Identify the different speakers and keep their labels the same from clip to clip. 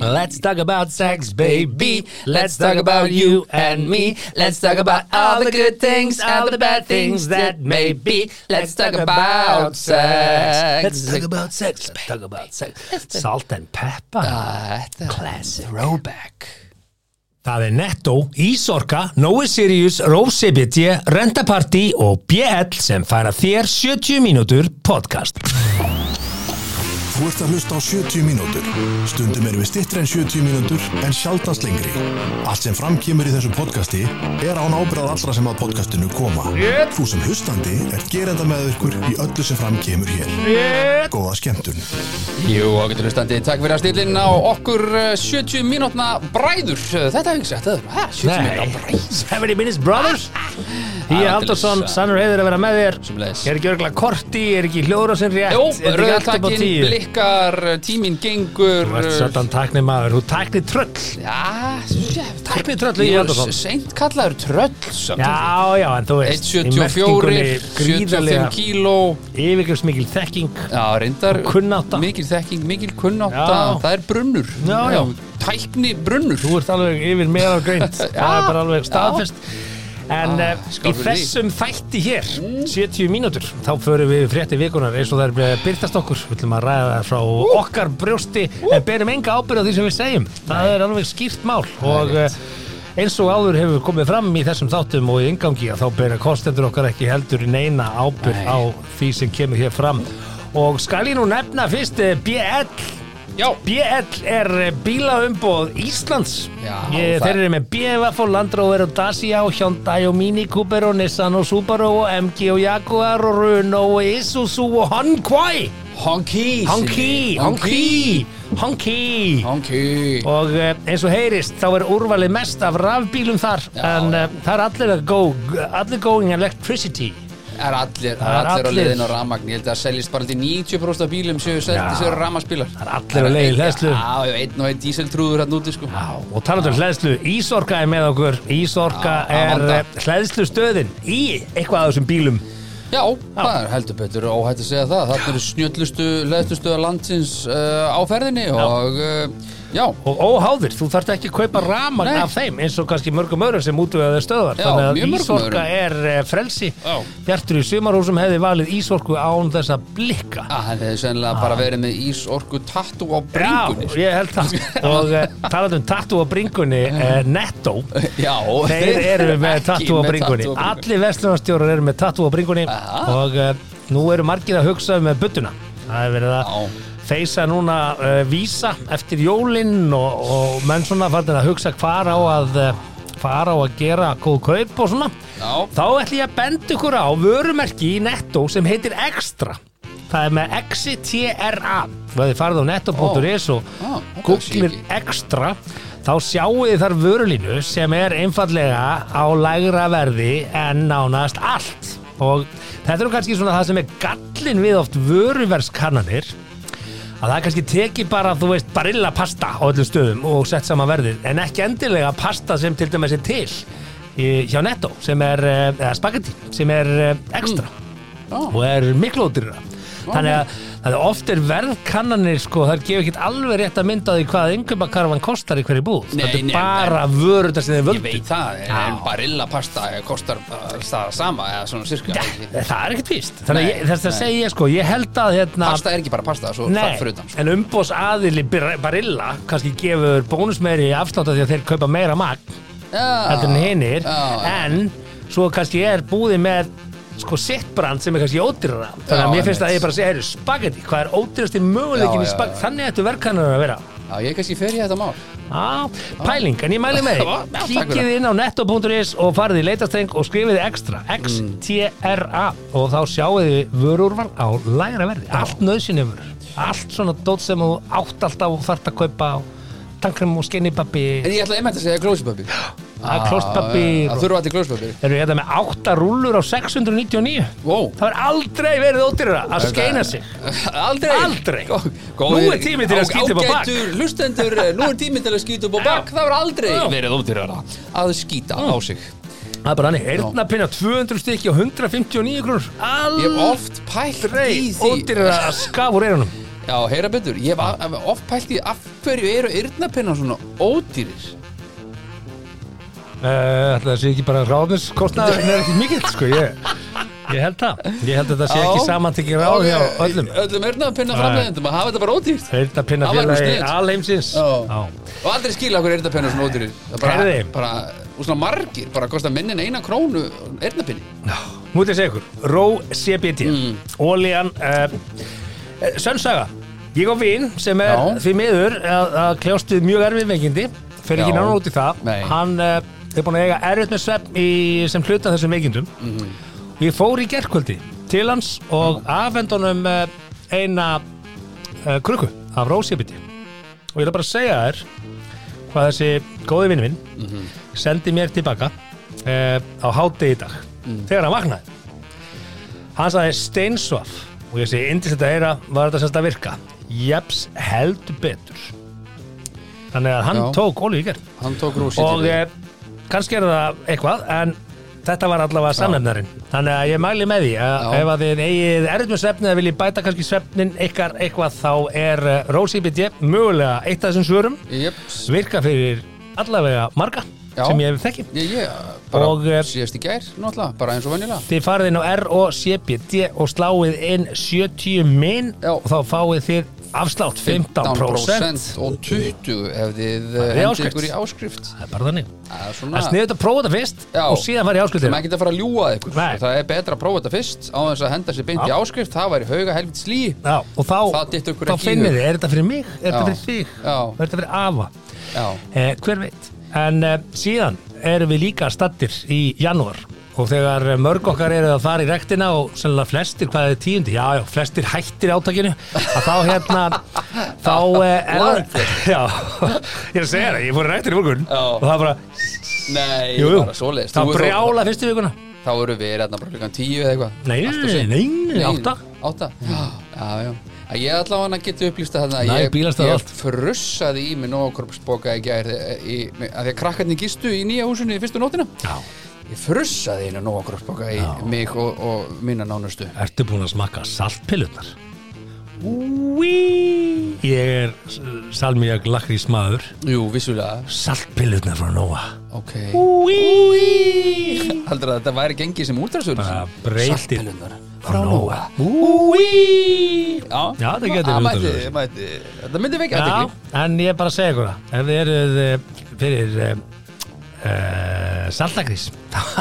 Speaker 1: Let's talk about sex, baby. Let's talk about you and me. Let's talk about all the good things, all the bad things that may be. Let's talk about sex.
Speaker 2: Let's talk about sex. Let's talk about sex. Salt and pepper.
Speaker 1: Þetta
Speaker 2: Classic.
Speaker 1: Throwback
Speaker 2: Það er Netto, Ísorka, Nói Sirius, Rósebiti, Rentaparty og BL sem færa þér 70 mínútur podcast.
Speaker 3: Þú ert að hlusta á 70 mínútur. Stundum erum við stittri en 70 mínútur en sjaldast lengri. Allt sem framkýmur í þessu podcasti er án ábyrðað allra sem að podcastinu koma. Þú sem hlustandi er gerenda með ykkur í öllu sem framkýmur hér. Góða skemmtun.
Speaker 1: Jú, ágættur hlustandi, takk fyrir að stillin á okkur eh, 70 mínútna bræður Eh, Þetta hef ég ekki sett, það er, hæ, 70
Speaker 2: Nei,
Speaker 1: mínútna bræður
Speaker 2: 70 Minutes Brothers Ég
Speaker 1: aldeilis,
Speaker 2: Haldarsson,
Speaker 1: uh,
Speaker 2: sannur heiður að vera með þér
Speaker 1: Sömuleiðis.
Speaker 2: Er ekki örgulega korti, er ekki hljóra sem rétt
Speaker 1: Jó,
Speaker 2: er ekki allt upp á
Speaker 1: rauðatakinn,
Speaker 2: tíu?
Speaker 1: blikkar, tíminn gengur eh,
Speaker 2: Þú ert svolítan takni maður, þú takni tröll
Speaker 1: Já,
Speaker 2: Tækni tröll í Haldarsson.
Speaker 1: Seint kallaður tröll samt.
Speaker 2: Já, já, en þú veist í
Speaker 1: 174,
Speaker 2: merkingunni
Speaker 1: 75
Speaker 2: gríðarlega
Speaker 1: kíló
Speaker 2: yfirgrifsmikil þekking
Speaker 1: Já, reyndar
Speaker 2: Og kunnátta.
Speaker 1: Mikil þekking, mikil kunnátta
Speaker 2: Já.
Speaker 1: Það er brunnur
Speaker 2: Já, já.
Speaker 1: Tækni brunnur
Speaker 2: Þú ert alveg yfir meðal greint Það er bara alveg staðfest En
Speaker 1: Ah,
Speaker 2: ah, í
Speaker 1: skál fyrir því. Mm.
Speaker 2: þessum þætti hér 70 mínútur, þá förum við frétti vikunar eins og það er byrtast okkur Við ætlum að ræða það frá okkar brjósti en berum enga ábyrð á því sem við segjum Það er alveg skýrt mál og eh, eins og áður hefur komið fram í þessum þáttum og í yngangi að þá bera kostendur okkar ekki heldur neina ábyrð
Speaker 1: Nei.
Speaker 2: á því sem kemur hér fram og skal ég nú nefna fyrst eh, BL
Speaker 1: Já,
Speaker 2: BL er bílaumbóð Íslands
Speaker 1: Já,
Speaker 2: ég,
Speaker 1: það-
Speaker 2: Þeir eru með BFF og Land Rover og Dacia og Hyundai og Mini Cooper og Nissan og Subaru og MG og Jaguar og Runo og Isuzu og Honkai
Speaker 1: honky
Speaker 2: Honki, Honki, Honki
Speaker 1: Honky
Speaker 2: Og eh, eins og heyrist þá er úrvalið mest af rafbílum þar
Speaker 1: Já,
Speaker 2: En já. það er allir að go, allir going electricity
Speaker 1: Það er allir, það er allir
Speaker 2: Það er
Speaker 1: á
Speaker 2: allir.
Speaker 1: leiðin á ramagn Ég held að seljist bara til 90% af bílum séu seldi
Speaker 2: Já.
Speaker 1: sér ramagnsbílar Það
Speaker 2: er allir á leið í
Speaker 1: einn-
Speaker 2: hleðslu.
Speaker 1: Já, já, einn og einn díseltrúður hann úti sko
Speaker 2: Já, og talandur hlæðslu, Ísorka er með okkur Ísorka
Speaker 1: Já, Amanda.
Speaker 2: er hlæðslu stöðin í eitthvað af þessum bílum
Speaker 1: Já, það er heldur betur óhætt að segja það Þarna eru snjöllustu, leðstustu landsins uh, á ferðinni og uh, já,
Speaker 2: og óháðir, þú þarft ekki að kaupa ramagn
Speaker 1: Nei.
Speaker 2: af þeim eins og kannski mörgum öðrum sem útvöðaði stöðvar
Speaker 1: Já,
Speaker 2: þannig að
Speaker 1: mjög mörgum
Speaker 2: Ísorka
Speaker 1: öðrum.
Speaker 2: er eh, frelsi
Speaker 1: Já.
Speaker 2: Bjartur í sumarhúsum hefði valið Ísorku án þess að blikka
Speaker 1: að hann hefði sennilega bara verið með ísorku tattu á bringunni sko.
Speaker 2: Já, ég held það og uh, talað um tattu á bringunni uh, Netto
Speaker 1: Já,
Speaker 2: Þeir eru með
Speaker 1: ekki
Speaker 2: tattu á
Speaker 1: með
Speaker 2: bringunni
Speaker 1: tattoo á
Speaker 2: Allir vestlunarstjórar eru með tattu á bringunni
Speaker 1: Aha.
Speaker 2: og uh, nú eru margir að hugsa með buttuna Það er verið
Speaker 1: Já.
Speaker 2: að feysa núna uh, vísa eftir jólinn og, og menn svona farnir að hugsa hvar á að uh, hvar á að gera góð kaup og svona
Speaker 1: Já.
Speaker 2: þá ætlum ég að benda ykkur á vörumerki í Netto sem heitir Extra það er með XTRA og þið farið á netto.is og
Speaker 1: Ó, þetta vissi
Speaker 2: googlir
Speaker 1: ég
Speaker 2: extra þá sjáu þið þar vörulínu sem er einfallega á lægra verði en nánast allt og þetta eru kannski svona það sem er gallin við oft vöruverskannanir að það er kannski tekið bara, þú veist, barilla pasta á öllum stöðum og sett saman verðið en ekki endilega pasta sem til dæmis er til í- hjá Netto sem er, eh, eða spagetti, sem er eh, extra
Speaker 1: Já.
Speaker 2: og er miklu ódýrra þannig að það er oft er verðkannanir sko, þar gefur ekkert alveg rétt að mynda því hvað yngjöpakarfan kostar í hverju búð
Speaker 1: Nei,
Speaker 2: þetta er
Speaker 1: nei,
Speaker 2: bara vörundar sem þeir
Speaker 1: Ég
Speaker 2: völdu
Speaker 1: veit það, en, en barilla pasta kostar uh, það sama eða svona sirka
Speaker 2: Eh, það er ekkert víst
Speaker 1: Nei,
Speaker 2: þannig að ég- þess að
Speaker 1: nei.
Speaker 2: segja sko, ég held að hérna,
Speaker 1: Pasta er ekki bara pasta, svo
Speaker 2: nei,
Speaker 1: það fyrir utan sko.
Speaker 2: en umbós aðili barilla kannski gefur bónus meiri í afsláta því að þeir kaupa meira magn heldur en hinnir
Speaker 1: já.
Speaker 2: en svo kannski er búði með sko sitt brand sem er kannski ódýrara þannig
Speaker 1: Já,
Speaker 2: að mér finnst
Speaker 1: einmitt.
Speaker 2: að ég bara að segja, heyrðu, spagetti hvað er ódýrasti möguleikin
Speaker 1: Já,
Speaker 2: í
Speaker 1: já,
Speaker 2: spagetti
Speaker 1: já.
Speaker 2: þannig ættu verkanar að vera
Speaker 1: Já, ég kannski fer í þetta mál
Speaker 2: á, pæling, en ég mæli með
Speaker 1: Já, já,
Speaker 2: því
Speaker 1: takk fyrir
Speaker 2: kíkið
Speaker 1: það.
Speaker 2: inn á netto.is og farið í leitastreng og skrifið ekstra XTRA og þá sjáið þið vörurval á lægra verði, allt nöðsynni vörur allt svona dót sem þú átt alltaf og þarft að kaupa á tankrem og skinnipappi
Speaker 1: En ég ætla einmitt að segja klósipapir
Speaker 2: að klostpappi
Speaker 1: Það þurfa allir klósipapir
Speaker 2: Erum við þetta hérna með 8 rúllur á 699?
Speaker 1: Vó.
Speaker 2: Það er aldrei verið ódýrara að skeina sig.
Speaker 1: Aldrei
Speaker 2: Aldrei.
Speaker 1: Gó-
Speaker 2: Nú er tími til að
Speaker 1: á-
Speaker 2: skýta upp á bak.
Speaker 1: Ágætur hlustendur, eh, nú er tími til að skýta upp á bak Það var aldrei
Speaker 2: Já. Mm.
Speaker 1: verið ódýrara að skýta á sig
Speaker 2: Það er bara hannig, eyrnapinna 200 stykki og 159 grúnur.
Speaker 1: Ég hef
Speaker 2: Aldrei
Speaker 1: oft pælt í því
Speaker 2: ódýrara að skafa úr eyrunum.
Speaker 1: Já, heyra betur, ég hef a- hef oft pælt í af hverju eru yrnapinnar svona ódýrir Eh,
Speaker 2: Uh, það sé ekki bara ráðniskostnaðurinn er ekki mikill sko ég, ég held það ég held að það sé
Speaker 1: Já.
Speaker 2: ekki samantekki ráð hjá
Speaker 1: Ok,
Speaker 2: öllum
Speaker 1: Öllum yrnapinnar framleiðendum að hafa þetta bara ódýrt
Speaker 2: heyrnapinna
Speaker 1: Það var nú
Speaker 2: félagi
Speaker 1: sniðugt.
Speaker 2: alheimsins
Speaker 1: Já.
Speaker 2: Já.
Speaker 1: Og aldrei skila okkur eyrnapinnar svona ódýrir Það er bara,
Speaker 2: Herði.
Speaker 1: bara, og svona margir, bara kosta minnin eina krónu eyrnapinni
Speaker 2: Nú til að segja ykkur Ró CBT mm. Ólían uh, Sönsaga eh, Ég á vin sem er
Speaker 1: Já.
Speaker 2: því miður að, að kljást við mjög erfið veikindi fer ekki
Speaker 1: Já.
Speaker 2: nánar út í það
Speaker 1: Nei.
Speaker 2: Hann uh, er búin að eiga erfið með svefn í, sem hluta af þessum veikindum
Speaker 1: Mhm.
Speaker 2: og ég fór í gerkvöldi til hans og afhend honum uh, eina uh, krukku af Ró CBT og ég er bara að segja þér hvað þessi góði vinnu minn
Speaker 1: Mhm.
Speaker 2: sendi mér tilbaka uh, á hátegi í dag
Speaker 1: Mhm.
Speaker 2: þegar hann vaknaði hann sagði steinsvaf og ég segi indist þetta eira var þetta semst að virka jeps heldur betur þannig að hann
Speaker 1: Já.
Speaker 2: tók olíu í gerð
Speaker 1: Hann tók rúsi
Speaker 2: og eh, kannski er það eitthvað en þetta var allavega samnefnarinn þannig að ég mæli með því að
Speaker 1: Já.
Speaker 2: ef að þið eigið erut með svefni eða viljið bæta kannski svefnin ykkar eitthvað þá er eh, Rósi BD mögulega eitt af þessum svörum
Speaker 1: Jeps,
Speaker 2: virka fyrir allavega marga
Speaker 1: Já.
Speaker 2: sem ég hef þekki
Speaker 1: ég, ég, bara
Speaker 2: Og, eh,
Speaker 1: síðast í gær, náttúrulega, bara eins og venjulega
Speaker 2: Þið farið inn á ROCBD og sláið inn 70 minn
Speaker 1: Já.
Speaker 2: og þá fáið þið afslátt 15%.
Speaker 1: 15% og 20 ef þið
Speaker 2: er
Speaker 1: hendur
Speaker 2: áskrift.
Speaker 1: ykkur í áskrift
Speaker 2: Það er bara þannig.
Speaker 1: það er
Speaker 2: Það
Speaker 1: svona
Speaker 2: er sniðut að prófa þetta fyrst
Speaker 1: Já.
Speaker 2: og síðan farið
Speaker 1: Það
Speaker 2: í
Speaker 1: er
Speaker 2: áskutir.
Speaker 1: ekki að fara að ljúga að ykkur
Speaker 2: Nei.
Speaker 1: það er betra að prófa þetta fyrst á þess að henda sér beint í áskrift það væri hauga helvitt slí
Speaker 2: Já, og
Speaker 1: Það
Speaker 2: þá,
Speaker 1: dytti okkur
Speaker 2: þá
Speaker 1: ekki í
Speaker 2: finnir
Speaker 1: hug.
Speaker 2: þið, er þetta fyrir mig, er þetta
Speaker 1: Já.
Speaker 2: fyrir þig,
Speaker 1: Já.
Speaker 2: er þetta fyrir afa,
Speaker 1: já,
Speaker 2: eh, hver veit. En eh, síðan erum við líka stattir í janúar og þegar eh, mörg okkar eru að fara í rektina og sennilega flestir, hvað er tíundi, já, já, flestir hættir átakinu, að þá hérna, þá eh, er það, já, ég er að segja það, ég fór í rektina í morgun
Speaker 1: Já.
Speaker 2: og það bara,
Speaker 1: nei,
Speaker 2: jú, jú,
Speaker 1: bara svoleiðist
Speaker 2: það
Speaker 1: Þú-
Speaker 2: brjála fyrstu vikuna.
Speaker 1: þá, þá eru við hérna bara klukkan 10 eða eitthvað
Speaker 2: Nei,
Speaker 1: Allt og seint.
Speaker 2: nei, nei, átta.
Speaker 1: átta já, já, já Að Ég ætla hann að geta upplýsta þarna að
Speaker 2: Nei,
Speaker 1: ég,
Speaker 2: bílastæði
Speaker 1: ég
Speaker 2: allt.
Speaker 1: frussaði í mig nógkorpsboka í gær í, í, að því að krakkarnir gistu í nýja húsinu í fyrstu nótina
Speaker 2: Já,
Speaker 1: Ég frussaði einu nógkorpsboka í mig og, og mína nánustu
Speaker 2: ertu búin að smakka saltpillunar? Úí, ég er salmiak lakrís maður,
Speaker 1: Jú, vissulega
Speaker 2: saltpillunar frá Nóa.
Speaker 1: Ok
Speaker 2: Úí,
Speaker 1: Haldur að þetta væri gengið sem útrásöld
Speaker 2: bara breytir
Speaker 1: Saltpillunar
Speaker 2: frá Nóa.
Speaker 1: Úi Já, Ah,
Speaker 2: Já, þetta getur verið
Speaker 1: mætti-
Speaker 2: útvarpsrás.
Speaker 1: mætti- Þetta myndi vekja
Speaker 2: Já,
Speaker 1: athygli.
Speaker 2: en ég er bara að segja ykkur það, ef þið eruð eh, fyrir uh, uh, saltakrís,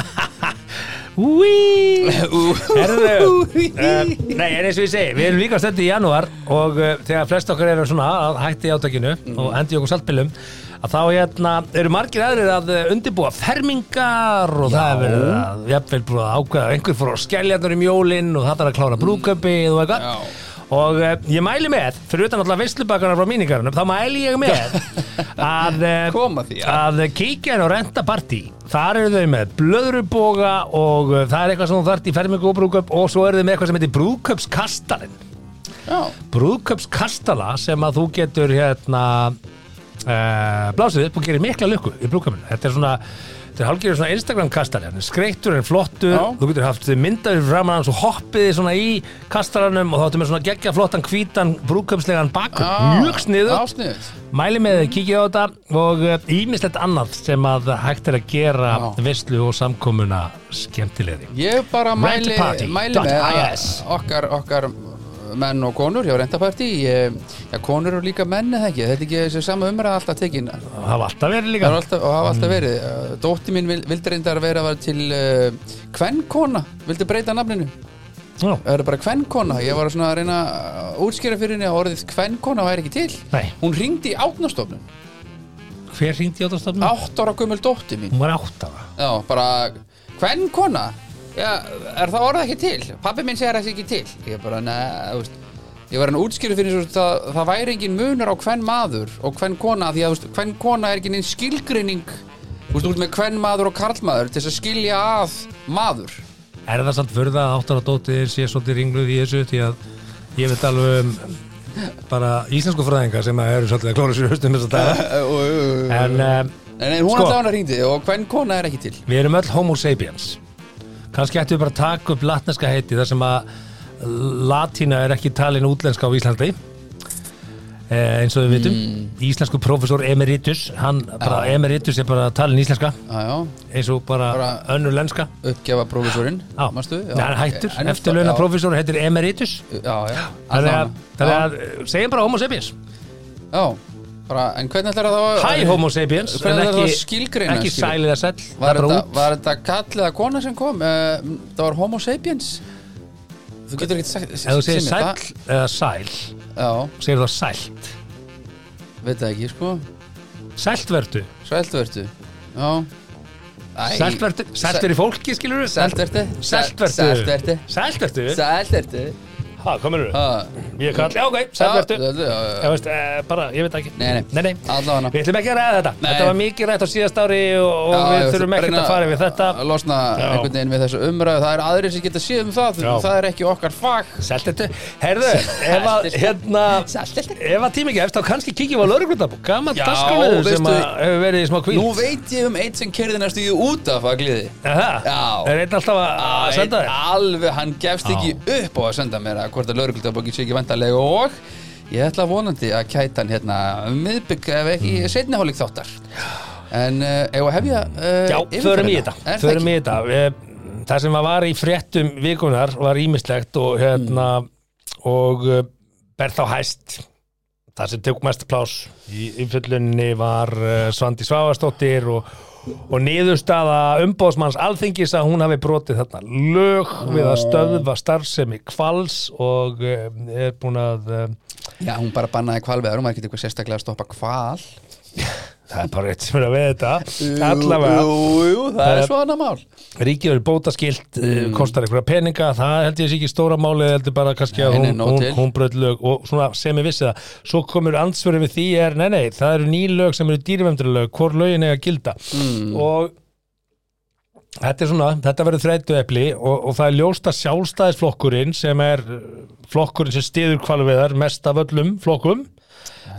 Speaker 2: úí, Herðu, uh, nei, en eins og ég segi, við erum líka stöndi í janúar og uh, þegar flest okkar eru svona að hætti í átakinu og hendi í okkur saltpilum að þá hérna, eru margir aðrir að eh, undirbúa fermingar og það er verið að jafnvel búið að ákveða að einhver fór á skelljarnar um jólinn og það þarf að klára brúköpið og eitthvað
Speaker 1: Já.
Speaker 2: og uh, ég mæli með, fyrir utan alltaf veistlubakarar frá míningarunum, þá mæli ég með að, eh,
Speaker 1: Koma því, já.
Speaker 2: að kíkja inn á rentapartí þar eru þau með blöðruboga og uh, það er eitthvað sem þú þarft í fermingu og brúköp og svo eru þau með eitthvað sem heitir brúköpskastalinn
Speaker 1: Já,
Speaker 2: brúðköpskastala sem að þú getur hérna uh, blásið upp og gerir mikla lukku í brúðköpinu þetta er svona Þetta er hálfgerður svona Instagram kastali, hann er skreittur, hann er flottur,
Speaker 1: Já.
Speaker 2: þú getur haft myndaður framan hans og hoppið þið svona í kastalanum og þá áttu með svona geggja flottan, hvítan, brúköpslegan bakum, mjög sniður.
Speaker 1: Já, sniðugt
Speaker 2: Mæli með þið, kíkja á þetta og eh, ýmislegt annað sem að hægt er að gera
Speaker 1: Já.
Speaker 2: veistlu og samkomuna skemmtilegri.
Speaker 1: Ég bara mæli,
Speaker 2: Rentaparty.is.
Speaker 1: mæli með að okkar, okkar menn og konur hjá rentapartí ég, já, konur og líka menn eða ekki þetta er ekki þessi sama umræða alltaf tekin það
Speaker 2: Það var alltaf verið líka.
Speaker 1: er alltaf, og hafa alltaf verið Uh, dóttir mín vil- vildi reyndar vera að vera til uh, kvennkona, vildi breyta nafninu
Speaker 2: Já.
Speaker 1: það er bara kvennkona, ég var svona að reyna að útskýra fyrir henni að orðið kvennkona væri ekki til
Speaker 2: Nei.
Speaker 1: hún ringdi í átnastofnun
Speaker 2: Hver hringdi í átastofnum?
Speaker 1: átt ára gömul dóttir mín
Speaker 2: Hún var átt ára.
Speaker 1: já, bara, kvennkona já, er það orðið ekki til pappi minn segir þessi ekki til ég bara, neða, þú veist ég var hann að útskýra fyrir þessu það, það væri engin munur á kvenn maður og kvenn kona því að þú veist, kvenn kona er ekki neinn skilgrinning þú veist, út með kvenn maður og karlmaður til þess að skilja að maður
Speaker 2: Er það samt furða að áttara dóttir sé svolítið ringluð í þessu því að ég veit alveg um bara íslensku fræðinga sem að eru svolítið að klóra sér í haustum þess að dag en um,
Speaker 1: en, en hún
Speaker 2: Sko.
Speaker 1: alltaf hann að ringdi og kvenn kona er ekki til
Speaker 2: við erum öll homo sapiens kannski ættum við bara að taka upp latneska heiti þar sem að latína er ekki talin útlenska á Íslandi eh, eins og við vitum
Speaker 1: Hmm.
Speaker 2: íslensku prófessor Emeritus hann bara, Emeritus er bara talin íslenska
Speaker 1: Já, já,
Speaker 2: eins og bara,
Speaker 1: Bara-
Speaker 2: önnur lenska
Speaker 1: uppgefa prófessorinn
Speaker 2: Já.
Speaker 1: manstu?
Speaker 2: Nei, hann hættur,
Speaker 1: En- en-
Speaker 2: eftirlauna
Speaker 1: já,
Speaker 2: prófessor heitir Emeritus
Speaker 1: Já, já,
Speaker 2: þannig að,
Speaker 1: allavega. Já,
Speaker 2: þannig að eh, segjum bara homo sapiens
Speaker 1: Já, bara, en hvernig ætlar það að
Speaker 2: hæ homo sapiens
Speaker 1: Hvernig
Speaker 2: en
Speaker 1: er það
Speaker 2: ekki,
Speaker 1: að skilgreina,
Speaker 2: ekki
Speaker 1: skilur?
Speaker 2: sælið að sell
Speaker 1: Var
Speaker 2: það er bara
Speaker 1: þetta,
Speaker 2: út.
Speaker 1: var þetta kall eða kona sem kom? Uh, það var homo sapiens Þú getur ekkert sagt
Speaker 2: ef þú segir
Speaker 1: sinni það.
Speaker 2: sæll eða sæl
Speaker 1: Já,
Speaker 2: segir það sælt
Speaker 1: veit það ekki, sko
Speaker 2: sælt verðu
Speaker 1: Sæltvertu Já Æ,
Speaker 2: sælt verðu sælt er í fólki skilur við
Speaker 1: Sæltvertu
Speaker 2: sælt verðu
Speaker 1: Sæltvertu
Speaker 2: sælt verðu
Speaker 1: Sæltvertu
Speaker 2: ha komur þú
Speaker 1: Sæltvertu
Speaker 2: ég kall já ok sælt
Speaker 1: Já,
Speaker 2: verðu
Speaker 1: já, já
Speaker 2: ég veist eh, bara ég veit ekki
Speaker 1: Nei, nei.
Speaker 2: nei,
Speaker 1: Allavega.
Speaker 2: við ætlum ekki að ræða þetta
Speaker 1: Nei.
Speaker 2: þetta var mikið rætt á síðast ári og, og
Speaker 1: Já,
Speaker 2: við
Speaker 1: ég
Speaker 2: þurfum
Speaker 1: ætla
Speaker 2: ekkert
Speaker 1: reyna
Speaker 2: að fara við þetta
Speaker 1: að losna
Speaker 2: Já.
Speaker 1: einhvern veginn við þessu umræðu það er aðrir sem geta séð um það
Speaker 2: Já.
Speaker 1: það er ekki okkar fag
Speaker 2: sælt verðu herðu ef
Speaker 1: Sælt
Speaker 2: að
Speaker 1: vertu.
Speaker 2: hérna
Speaker 1: Sælt vertu.
Speaker 2: ef að tími gefst þá kannski kíkjum við á lauruglundabúk gaman
Speaker 1: Já,
Speaker 2: dagskráliður sem
Speaker 1: veistu-
Speaker 2: að hefur verið í smá kvíl
Speaker 1: nú veit ég um eitt sem kerði næstu í út af fagliði Já.
Speaker 2: er einn alltaf að
Speaker 1: Æ,
Speaker 2: senda þér
Speaker 1: alveg, hann gefst
Speaker 2: Já.
Speaker 1: ekki upp á að senda mér að hvort að lögreglutabokki sé ekki vantarlega og ég ætla vonandi að kæta hann hérna um miðbygg ef ekki mm. setnihólik þáttar en uh, ef að hefja uh,
Speaker 2: Já, förum í þetta,
Speaker 1: er það
Speaker 2: förum
Speaker 1: ekki?
Speaker 2: í þetta. Eh, Það sem að var í fréttum vikunar var ímislegt og hérna og eh, ber þá hæst það sem tök mest plás í umfjöllunni var eh, Svandi Svavastóttir og, og niðurstaða umbóðsmanns alþingis að hún hafi brotið þarna lög við að stöðva starfsemi kvals og eh, er búin að eh,
Speaker 1: Já, hún bara bannaði kvalveðar, hún var ekki eitthvað sérstaklega að stoppa kval
Speaker 2: það er bara rétt sem er að veið þetta allavega
Speaker 1: Jú, jú, það er svona mál
Speaker 2: Ríkið er bótaskilt, mm. kostar einhverja peninga, það held ég sé ekki stóra máli, heldur bara kannski að
Speaker 1: Nei, nei,
Speaker 2: hún,
Speaker 1: nóg
Speaker 2: hún,
Speaker 1: til.
Speaker 2: hún bröð lög og svona sem ég vissi það. Svo komur ansvörin við því er, nei, nei, það eru ný lög sem eru dýrvemdurlög, hvor lögin eiga að gilda.
Speaker 1: Mm.
Speaker 2: Og þetta er svona, þetta verður þrættu epli og, og það er ljósta sjálfstæðisflokkurinn sem er uh, flokkurinn sem stiður kvalveðar mest af öllum flokkum.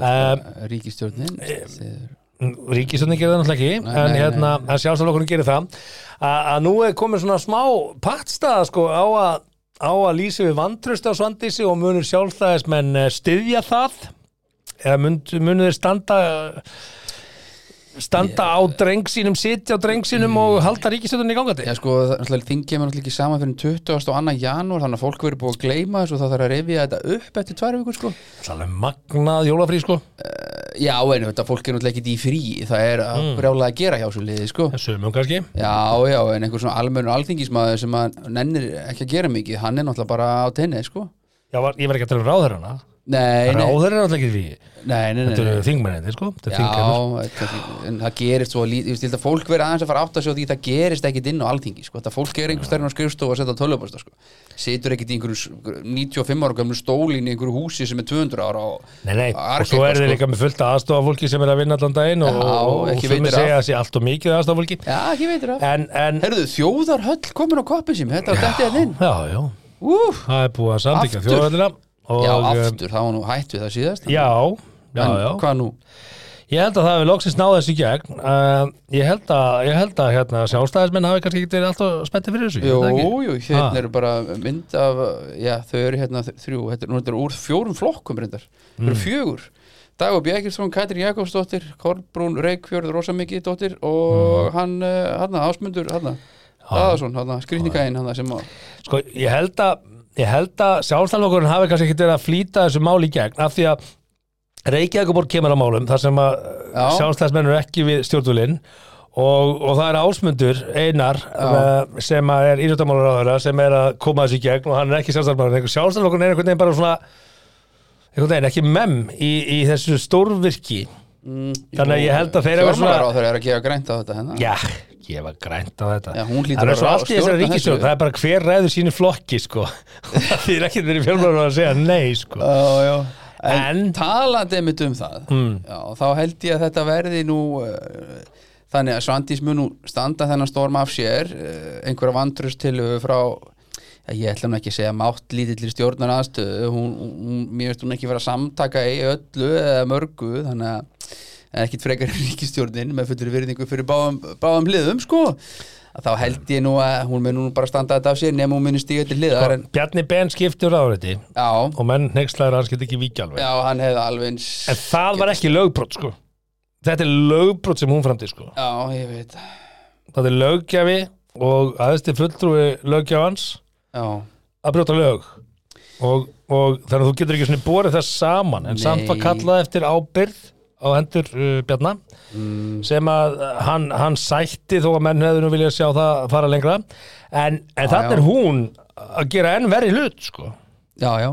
Speaker 2: Um,
Speaker 1: Ríkistjórnin
Speaker 2: Eh,
Speaker 1: styður-
Speaker 2: Ríkisöndin gerir það náttúrulega ekki en
Speaker 1: nei,
Speaker 2: hérna, en sjálfstæðlokkurinn gerir það að að nú er komin svona smá pattstaða sko á að á að lýsa við vantröst á Svandísi og munur sjálfstæðismenn eh, styðja það eða mund, munur þeir standa standa á dreng sínum sitja á dreng sínum
Speaker 1: Mm.
Speaker 2: og halda ríkisöndin í gangandi
Speaker 1: Já sko, það- náttúrulega þing kemur náttúrulega ekki saman fyrir 20. og 2. janúar þannig að fólk verður búið að gleyma þessu og það þarf að rifja þetta upp eftir tvær vikur sko
Speaker 2: Það er alveg magnað jólafrí sko
Speaker 1: Já, en þetta fólk er náttúrulega ekki í frí það er að
Speaker 2: Mm.
Speaker 1: brjála að gera hjá svo liði sko
Speaker 2: Sumum kannski
Speaker 1: Já, já, en einhver svona almennur alþingismæður sem að nennir ekki að gera mikið hann er náttúrulega bara á tenni sko
Speaker 2: Já, var, ég var ekki að tala um ráðherrana
Speaker 1: Nei, nei,
Speaker 2: Ráðherrar er náttúrulega ekki því
Speaker 1: nei, nei, nei,
Speaker 2: Þetta
Speaker 1: nei.
Speaker 2: eru þingmennið sko Þetta
Speaker 1: Já,
Speaker 2: er þingheimur.
Speaker 1: þetta- en það gerist svo lítið, ég veist, ég held að fólk verið aðeins að fara átt að sjá því það gerist ekkit inn á alþingi, sko, þetta fólk er einhver stærn á skrifstofu að setja tölvupasta, sko situr ekkit í einhverju s- 95 ára gömlu stólinni í einhverju húsi sem er 200 ára og,
Speaker 2: Nei, nei, og
Speaker 1: Arkitektar,
Speaker 2: svo er þeir
Speaker 1: sko.
Speaker 2: líka með fullt af aðstofafólki sem er að vinna allan daginn og,
Speaker 1: Já,
Speaker 2: og, og
Speaker 1: ekki
Speaker 2: sem
Speaker 1: veitir
Speaker 2: er segja
Speaker 1: af.
Speaker 2: að sé allt og mikið aðstofafólki
Speaker 1: Já, ekki veitur það
Speaker 2: En, en,
Speaker 1: Herðu, þjóðarhöll komin á koppin sem þetta var dættið að þinn
Speaker 2: já, já,
Speaker 1: Úf
Speaker 2: það er búið að samtíka
Speaker 1: Aftur.
Speaker 2: þjóðarallina og,
Speaker 1: Já,
Speaker 2: eh,
Speaker 1: aftur, það var nú hætt við það síðast
Speaker 2: Já, já,
Speaker 1: En
Speaker 2: já
Speaker 1: Hvað nú?
Speaker 2: Ég held að það hefur loksins náð þessu í gegn uh, Ég held að, ég held að hérna, sjálfstæðismenn hafi kannski ekki verið alltaf spenntið fyrir þessu ég
Speaker 1: Jú,
Speaker 2: veit það ekki.
Speaker 1: jú, hérna eru bara mynd af Já, þau eru hérna þ- þrjú Þetta er nú þetta er úr fjórum flokkum reyndar Þau
Speaker 2: Mm.
Speaker 1: eru fjögur Dagur Bjækilsson, Katrín Jakobsdóttir Kolbrún Reykfjörð, Rosa Mikið dóttir og
Speaker 2: Mm.
Speaker 1: hann, eh, hann, Ásmundur hann, Aðarsson, hann, skrýtningæinn hann sem að
Speaker 2: Sko, ég held að, ég held að sjálfstæðlokkurinn hafi kannski ekkert verið að flýta þessu máli í gegn af því að Reykjavíkuborg kemur á málum þar sem að
Speaker 1: Já.
Speaker 2: sjálfstæðsmenn eru ekki við stjórnvölinn og, og það er Ásmundur Einar uh, sem að er írjóttamálar áhverja sem er að koma þessu í gegn og hann er ekki sjálfstæðsmenn einhver sjálfstæðlokkurinn er einhvern veginn bara svona einhvern veginn ekki mem í, í þessu stórvirki þannig að ég held að þeir eru svona
Speaker 1: Fjármálar á þeir eru að gera grænt á þetta hérna. hennar
Speaker 2: Já, ég var grænt á þetta
Speaker 1: Já, hún hlýtur að
Speaker 2: Það er svo
Speaker 1: vera
Speaker 2: allt í þessari
Speaker 1: stjórna
Speaker 2: ríkisjóð
Speaker 1: þessu.
Speaker 2: Það er bara hver ræður sínu flokki sko. Það er ekkert verið fjölmörður að segja nei sko.
Speaker 1: Já, já. En,
Speaker 2: En-
Speaker 1: talandi einmitt um það já, þá held ég að þetta verði nú uh, þannig að Svandís mun nú standa þennan storm af sér uh, einhverja vandrust til frá já, ég ætla nú ekki að segja mátt lítillir stjórnar aðstöðu hún, hún, mér veist hún ekki vera að samtaka í öllu eða mörgu þannig að en ekkit frekar en ríkistjórnin með fullri virðingu fyrir báðum, báðum liðum sko að þá held ég nú að hún mun nú bara standa þetta af sér nema hún muni stíga til
Speaker 2: Sko.
Speaker 1: liðar en
Speaker 2: Bjarni Ben skiptur ráðuneyti
Speaker 1: já,
Speaker 2: og menn nextlæður hans get ekki vikið alveg
Speaker 1: já, hann hefði alveg eins
Speaker 2: en það var ekki lögbrot sko þetta er lögbrot sem hún framdi sko
Speaker 1: já, ég veit
Speaker 2: það er löggjafi og aðeins fulltrúi löggjafans
Speaker 1: já,
Speaker 2: að brjóta lög og, og þannig að þú getur ekki svona borið það saman en
Speaker 1: Nei.
Speaker 2: samt var kallað eftir ábyrð á hendur uh, Bjarnar
Speaker 1: Mm.
Speaker 2: sem að uh, hann, hann sætti þó að menn hefðu nú viljað sjá það fara lengra en, en þannig
Speaker 1: já.
Speaker 2: er hún að gera enn verri hlut sko
Speaker 1: já, já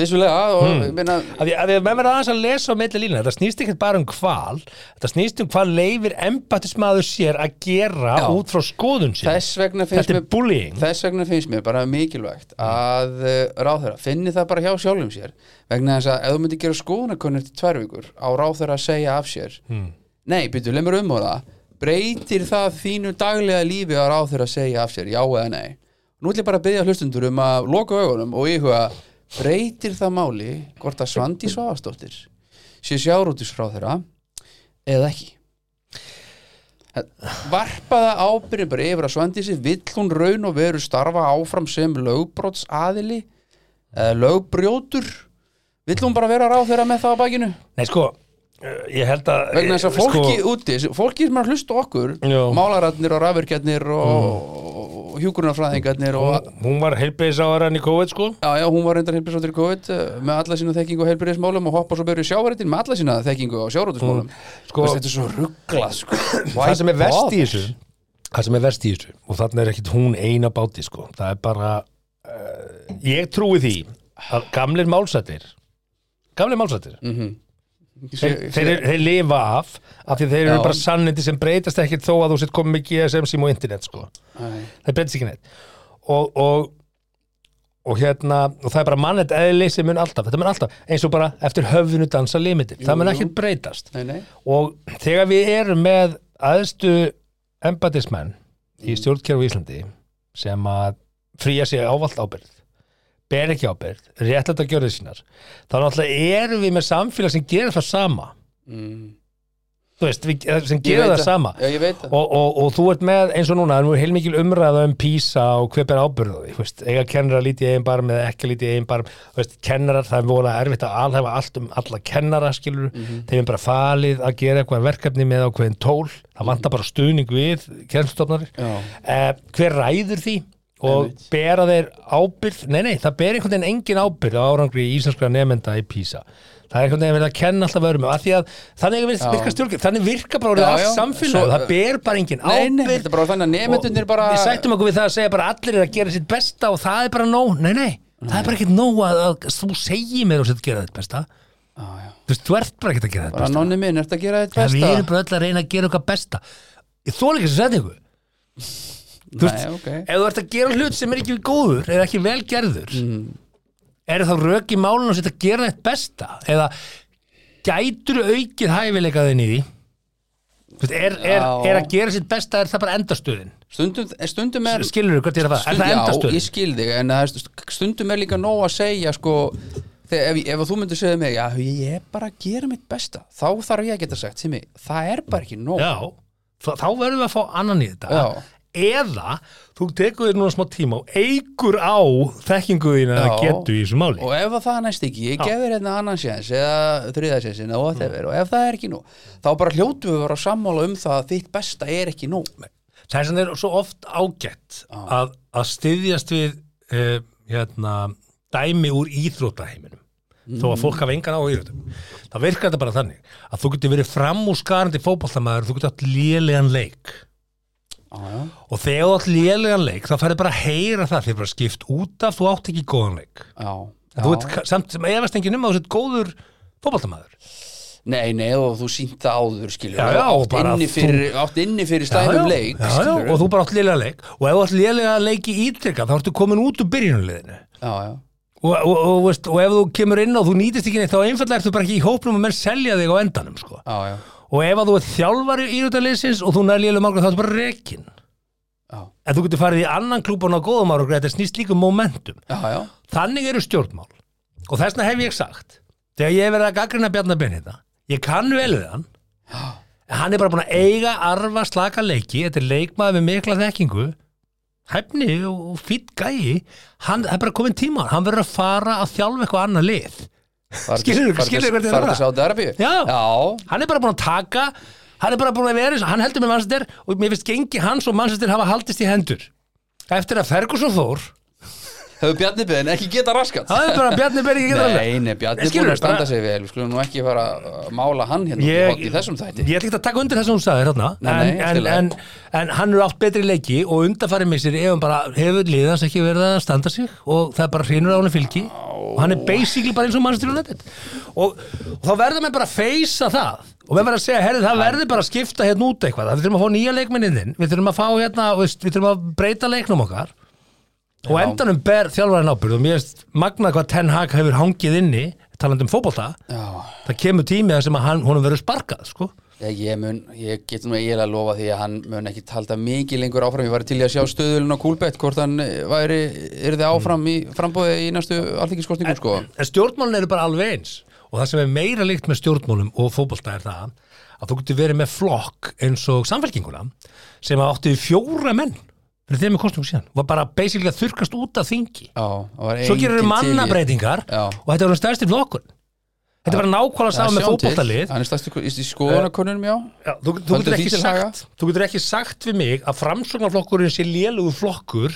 Speaker 1: vissulega og
Speaker 2: Hmm.
Speaker 1: ég meina
Speaker 2: að því að því að menn verða aðeins að lesa á milli lína þetta snýst ekkert bara um hval þetta snýst um hvað leifir embattismæður sér að gera
Speaker 1: Já.
Speaker 2: út frá skoðun sér
Speaker 1: þess vegna finnst
Speaker 2: þetta er
Speaker 1: mér
Speaker 2: bullying
Speaker 1: Þess vegna finnst mér bara mikilvægt að uh, ráðherra finni það bara hjá sjálfum sér vegna þess að ef þú myndir gera skoðanakönnur til tvær vikur á ráðherra að segja af sér Nei, byrju, leið mér um á það breytir það þínu daglega lífi að ráðherra að segja af sér, já eða nei Nú ætlum ég bara að byggja hlustundur um að loka augunum og íhuga breytir það máli hvort að Svandi Svavastóttir sé sjárútis ráðherra eða ekki varpaða ábyrðin bara yfir að Svandísi vill hún raun og veru starfa áfram sem lögbrots aðili eða lögbrjótur vill hún bara vera ráð þeirra með það á bakinu
Speaker 2: nei sko, uh, ég held að
Speaker 1: vegna þess að
Speaker 2: sko-
Speaker 1: fólki úti fólki sem er að hlusta á okkur
Speaker 2: Já.
Speaker 1: málararnir og rafurkjarnir og, mm. og hjúkurnarfræðingarnir og
Speaker 2: hún, hún var heilbreyðisáðarann í COVID sko
Speaker 1: Já, já, hún var reyndar heilbjörnsóttir í COVID eh, með alla sína þekkingu á heilbjörnsmálum og hoppa svo byrju sjávarétin með alla sína þekkingu á sjávarétismálum
Speaker 2: sko-
Speaker 1: Þetta er svo rugglað sko.
Speaker 2: það sem er verst í þessu það sem er verst í þessu og þarna er ekkit hún eina báti sko það er bara uh, ég trúi því að gamlir málsættir gamlir málsættir
Speaker 1: Mm.
Speaker 2: þeir, þeir, þeir, þeir lifa af af því þeir eru
Speaker 1: Já.
Speaker 2: bara sannindi sem breytast ekkit þó að þú sitt komið með GSM sím og internet sko
Speaker 1: Æ.
Speaker 2: það breytist ekki neitt og, og, og hérna og það er bara mannett eðli sem mun alltaf þetta mun alltaf, eins og bara eftir höfðinu dansa limitir, það mun
Speaker 1: jú.
Speaker 2: ekkert breytast
Speaker 1: Nei, nei,
Speaker 2: og þegar við erum með aðstu embatismenn í stjórnkerfu í Íslandi sem að fríja sig ávalt ábyrð ber ekki ábyrð, réttlætt að gjörðu sínar þá náttúrulega erum við með samfélag sem gerir það sama
Speaker 1: Mm.
Speaker 2: þú veist, við, sem
Speaker 1: Ég
Speaker 2: gerir
Speaker 1: veit
Speaker 2: það sama
Speaker 1: Já, ég veit það
Speaker 2: og, og, og þú ert með eins og núna það er nú heilmikil umræða um PISA og hver ber ábyrðu því, þú veist, eiga kennara lítið í eigin barm eða ekki lítið í eigin barm, þú veist, kennarar það er vola erfitt að alhæfa allt um alla kennara skilur, þeim er bara falið að gera eitthvað verkefni með ákveðin tól það vantar bara stuðning við kennstofnari
Speaker 1: Já.
Speaker 2: eh, hver ræður því og bera þeir ábyrð nei, nei, það ber einhvern veginn engin ábyrð á árangri í íslenskra nefnda í PISA það er einhvern veginn verið að kenna alltaf örum af því að þannig virka, virka stjórnir, þannig virka bara orðið
Speaker 1: Já,
Speaker 2: allt
Speaker 1: já.
Speaker 2: samfélag,
Speaker 1: Svo-
Speaker 2: það ber bara engin
Speaker 1: Nei, nei,
Speaker 2: ábyrð
Speaker 1: þetta er bara þannig að nemyndunir bara
Speaker 2: við sættum okkur við það að segja bara allir er að gera sitt besta og það er bara nóg, nei nei það er bara ekkert nóg að, að þú segir mér og sér að gera þitt besta
Speaker 1: Já, já.
Speaker 2: þú veist, þú ert bara ekkert að gera þitt
Speaker 1: Bara nonni minn, ertu að gera þetta
Speaker 2: besta við
Speaker 1: besta?
Speaker 2: erum bara öll að reyna að gera okkar besta ég þóla ekki sem setningu þú
Speaker 1: Nei,
Speaker 2: veist,
Speaker 1: ok
Speaker 2: ef þú ert að gera hlut sem er ekki góður eða ekki vel gerður mm. er þá rök í málun og sér að gera þitt besta eða gætur aukið hæfileika þinn í því Þú veist, er, er,
Speaker 1: Já.
Speaker 2: er að gera sitt besta er það bara endastöðin
Speaker 1: Stundum, eh, stundum er
Speaker 2: skilur þú hvert ég er að fara, er það
Speaker 1: Já,
Speaker 2: endastöðin
Speaker 1: ég skil þig En það er stu- stundum er líka nóg að segja sko Þegar, ef, ef þú myndir segja mig Já, ég er bara að gera mitt besta Þá þarf ég að geta sagt sem mig Það er bara ekki nóg
Speaker 2: já, þá, þá verðum við að fá annan í þetta
Speaker 1: Já.
Speaker 2: eða þú tekur þér núna smá tíma og eigur á þekkingu þín að
Speaker 1: Já.
Speaker 2: getu í þessu máli
Speaker 1: Og ef að það næst ekki, ég gef þér hérna annan séns eða þriðasjensin eða whatever og ef það er ekki nóg, þá bara hljótu við að vera að sammála um það að þitt besta er ekki nóg
Speaker 2: Það er sem þeir svo oft ágætt að, að styðjast við uh, hérna, dæmi úr íþrótaheiminum þó að
Speaker 1: Mhm.
Speaker 2: fólk hafa engan á íþrótum það virkar þetta bara þannig að þú getur verið framúskarandi fótballtamaður þú getur átt lélegan leik
Speaker 1: Já, já,
Speaker 2: og þegar þú átt lélegan leik þá færðu bara að heyra það þeir bara skipt út af þú átt ekki góðan leik
Speaker 1: já,
Speaker 2: En þú ert ka- samt sem efast enginn um að þú sett góður fótballtamaður
Speaker 1: Nei, nei, og þú sínt það áður, skilur
Speaker 2: Já,
Speaker 1: og
Speaker 2: já, og
Speaker 1: átt,
Speaker 2: bara
Speaker 1: inni
Speaker 2: þú-
Speaker 1: fyrir, átt inni fyrir stæðum um leik
Speaker 2: já, já,
Speaker 1: skilurðu.
Speaker 2: og þú bara átt lélega leik og ef þú átt lélega leik í ítrykka þá ertu komin út úr byrjunuleginu
Speaker 1: já, já.
Speaker 2: og, og, og, veist, og ef þú kemur inn og þú nýtist ekki neitt þá einfallega ertu bara ekki í hópnum og menn selja þig á endanum sko.
Speaker 1: Já, já,
Speaker 2: og ef að þú er þjálfari í írútalegsins og þú nær lélega málgrið þá ertu bara rekin
Speaker 1: já,
Speaker 2: en þú getur farið í annan klúbun á góðum ára þetta snýst líka um momentum
Speaker 1: já, já.
Speaker 2: þannig eru stjórnmál og þessna hef ég sagt þegar ég hef verið að gaggrina Bjarnar Ben hérna ég kann vel við hann En hann er bara búin að eiga arfa slaka leiki, þetta er leikmaður með mikla þekkingu hæfni og og fýtt gæi hann það er bara komin tíma, hann verður að fara að þjálfa eitthvað annað lið Skilurðu- skilurðu hvernig þeir
Speaker 1: það?
Speaker 2: eru
Speaker 1: Farðu
Speaker 2: að?
Speaker 1: til Sáti-Arabíu?
Speaker 2: Já.
Speaker 1: Já,
Speaker 2: hann er bara búin að taka hann er bara búin að vera, eins og- hann heldur með mannstættir og mér finnst gengi hans og mannstættir hafa haldist í hendur eftir að Ferguson fór
Speaker 1: hefur Bjarni beðin ekki geta raskat?
Speaker 2: það er bara Bjarni Bergi getur alveg.
Speaker 1: Nei, nei, Bjarni er búin
Speaker 2: Skilurðu,
Speaker 1: að standa
Speaker 2: bara-
Speaker 1: sig vel, við skulum nú ekki fara að mála hann hérna
Speaker 2: Ég-
Speaker 1: í þessum þætti.
Speaker 2: Ég ætla ekki að taka undir það sem hún sagði hérna
Speaker 1: Nei,
Speaker 2: en,
Speaker 1: nei, allt í
Speaker 2: en,
Speaker 1: lagi.
Speaker 2: en, en hann er átt betri leiki og undarfæri missir ef hann bara hefur liðans ekki verið að standa sig og það er bara hreinur á hann fylgi og hann er basically bara eins og mannstur United og, og þá verður menn bara að feysa það og við verðum að segja, herri, það verður bara að skipta hérna út eitthvað, við þurfum að fá nýja leikminniðin við þurfum að fá hérna, veist, við þurfum að breyta leiknum okkar og
Speaker 1: Já.
Speaker 2: endanum ber þjálfarinn ábyrgð og mér finnst magnað hvað Ten Hag hefur hangið inni talandi um fótbolta
Speaker 1: Já.
Speaker 2: það kemur tími þar sem að hann, honum verður sparkað sko.
Speaker 1: Ég, ég, mun, ég get nú eiginlega að lofa því að hann mun ekki talda mikið lengur áfram ég var til í að sjá stöðulinn á Kúlbett hvort hann eh, væri, yrði áfram í frambóði í næstu alþingiskostningum sko
Speaker 2: en stjórnmálun eru bara alveg eins og það sem er meira líkt með stjórnmálum og fótbolta er það að þú getur verið með flokk eins og samfélkinguna sem að átti fjóra menn fyrir þeim með kostum síðan var bara basically að þurkast út af þingi
Speaker 1: Já, það var
Speaker 2: svo gerur
Speaker 1: enginn til í-
Speaker 2: mannabreitingar
Speaker 1: Já.
Speaker 2: og þetta er hann stærsti flokkur þetta er bara nákvæmlega
Speaker 1: Já,
Speaker 2: saman með
Speaker 1: sjáum
Speaker 2: Eh,
Speaker 1: til.
Speaker 2: fótboltalið
Speaker 1: Hann er stærsti í, í skoðanakunnum, já
Speaker 2: Já, þú, þú,
Speaker 1: Haldið
Speaker 2: getur
Speaker 1: því
Speaker 2: ekki
Speaker 1: til haga?
Speaker 2: sagt, þú getur ekki sagt við mig að framsóknarflokkurinn sé lélugu flokkur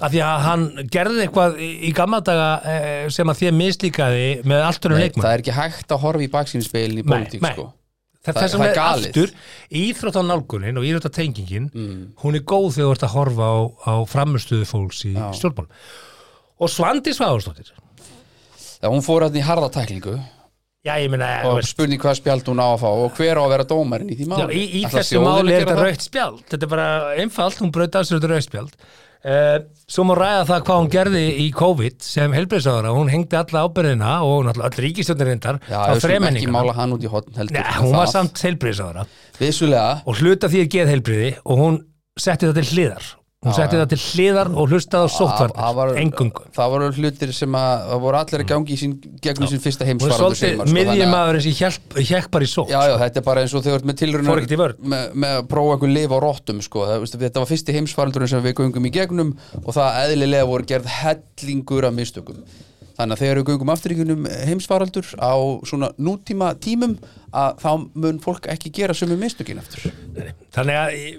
Speaker 2: af því að hann gerði eitthvað í í gamla daga eh, sem að því að mislíkaði með allt önnum
Speaker 1: Nei, Það
Speaker 2: leikmann
Speaker 1: er ekki hægt að horfa í baksýnspeilin í
Speaker 2: Nei,
Speaker 1: pólitík
Speaker 2: nei.
Speaker 1: sko
Speaker 2: Þa-
Speaker 1: það-
Speaker 2: þess
Speaker 1: það
Speaker 2: vegna
Speaker 1: er
Speaker 2: er
Speaker 1: galið. Mm.
Speaker 2: aftur íþróttanálgunin og íþróttatengingin hún er góð þegar þú ert að horfa á, á framustuðu fólks í
Speaker 1: Já.
Speaker 2: stjórnmálum og Svandi Sváðurstóttir
Speaker 1: Þegar hún fór hann í harðatæklingu
Speaker 2: já ég meina þú
Speaker 1: og
Speaker 2: veist,
Speaker 1: spurning hvað spjald hún á að fá og hver á að vera dómarinn í því
Speaker 2: Já,
Speaker 1: máli
Speaker 2: í, í
Speaker 1: Ætlar
Speaker 2: þessu
Speaker 1: þjóðin að
Speaker 2: máli er
Speaker 1: gera
Speaker 2: þetta
Speaker 1: það?
Speaker 2: raukt spjald þetta er bara einfalt, hún braut af sér þetta raukt spjald uh, svo má ræða það hvað hún gerði í COVID sem helbriðsára hún hengdi alla ábyrðina og hún alltaf öll ríkistjórnir reyndar
Speaker 1: Já,
Speaker 2: á
Speaker 1: við skulum ekki
Speaker 2: þremenningana
Speaker 1: mála hann út í hotn heldur
Speaker 2: Nei, hún var
Speaker 1: Það-
Speaker 2: samt helbriðsára
Speaker 1: Vissulega,
Speaker 2: og hluta því að geð helbriði og hún setti það til hliðar hún setti það til hliðar og hlustaði á
Speaker 1: Það var-
Speaker 2: sóttvarnir engungu
Speaker 1: það voru hlutir sem að það voru allir að gangi í sín, gegnum sín fyrsta
Speaker 2: hún er
Speaker 1: heimsfaraldur segir
Speaker 2: svolítið
Speaker 1: maður, sko, þannig að-
Speaker 2: miðjumæðurinn sem hjekk bara í sótt sko.
Speaker 1: Já, já, þetta er bara eins og þau ert með tilruna
Speaker 2: Fór ekkert í vörn.
Speaker 1: með, með að prófa einhver lif á róttum sko. það, veistu, Þetta var fyrsti heimsfaraldurinn sem við göngum í gegnum og það eðlilega voru gerð hellingur af mistökum Þannig að þegar við göngum aftur í gegnum heimsfaraldur á svona nútíma tímum að þá mun fólk ekki gera sömu mistökin aftur
Speaker 2: þannig að eh,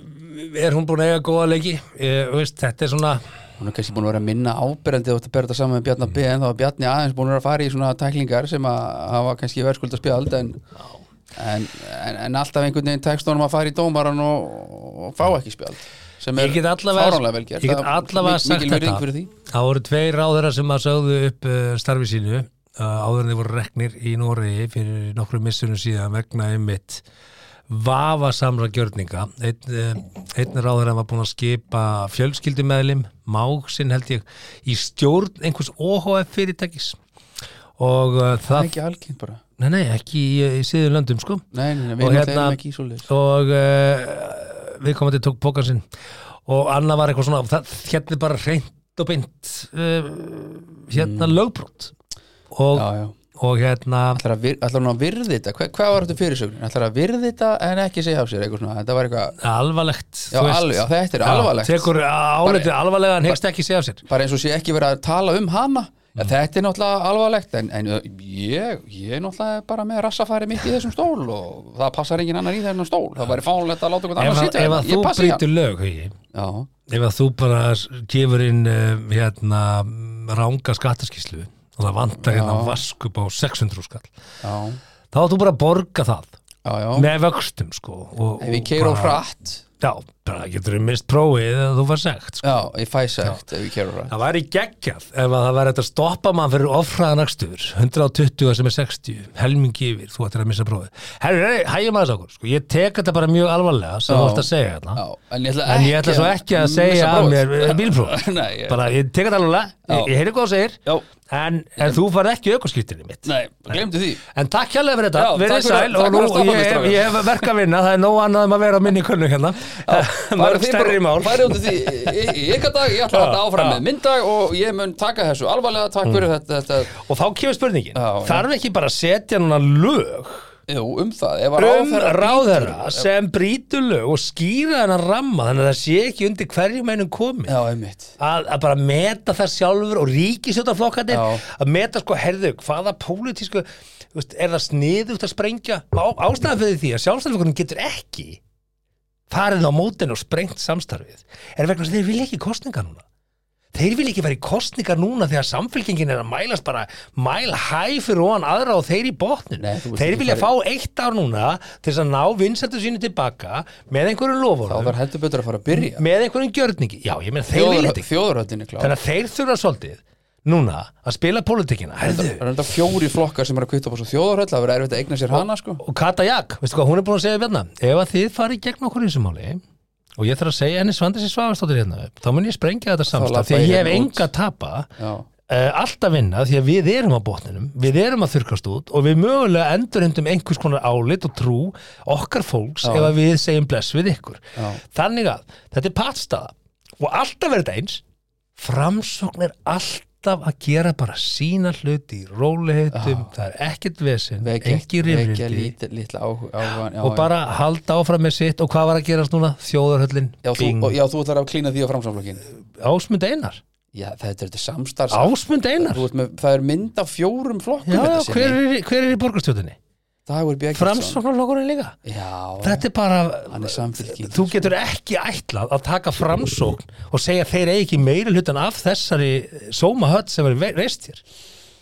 Speaker 2: er hún búin að eiga góða leiki eh, veist, þetta er svona
Speaker 1: Hún er kannski búin að vera minna ábyrjandi og þetta berða saman með Bjarnar B en þá var Bjarni aðeins búin að vera að fara í svona tæklingar sem að hafa kannski verðskulda spjald en, en, en, en alltaf einhvern veginn tekst honum að fara í dómaran og, og fá ekki spjald sem er
Speaker 2: Ég get allavega-
Speaker 1: fáránlega vel gert
Speaker 2: ég get
Speaker 1: Það er
Speaker 2: allavega
Speaker 1: mik-
Speaker 2: sagt
Speaker 1: mikil virðing
Speaker 2: þetta.
Speaker 1: fyrir því.
Speaker 2: Það voru tveir ráðara sem að sögðu upp uh, starfi sínu uh, áður en þeir voru reknir í Noregi fyrir nokkru missunum síðan vegna einmitt vafasamra gjörninga einn, uh, einn ráðara var búin að skipa fjölskyldumeðlim, máksinn held ég í stjórn einhvers OHF fyrirtækis og uh,
Speaker 1: Það er
Speaker 2: það,
Speaker 1: ekki algengt bara
Speaker 2: nei nei ekki í, í síður löndum sko
Speaker 1: Nei, nei, nei,
Speaker 2: Og
Speaker 1: við
Speaker 2: hérna-
Speaker 1: hérna, ekki í svoleiðis
Speaker 2: og uh, við komandi tók pókan sinn og annað var eitthvað svona það, hérna er bara reynd og beint uh, hérna lögbrot og,
Speaker 1: Mm. Já, já
Speaker 2: og hérna
Speaker 1: Ætlar að vir- ætlar hún að virði þetta? Hva, hvað var þetta fyrirsögnin? Ætlar að virði þetta en ekki segja af sér eitthvað svona Þetta var eitthvað
Speaker 2: alvarlegt
Speaker 1: Já,
Speaker 2: þú veist.
Speaker 1: alveg, já, þetta er alvarlegt.
Speaker 2: tekur álitið alvarlega en hegst ekki segja af sér
Speaker 1: bara eins og sé ekki verið að tala um hana
Speaker 2: Mm.
Speaker 1: ja, þetta er náttúrulega alvarlegt en, en ég, ég er náttúrulega bara með rassafæri mitt í þessum stól og það passar engin annar í þennan stól það væri fánlegt að láta einhvern
Speaker 2: ef,
Speaker 1: annar
Speaker 2: að,
Speaker 1: sitja
Speaker 2: ef
Speaker 1: hérna.
Speaker 2: að þú
Speaker 1: ég passa í hann
Speaker 2: brýtur lög hugi,
Speaker 1: já,
Speaker 2: ef að þú bara s- gefur inn uh, hérna ranga skattaskíslu og það vantar hérna vask upp á 600 skall
Speaker 1: já,
Speaker 2: þá átt þú bara að borga það
Speaker 1: já, já.
Speaker 2: með vöxtum sko og,
Speaker 1: ef
Speaker 2: og
Speaker 1: ég keir á
Speaker 2: bara-
Speaker 1: hratt
Speaker 2: Já, bara getur við mist prófið eða þú var segt sko.
Speaker 1: já, ég fæ sagt ef ég keir á hratt
Speaker 2: Það væri geggjað ef að það væri hægt að stoppa mann fyrir ofraðanakstur 120 sem er 60, helmingi yfir þú ættir að missa prófið. Herri, herri, hægjum aðeins okkur, sko. ég tek þetta bara mjög alvarlega sem
Speaker 1: Já.
Speaker 2: þú ert að segja hérna. þarna
Speaker 1: já, en ég ætla,
Speaker 2: en ég ætla svo ekki að segja
Speaker 1: missa
Speaker 2: að
Speaker 1: prófið.
Speaker 2: mér eh, bílpróf
Speaker 1: Nei, ég-
Speaker 2: bara ég tek þetta alvarlega,
Speaker 1: Já.
Speaker 2: ég, ég heyri hvað þú segir
Speaker 1: já,
Speaker 2: en, en þú farið ekki aukurskýttinni mitt
Speaker 1: nei, glemdu því
Speaker 2: En takk hérlega fyrir þetta,
Speaker 1: Já,
Speaker 2: verið
Speaker 1: takk fyrir- takk
Speaker 2: sæl og
Speaker 1: fyrir að stoppa
Speaker 2: nú
Speaker 1: mig,
Speaker 2: ég,
Speaker 1: strákar.
Speaker 2: ég hef verk að vinna, það er nóg annað um að vera á minni kunnu hérna
Speaker 1: Farið
Speaker 2: Mörg
Speaker 1: þið
Speaker 2: stærri
Speaker 1: bara-
Speaker 2: mál
Speaker 1: farið út í því í- í- í ykkar dag, ég ætla að halda áfram með myndag og ég mun taka þessu
Speaker 2: Mm.
Speaker 1: alvarlega, takk fyrir þetta, þetta
Speaker 2: Og þá kemur spurningin,
Speaker 1: Já, já.
Speaker 2: þarf ekki bara að setja núna lög
Speaker 1: Jú, um það Ef að
Speaker 2: um
Speaker 1: ráðherra
Speaker 2: ráðherra sem brýtur lög og skýra hennar ramma þannig að það sé ekki undir hverjum einum komið
Speaker 1: Já, einmitt
Speaker 2: að, að bara meta það sjálfur og ríkisjóttarflokkarnir
Speaker 1: Já.
Speaker 2: að meta sko, herðu, hvaða pólitísku þú veist, er það sniðugt að sprengja á, ástæðan fyrir því að sjálfstæðarflokkurinn getur ekki farið á mótin og sprengt samstarfið er vegna þess að þeir vilja ekki kostninga núna þeir vilja ekki fara í kostningar núna þegar samfélkingin er að mælast bara mæl hæ fyrir ofan aðra og þeir í botnin
Speaker 1: Nei, þú vilt
Speaker 2: þeir
Speaker 1: ekki
Speaker 2: vilja fá
Speaker 1: fara
Speaker 2: eitt ár núna til þess að ná vinsættu sínu tilbaka með
Speaker 1: Þá
Speaker 2: einhverjum lofunum
Speaker 1: verður heldur betur að fara að byrja
Speaker 2: með einhverjum gjörningi já, ég meina þeir vilja þetta ekki.
Speaker 1: Þjóðuröldin er klár
Speaker 2: Þannig að þeir þurfa svolítið núna að spila pólitíkina Herðu,
Speaker 1: Það er þetta fjóri flokkar sem er að kvita upp á svo þjóðuröld Það verður erfitt að eigna sér hana, sko
Speaker 2: og Kata Jak, veistu hvað hún er búin að segja hérna ef að þið farið gegn okkur í þessu máli og ég þarf að segja henni Svandis í Svavastóttir hérna upp, þá mun ég sprengja þetta
Speaker 1: labba
Speaker 2: samstaf því að
Speaker 1: ég
Speaker 2: ég hef
Speaker 1: hérna út.
Speaker 2: enga að tapa uh,
Speaker 1: Já
Speaker 2: alltaf vinna því að við erum á botninum við erum að þurkast út og við mögulega endurheimdum einhvers konar álit og trú okkar fólks ef að við segjum bless við ykkur
Speaker 1: Já.
Speaker 2: þannig að þetta er patstaða og alltaf verður þetta eins framsókn er alltaf að gera bara sína hluti í róliheitum, það er ekkert vesinn
Speaker 1: Vekja-
Speaker 2: engi
Speaker 1: vekja
Speaker 2: rifrildi
Speaker 1: lítið- litla áhuga- áhugann, já,
Speaker 2: og
Speaker 1: já.
Speaker 2: bara halda áfram með sitt og hvað var að gerast núna? Þjóðarhöllin
Speaker 1: Já, þú,
Speaker 2: Bing.
Speaker 1: og- já, þú ætlar að klína því á framsamflokkin
Speaker 2: Ásmund Einar
Speaker 1: Já, þetta er þetta samstarf
Speaker 2: Ásmund Einar
Speaker 1: Þú ert með, það er mynd af fjórum flokkum
Speaker 2: já, já,
Speaker 1: þetta
Speaker 2: hver,
Speaker 1: sinni.
Speaker 2: er, í- hver er í borgarstjóðinni?
Speaker 1: Dagur B. Eggertsson.
Speaker 2: Framsóknarlokkurinn líka
Speaker 1: Já,
Speaker 2: þetta er bara
Speaker 1: hann er samfélking
Speaker 2: þú getur ekki ætlað að taka framsókn og segja að þeir eigi ekki meiri hlutan af þessari sómahött sem er ve- reist hér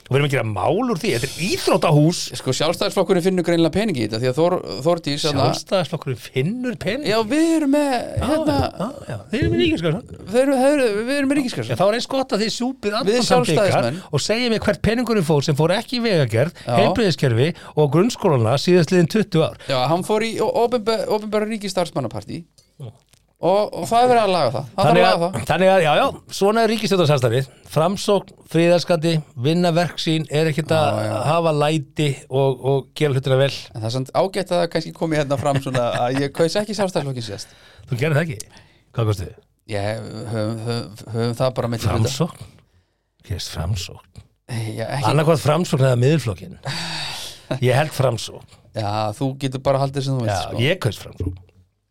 Speaker 2: og við erum ekki að mála úr því, þetta er íþrótahús
Speaker 1: Sko sjálfstæðisflokkurinn finnur greinlega peningi í þetta Því að Þór, Þórdís hérna-
Speaker 2: sjálfstæðisflokkurinn finnur pening
Speaker 1: Já, við erum með hérna,
Speaker 2: já, þeir eru með ríkiskassan
Speaker 1: við, erum, þeir eru- við erum með
Speaker 2: Já,
Speaker 1: ríkiskassan
Speaker 2: þá er eins gott að þið sjúpið
Speaker 1: Við
Speaker 2: allan samt ykkar
Speaker 1: sjálfstæðismenn.
Speaker 2: og segja mér hvert peningurinn fór sem fór ekki í vegagerð,
Speaker 1: Já.
Speaker 2: heilbreyðiskerfi og grunnskólana síðast liðin 20 ár
Speaker 1: Já, hann fór í ofinbæra ríkistarfsmannapartí og, og það er verið að laga það Það þarf
Speaker 2: Þannig
Speaker 1: að
Speaker 2: að,
Speaker 1: laga það
Speaker 2: þannig að, já, já, svona er ríkistjóðarsastæðið Framsókn, fríðarskandi, vinna verksýn er ekkert að hafa læti og, og gera hlutina vel
Speaker 1: En það er samt ágætt að það kannski komi hérna fram svona að ég kaus ekki sjálfstæðisflokkin síðast
Speaker 2: Þú gerir það ekki, hvað kostu þið?
Speaker 1: Ég höfum, höfum, höfum það bara með
Speaker 2: Framsókn? Gerist framsókn
Speaker 1: Já, ekki,
Speaker 2: Annarkvæð framsókn eða miðurflokkin Ég held framsókn
Speaker 1: já, þú getur bara haldið sem þú veist
Speaker 2: Já,
Speaker 1: sko.
Speaker 2: ég kaust framsókn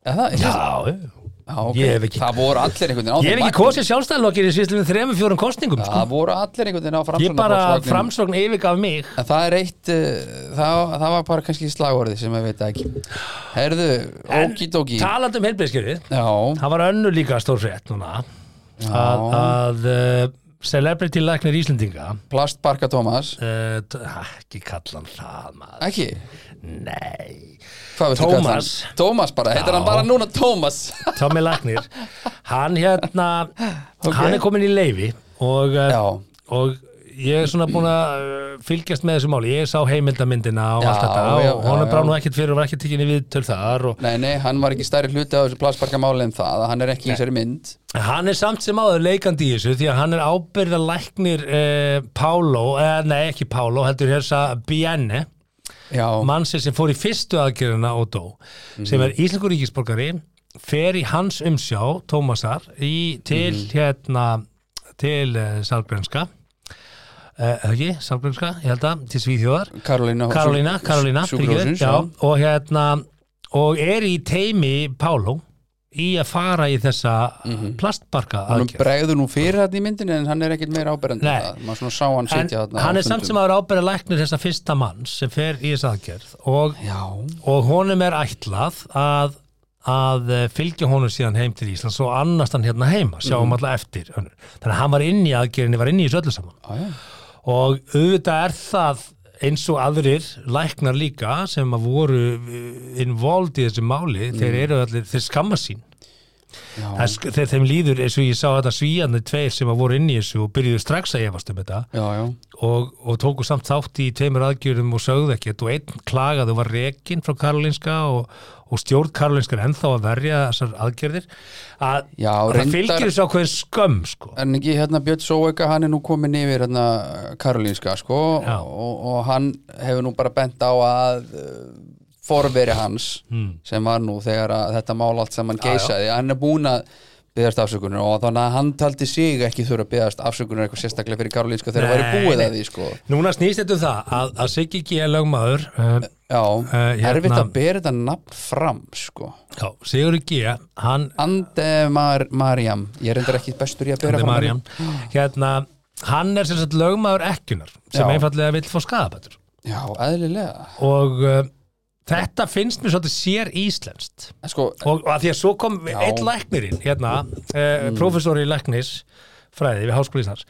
Speaker 1: Er það, er það-
Speaker 2: Já,
Speaker 1: já, ok.
Speaker 2: ég hef ekki-
Speaker 1: Það voru allir einhvern veginn á
Speaker 2: ég hef
Speaker 1: þeim
Speaker 2: ekki
Speaker 1: vagni.
Speaker 2: kosið sjálfstæðlokkin í síðstum við þremur fjórum kosningum sko.
Speaker 1: Það voru allir einhvern veginn á
Speaker 2: Ég bara
Speaker 1: framsóknarflokksvagninum.
Speaker 2: framsókn yfirgaf mig
Speaker 1: En það er eitt uh, það, það var bara kannski slagorðið sem ég veit ekki Herðu,
Speaker 2: En
Speaker 1: okidoki Já,
Speaker 2: Talandi um heilbreyðiskerfið
Speaker 1: já,
Speaker 2: Það var önnur líka stórfrétt núna að, að uh, celebrity læknir Íslendinga
Speaker 1: plastbarka Tómas
Speaker 2: uh, t- ha, ekki kallan það maður
Speaker 1: Ekki,
Speaker 2: nei,
Speaker 1: hvað veistu
Speaker 2: Tómas.
Speaker 1: Tómas bara, heitir hann bara núna Tómas
Speaker 2: Tommy læknir hann hérna, hann er komin í leifi og,
Speaker 1: Já,
Speaker 2: uh, og ég er svona búin að uh, fylgjast með þessu máli, ég sá heimildamyndina og
Speaker 1: Já,
Speaker 2: allt þetta
Speaker 1: já,
Speaker 2: og
Speaker 1: já,
Speaker 2: honum
Speaker 1: já.
Speaker 2: brá nú ekkert fyrir og var ekkert tekinni við töl þar og
Speaker 1: nei, nei, hann var ekki stærri hluti af þessu plastbarka máli en það að hann er ekki í þessari mynd
Speaker 2: hann er samt sem áður leikandi í þessu því að hann er ábyrða læknir uh, Pálo, eh, nei ekki Pálo heldur hérsa Bienne
Speaker 1: Já,
Speaker 2: mannsins sem fór í fyrstu aðgerðina og dó,
Speaker 1: Mhm.
Speaker 2: sem er Íslengur ríkisborgari fer í hans umsjá Tómasar í, til
Speaker 1: Mhm.
Speaker 2: hérna til uh, Salbrenska uh, ekki, Salbrenska, ég held að til Svíþjóðar,
Speaker 1: Karolína
Speaker 2: Karolína Karolína,
Speaker 1: Sjúkrahúsin,
Speaker 2: fyrirgefðu, já, og hérna og er í teimi Páló í að fara í þessa plastbarka
Speaker 1: Mhm. Hann
Speaker 2: aðgerð
Speaker 1: bregður nú fyrir þarna í myndinu en hann er ekkit meira áberandi en
Speaker 2: Nei.
Speaker 1: það. Maður svona sá hann
Speaker 2: en
Speaker 1: sitja þarna á
Speaker 2: hann er
Speaker 1: fundum.
Speaker 2: samt sem að vera ábyrða læknir þessa fyrsta manns sem fer í þessa aðgerð og
Speaker 1: Já,
Speaker 2: og honum er ætlað að, að eh, fylgja honum síðan heim til Íslands og annast hann hérna heima, sjáum mm. alltaf eftir önnur. þannig að hann var inn í aðgerinni, var inn í þessu öllu saman
Speaker 1: já, já
Speaker 2: og auðvitað er það eins og aðrir læknar líka sem að voru eh, involved í þessu máli, þeir eru allir, þeir skamma sín
Speaker 1: Já.
Speaker 2: Það er sk- þeir þeim líður eins og ég sá þetta svíjandi tveir sem að voru inn í þessu og byrjuðu strax að efast um þetta
Speaker 1: Já, já,
Speaker 2: og, og tóku samt þátt í tveimur aðgjörum og sögðu ekkert og einn klagaði og var rekinn frá Karolinska og, og stjórn Karolinska er ennþá að verja þessar aðgjörðir að,
Speaker 1: Já,
Speaker 2: að það
Speaker 1: reyndar-
Speaker 2: fylgir þessu ákveðin skömm sko.
Speaker 1: en ekki hérna Björn Sóega hann er nú komin yfir hérna Karolínska sko
Speaker 2: Já.
Speaker 1: og, og hann hefur nú bara bent á að uh, forveri hans
Speaker 2: Hmm.
Speaker 1: sem var nú þegar að þetta mál allt saman geisaði, hann er búin að byggðast afsökunar og þannig að hann taldi sig ekki þurfa að byggðast afsökunar eitthvað sérstaklega fyrir Karolínska þegar
Speaker 2: Nei,
Speaker 1: það væri búið
Speaker 2: nei.
Speaker 1: að því sko
Speaker 2: Núna snýst þetta um það að, að Siggi G. lögmaður um,
Speaker 1: Já,
Speaker 2: Eh, hérna-
Speaker 1: erfitt að bera þetta nafn fram sko.
Speaker 2: Já, Sigur G, hann
Speaker 1: Ande Mar Mariam ég er endur ekki bestur í að bera
Speaker 2: Andi
Speaker 1: fram
Speaker 2: Marjan hérna, hann er sem sagt lögmaður ekkunar sem
Speaker 1: Já.
Speaker 2: einfallega vill fá skadabætur
Speaker 1: Já, eðlilega
Speaker 2: og uh, þetta finnst mér svolítið sér íslenskt
Speaker 1: En sko,
Speaker 2: og, og að því að svo kom
Speaker 1: Já.
Speaker 2: einn læknirinn hérna, uh, professor í læknis fræði við Háskóla Íslands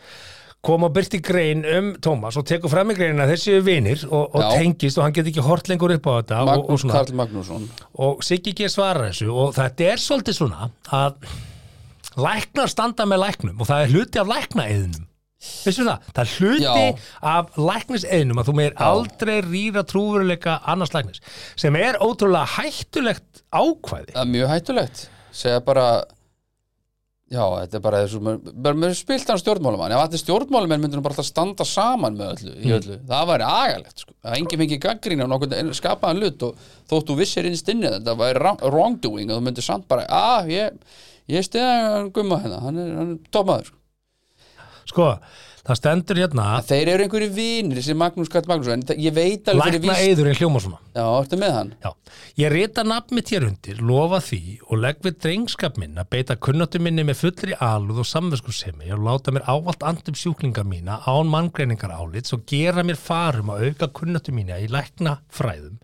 Speaker 2: kom og byrti grein um Tómas og tekur fram í greinina að þessi vinir og, og
Speaker 1: Já.
Speaker 2: tengist og hann get ekki hort lengur upp á þetta og, og,
Speaker 1: Magnús
Speaker 2: svona,
Speaker 1: Karl Magnússon
Speaker 2: og Siggi G svarar þessu og þetta er svolítið svona að læknar standa með læknum og það er hluti af læknaeðinum Veistu það? Það er hluti
Speaker 1: Já.
Speaker 2: af lækniseðinum að þú meir aldrei rýra trúveruleika annars læknis sem er ótrúlega hættulegt ákvæði
Speaker 1: Það er mjög hættulegt segja bara Já, þetta er bara þessu bara með spilt hann stjórnmálumann ef allir stjórnmálumenn myndir bara alltaf standa saman með öllu, í
Speaker 2: Mm.
Speaker 1: öllu. það væri agalegt sko. að engi fengi gaggrín á nokkuð skapaðan hlut og þótt þú vissir innst inni að þetta væri ra- wrongdoing og þú myndir samt bara að ég, ég stiða gumma hérna, hann er, hann er topmaður
Speaker 2: Sko, það stendur hérna
Speaker 1: að þeir eru einhverju vinir sem Magnús Karl Magnússon en þa- ég veit alveg fyrir víst
Speaker 2: læknaeðurinn hljóma svona
Speaker 1: Já, ertu með hann?
Speaker 2: Já, ég rita nafn mitt hér undir, lofa því og legg við drengskap minn að beita kunnáttu minni með fullri alúð og samvegskursemi og láta mér ávallt andum sjúklinga mína án manngreiningar álits og gera mér farum að auka kunnáttu mína í lækna fræðum.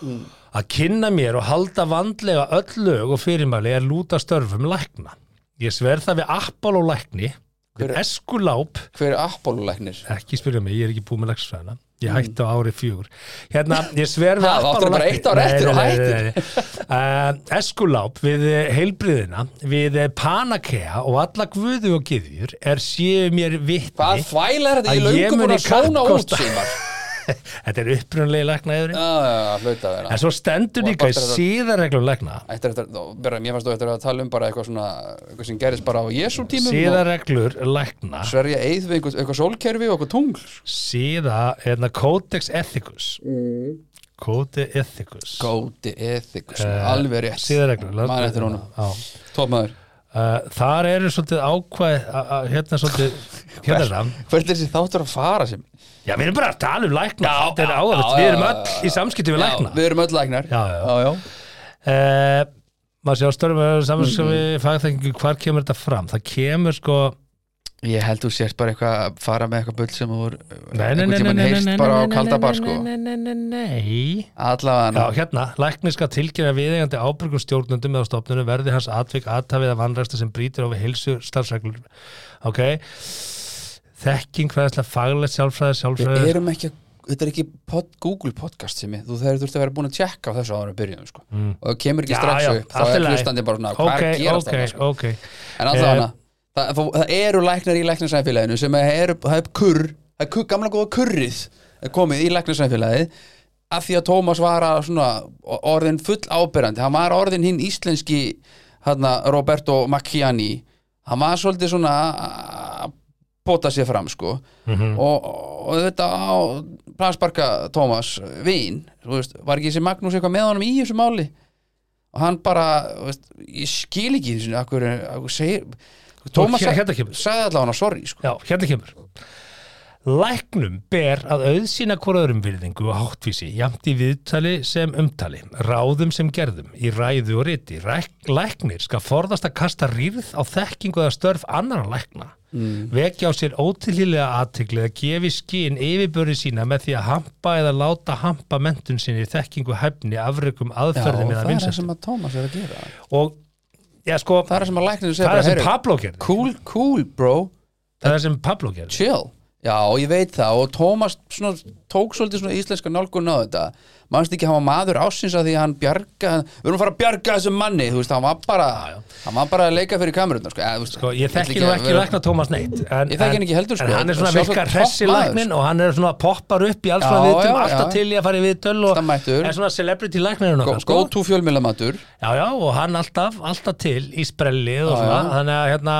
Speaker 1: Mm.
Speaker 2: Að kynna mér og halda vandlega öll lög og fyrirmæli er lúta störfum lækna. Ég sver það við Apollo lækni, við Eskuláp,
Speaker 1: Hver er Apollo-læknir?
Speaker 2: ekki spyrja mig, ég er ekki búið með lagsfræðina ég hætti á ári fjúr hérna, ég sver við
Speaker 1: Mm. Ha, þá áttirðu bara
Speaker 2: Apollo-
Speaker 1: eitt ár eftir og
Speaker 2: Nei, nei, nei, nei, nei. Eh, Eskuláp við eh, heilbriðina við eh, panakea og alla guðu og gyðjur er séu mér vitni
Speaker 1: Hvað þvæla er þetta
Speaker 2: Að
Speaker 1: í
Speaker 2: ég
Speaker 1: löngum búin
Speaker 2: muni
Speaker 1: að sóna út
Speaker 2: kappkosta.
Speaker 1: símar?
Speaker 2: þetta er upprunlega læknaðurinn
Speaker 1: Já, já, já, hlauta að vera
Speaker 2: en svo stendur
Speaker 1: Og
Speaker 2: líka í
Speaker 1: bara-
Speaker 2: síðarreglum lækna
Speaker 1: Ættir eftir, þá, bera, mér fannst þú eftir að tala um bara eitthvað svona eitthvað sem gerist bara á Jésu tímum
Speaker 2: síðarreglur lækna
Speaker 1: og sverja eið við einhver, eitthvað sólkerfi og eitthvað tungl
Speaker 2: síða, hérna, Codex Ethicus
Speaker 1: Mm.
Speaker 2: Codex Ethicus
Speaker 1: Góti ethikus, Eh, alveg rétt
Speaker 2: síðarreglur
Speaker 1: Maður eftir honum,
Speaker 2: honum
Speaker 1: tómaður
Speaker 2: Uh, þar eru svolítið ákvæð a- a- hérna svolítið hérna er það
Speaker 1: Hvert er þessi þáttur að fara sem?
Speaker 2: já við erum bara að tala um lækna
Speaker 1: Já,
Speaker 2: þetta er
Speaker 1: já,
Speaker 2: áhverfitt,
Speaker 1: já,
Speaker 2: við erum
Speaker 1: já,
Speaker 2: öll í samskipti við
Speaker 1: Já,
Speaker 2: lækna
Speaker 1: við erum öll læknar
Speaker 2: Já, já.
Speaker 1: já, já.
Speaker 2: uh, maður sé á störfum samanskjöfum við fagþengingu hvar kemur þetta fram það kemur sko
Speaker 1: Ég held þú sért bara eitthvað að fara með eitthvað bull sem þú er
Speaker 2: nei, nei,
Speaker 1: einhvern
Speaker 2: nei, nei,
Speaker 1: tímann
Speaker 2: nei,
Speaker 1: heyrt
Speaker 2: nei,
Speaker 1: bara á
Speaker 2: nei,
Speaker 1: kalda
Speaker 2: nei,
Speaker 1: bar
Speaker 2: nei,
Speaker 1: sko
Speaker 2: nei, nei, nei, nei, nei.
Speaker 1: Allavega
Speaker 2: Já, hérna, læknir skal tilkynna viðeigandi ábyrgum stjórnundum eða stofnunum verði hans atvik aðtafið af vanræksta sem brýtur á við heilsu starfsreglur. Ok? Þekking, hræðsla, faglega, sjálfræði, sjálfræði.
Speaker 1: Við erum ekki, að- þetta er ekki pod, Google podcast sem ég, þú þegar þurfti að vera búin að tjekka á þessu áður að byrjum sko. og það kemur ekki strax upp þá
Speaker 2: Mm. allt í
Speaker 1: er
Speaker 2: lagi.
Speaker 1: hlustandi bara svona, hvað
Speaker 2: Ok,
Speaker 1: okay, gerast
Speaker 2: ok,
Speaker 1: okay, sko.
Speaker 2: ok.
Speaker 1: en alltaf hana, það, það, það eru læknar í læknarsæfélaginu sem eru, það er kurr það er kurr, gamla góða kurrið er komið í læknarsæfélagi af því að Tómas var að svona o- orðinn full ábyrjandi, hann var orðinn hinn íslenski hana, Roberto Macchiani hann var svolítið svona að bóta sér fram sko
Speaker 2: Mhm.
Speaker 1: og, og þetta á plansparka Tómas Vín þú veist, var ekki þessi Magnús eitthvað með honum í þessu máli og hann bara þú veist, ég skil ekki þessu akkur, akkur segir, Tómas
Speaker 2: hér-
Speaker 1: sa-
Speaker 2: hérna kemur.
Speaker 1: sagði allavega hann sorry sko.
Speaker 2: Já, hérna kemur. Læknum ber að auðsýna hvora öðrum virðingu og háttvísi, jafnt í viðtali sem umtali, ráðum sem gerðum, í ræðu og riti. Ræk- Læknir skal forðast að kasta rýrð á þekkingu eða störf annara lækna.
Speaker 1: Mm.
Speaker 2: Vekja á sér ótilhýlega aðtegli eða gefi skinn yfirbörði sína með því að hampa eða láta hampa mentun sinni í þekkingu hæfni afrökum aðferðum
Speaker 1: það
Speaker 2: eða
Speaker 1: er það
Speaker 2: vinsættum.
Speaker 1: sem að Tómas er að gera
Speaker 2: Og, já sko,
Speaker 1: það er það sem að læknir segja
Speaker 2: það er
Speaker 1: bara,
Speaker 2: það sem
Speaker 1: "Heyrðu,
Speaker 2: Pablo gerði.
Speaker 1: cool, cool bro
Speaker 2: Það er það sem Pablo gerði.
Speaker 1: chill Já, ég veit það og Tómas svona, tók svolítið svona íslenska nálgun á þetta mannst ekki að hann var maður ásins að því að hann bjarga, við erum að fara að bjarga þessum manni þú veist, hann var bara, hann var bara að leika fyrir kamerunna sko. Eða, þú veist,
Speaker 2: Sko, ég
Speaker 1: ætla
Speaker 2: þekki nú
Speaker 1: að
Speaker 2: ekki
Speaker 1: vera-
Speaker 2: lækna Tómas neitt en,
Speaker 1: Ég þekki hann
Speaker 2: en-
Speaker 1: ekki heldur,
Speaker 2: En
Speaker 1: sko.
Speaker 2: hann er svona
Speaker 1: Sjálfsagt
Speaker 2: virka
Speaker 1: topp
Speaker 2: hressi
Speaker 1: maður,
Speaker 2: læknin
Speaker 1: sko.
Speaker 2: og hann er svona poppar upp í alls frá
Speaker 1: Já,
Speaker 2: viðtöl
Speaker 1: já,
Speaker 2: alltaf
Speaker 1: já.
Speaker 2: til í að fara í viðtöl og
Speaker 1: Alltaf mættur.
Speaker 2: er svona celebrity læknirinn
Speaker 1: Go,
Speaker 2: okkar
Speaker 1: go
Speaker 2: sko.
Speaker 1: to fjölmjölamatur
Speaker 2: Já, já, og hann alltaf, alltaf til í sprelli og
Speaker 1: Já,
Speaker 2: svona
Speaker 1: já.
Speaker 2: þannig að hérna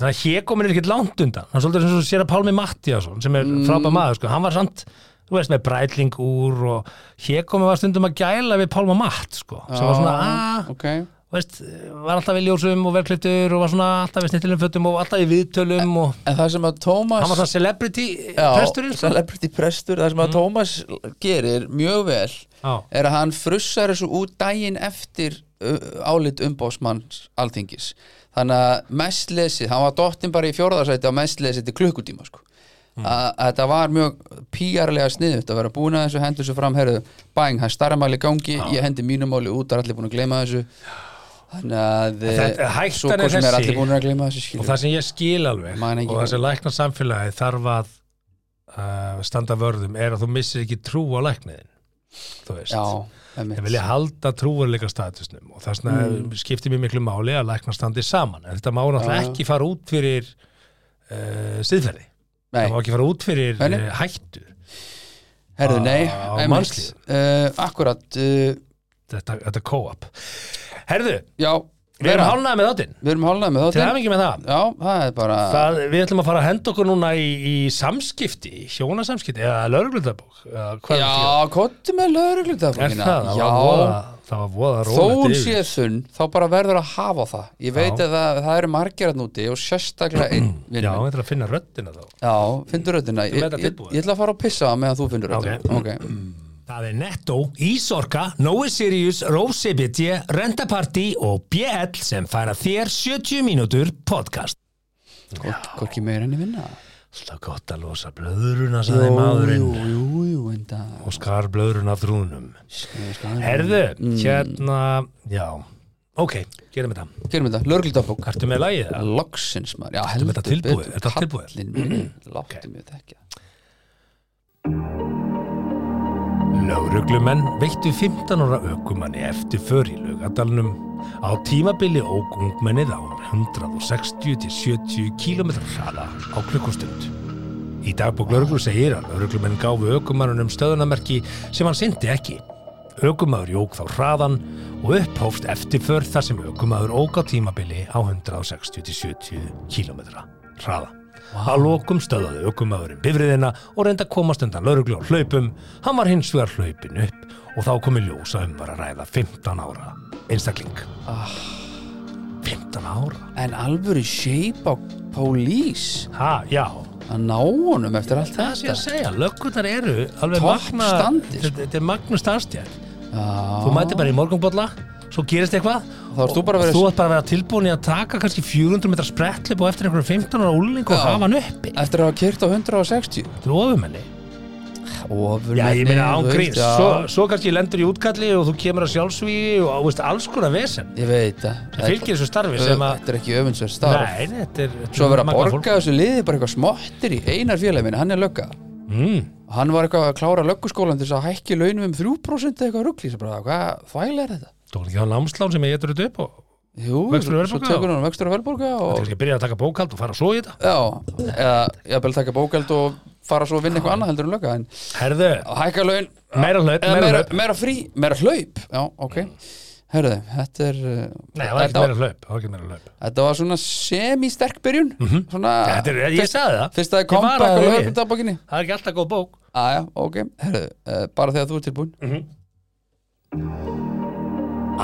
Speaker 2: Þannig að hér komin er ekkert langt undan. Hann er svolítið eins og sér að Pálmi Mattiasson sem er mm. frábæð maður, sko. Hann var samt, þú veist, með brætling úr og hér komin var stundum að gæla við Pálma Matt, sko. Sem var svona, aaa,
Speaker 1: okay.
Speaker 2: veist, var alltaf í ljósum og velkliptur og var svona alltaf í snittilum fötum og alltaf í viðtölum og
Speaker 1: En það sem að Tómas
Speaker 2: hann var svona celebrity
Speaker 1: Já,
Speaker 2: presturinn sko. Mm.
Speaker 1: Celebrity prestur, það sem að Tómas gerir mjög vel
Speaker 2: Já.
Speaker 1: er að hann frussar þessu út daginn eftir uh, álit umbósmanns alþingis þannig að mest lesið, hann var dottinn bara í fjórðarsæti á mest lesið til klukkutíma sko. mm. að þetta var mjög píjarlega sniðut að vera búin að þessu hendur svo fram, herðu, bæng, hann starramáli gangi ég hendi mínumáli út, það er allir búin að gleyma þessu þannig að
Speaker 2: þetta-
Speaker 1: eh,
Speaker 2: hættan
Speaker 1: svo
Speaker 2: er
Speaker 1: hvort sem
Speaker 2: þessi-
Speaker 1: er allir búin að gleyma þessu
Speaker 2: og
Speaker 1: skilur
Speaker 2: það sem ég skil alveg
Speaker 1: Man ekki
Speaker 2: og það sem lækna samfélagi þarf að uh, standa vörðum er að þú missir ekki trú á lækniðin þú veist
Speaker 1: Já,
Speaker 2: Ég
Speaker 1: einmitt.
Speaker 2: vilja halda trúarleika statusnum og þess vegna
Speaker 1: Mm.
Speaker 2: skiptir mér miklu máli að lækna standi saman en þetta má náttúrulega ekki fara út fyrir uh, siðferði
Speaker 1: Nei.
Speaker 2: það má ekki fara út fyrir
Speaker 1: Nei, nei.
Speaker 2: uh, hættu
Speaker 1: Herðu, nei,
Speaker 2: á
Speaker 1: einmitt
Speaker 2: mannslífum.
Speaker 1: uh, Akkurat, uh,
Speaker 2: þetta, þetta co-op Herðu,
Speaker 1: já
Speaker 2: við erum hálnað með þáttinn
Speaker 1: Við erum hálnað með
Speaker 2: til
Speaker 1: þáttinn
Speaker 2: hafingi með það
Speaker 1: Já, það er bara
Speaker 2: Það, við ætlum að fara að henda okkur núna í, í samskipti, hjónasamskipti eða lögreglutabók eða hvað er þetta?
Speaker 1: Já, kottu með
Speaker 2: Er
Speaker 1: lögreglundafókina
Speaker 2: það? Það var voða,
Speaker 1: Já,
Speaker 2: það var voða
Speaker 1: þó hún
Speaker 2: rólegt
Speaker 1: sé
Speaker 2: yfir.
Speaker 1: þunn Þá bara verður að hafa það Ég veit
Speaker 2: Já.
Speaker 1: að það, það eru margir að núti Og sérstaklega einn vinur
Speaker 2: Já,
Speaker 1: minn.
Speaker 2: þetta er að finna röddina þá.
Speaker 1: já finnur röddina ég,
Speaker 2: með þetta
Speaker 1: ég, ég,
Speaker 2: tilbúið?
Speaker 1: ætla að fara að pissa á meðan þú finnur röddina
Speaker 2: Ok. Það er Netto, Ísorka, Nói Sirius, Rove CBT, Rentaparty og BL sem færa þér 70 mínútur podcast.
Speaker 1: Hvort- Hvorki meira enn ég vinna
Speaker 2: Alltaf gott að losa blöðruna, sagði maðurinn,
Speaker 1: Jú, jú, jú, en það
Speaker 2: og skar blöðruna af þrúnum.
Speaker 1: Herðu
Speaker 2: Herðu, hérna, já, ok, gerum þetta.
Speaker 1: Gerum þetta, lögreglundafók
Speaker 2: Ertu með lagið það?
Speaker 1: Loksins maður Já, heldur
Speaker 2: þetta tilbúið? Er þetta tilbúið?
Speaker 1: Kallinn minn, láttu mig þetta ekki
Speaker 2: Lauruglumenn veittu 15 ára aukumanni eftir för í laugadalnum. Á tímabili ók ungmennið á 160-70 km hraða á klukkustund. Í dagbók lauruglu segir að lauruglumenn gáfu aukumannunum stöðunamerki sem hann syndi ekki. Aukumaður jók þá hraðan og upphófst eftirför þar sem aukumaður ók á tímabili á 160-70 km hraða. Að lokum stöðaði aukumaðurinn bifriðina og reyndi að komast undan lauruglu á hlaupum. Hann var hins vegar hlaupin upp og þá komi ljósa um var að ræða 15 ára einstakling. 15 ára?
Speaker 1: En alvöru shape á pólís
Speaker 2: Ha, já.
Speaker 1: Að ná honum eftir allt
Speaker 2: Það sé
Speaker 1: þetta
Speaker 2: að segja, löggurnar eru alveg
Speaker 1: Topp
Speaker 2: magna,
Speaker 1: standi, sko.
Speaker 2: þetta þetta er magnus starfstjær. Þú
Speaker 1: Já,
Speaker 2: mætir bara í morgunbolla, svo gerist eitthvað
Speaker 1: Þá ert þú bara að
Speaker 2: og
Speaker 1: vera-
Speaker 2: þú ert bara að vera tilbúin í að taka kannski 400 metra sprettlipp og eftir einhverjum 15 ára úlning og
Speaker 1: Já.
Speaker 2: hafa hann uppi.
Speaker 1: Eftir að hafa kyrt á 160
Speaker 2: Þú ofum henni.
Speaker 1: Ofurmenni,
Speaker 2: Já, ég meina án
Speaker 1: þú veist,
Speaker 2: gríns.
Speaker 1: já.
Speaker 2: Svo, svo kannski lendur í útkalli og þú kemur að sjálfsvíi og þú veist, alls konar vesen.
Speaker 1: Ég veit það
Speaker 2: Það fylgir þessu starfi sem að...
Speaker 1: Þetta er ekki öfundsverð starf
Speaker 2: Nei, þetta er... þetta
Speaker 1: Svo
Speaker 2: er
Speaker 1: að vera að
Speaker 2: magnað
Speaker 1: borga
Speaker 2: fólk.
Speaker 1: þessu liði bara eitthvað smottir í einar félagi minn Hann er lögga
Speaker 2: Mm.
Speaker 1: Og Hann var eitthvað að klára lögguskólan til þess að hækki launum um 3% eða eitthvað rugli Svo bara, hvað þvæl er þetta?
Speaker 2: Þú voru ekki á námslán sem ég getur þetta upp og
Speaker 1: Jú,
Speaker 2: Vextur og
Speaker 1: svo
Speaker 2: verðbólga
Speaker 1: tekur hann vextur og verðbólga
Speaker 2: þú
Speaker 1: og
Speaker 2: kannski byrja að taka bókald og fara svo í þetta.
Speaker 1: Já, eða ég bel taka bókald og fara svo að vinna eitthvað annað heldur en lögga en
Speaker 2: Herðu,
Speaker 1: hækka laun
Speaker 2: meira hlaup,
Speaker 1: eða
Speaker 2: meira
Speaker 1: meira,
Speaker 2: hlaup. Mm.
Speaker 1: meira frí, meira hlaup Já, ok Herðu, þetta er uh,
Speaker 2: Nei, það var
Speaker 1: þetta,
Speaker 2: ekki meira hlaup, það var ekki meira hlaup.
Speaker 1: þetta var svona semi-sterk byrjun Svona
Speaker 2: Mhm. Þetta er, ég sagði Ah. það
Speaker 1: Fyrst að
Speaker 2: Ég
Speaker 1: comeback
Speaker 2: varaði
Speaker 1: á
Speaker 2: við.
Speaker 1: lögum dagbókinni
Speaker 2: Það er ekki alltaf góð bók
Speaker 1: Aja, Ah, ok, herðu, uh, bara þegar þú ert tilbúin
Speaker 2: Mm.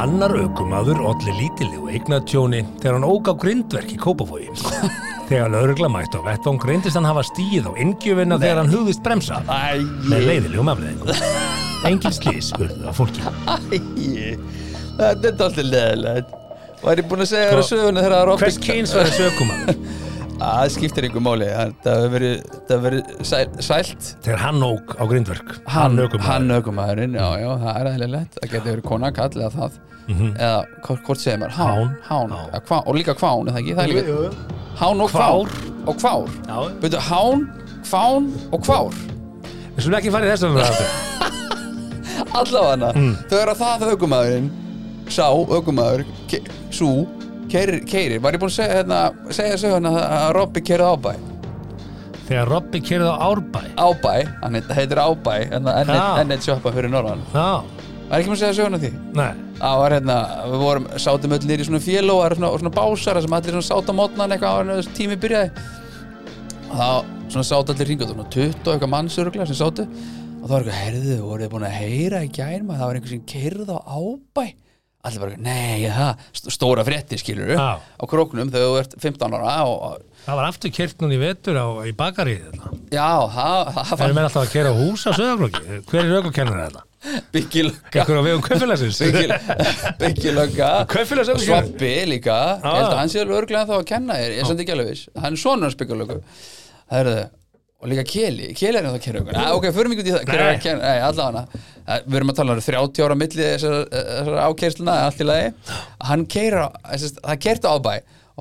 Speaker 2: Annar aukumadur olli lítilegu eignatjóni þegar hann ók á grindverk í Kópavogi Þegar lögregla mætt á vettvang reyndist hann hafa stíð á inngjöfina þegar hann hugðist bremsa
Speaker 1: Æ,
Speaker 2: með leiðilegum afleðingum Engin slís urðu að fólki
Speaker 1: æ Þetta er alltaf leðilegt Var ég búin að segja þér að
Speaker 2: Sko,
Speaker 1: söguna þegar það er
Speaker 2: Hvers kyns var þessi aukumadur
Speaker 1: Æ, Það skiptir einhver máli Það það hefur verið, það hefur verið sæl, sælt
Speaker 2: þegar hann ók á grindverk
Speaker 1: Hann,
Speaker 2: ökumaður
Speaker 1: hann ökumæðurinn, já, já, það er aðlilegt Það getur verið kona, kall eða það Eða, hvort- hvort segir maður, hán, hán,
Speaker 2: hán.
Speaker 1: hán. Kvá, Og líka kván, er það ekki, það er líka Hán og
Speaker 2: Kvár.
Speaker 1: kvár, og kvár
Speaker 2: Já.
Speaker 1: Veitu, hán, kván og kvár
Speaker 2: Við skulum ekki fara í þessum ræðu
Speaker 1: Allavega mm. Þegar að það ökumæðurinn Sá ökumæður, ke, sú Keiri, keiri, var ég búin að segja hérna Segja söguna að- að Robby keirið ábæ
Speaker 2: Þegar Robby kerði á Árbæ
Speaker 1: Ábæ, hann heit- heitir ábæ Hérna
Speaker 2: Já.
Speaker 1: enn eitt sjoppa fyrir norðan
Speaker 2: Já,
Speaker 1: Var ekki maður að segja söguna því?
Speaker 2: nei,
Speaker 1: Það var hérna, við vorum, sátum öll nýri svona félóar svona, og svona básara sem allir svona sátum mótnan eitthvað ára en tími byrjaði og þá svona sátu allir ringa svona 20 og eitthvað mannsöruglega sem sátu og þá var eitthvað, heyrðu, voruð þið búin að heyra í gær maður, það var einhver sem keyrði á ábæ allir bara, nei, það, st- stóra frétti skilur
Speaker 2: Já.
Speaker 1: á króknum þegar þú ert 15 ára og,
Speaker 2: Það var aftur kert núna í vetur á, í bakarið þetta.
Speaker 1: já, það, það
Speaker 2: Það er
Speaker 1: var
Speaker 2: meira alltaf að kera hús á söðaflóki. Hver er aukakennar þetta?
Speaker 1: byggilögga
Speaker 2: Ekkur á vegum kaupfélagsins?
Speaker 1: byggilögga
Speaker 2: Kaupfélags aukakennar?
Speaker 1: Svabbi líka, ég held að hann sé alveg örglega þá að kenna þér, ég er samt ekki alveg viss hann er sonur hans byggilöggu og líka Keli, Keli er ennþá að kenna okkur Nei, ok, förum ykkur í það, Keli er
Speaker 2: Nei.
Speaker 1: að kenna Nei, allavega Eh, við erum að tala um 30 ára milli þessar, þessar ákersluna, allt í lagi hann keira, það keirta ábæ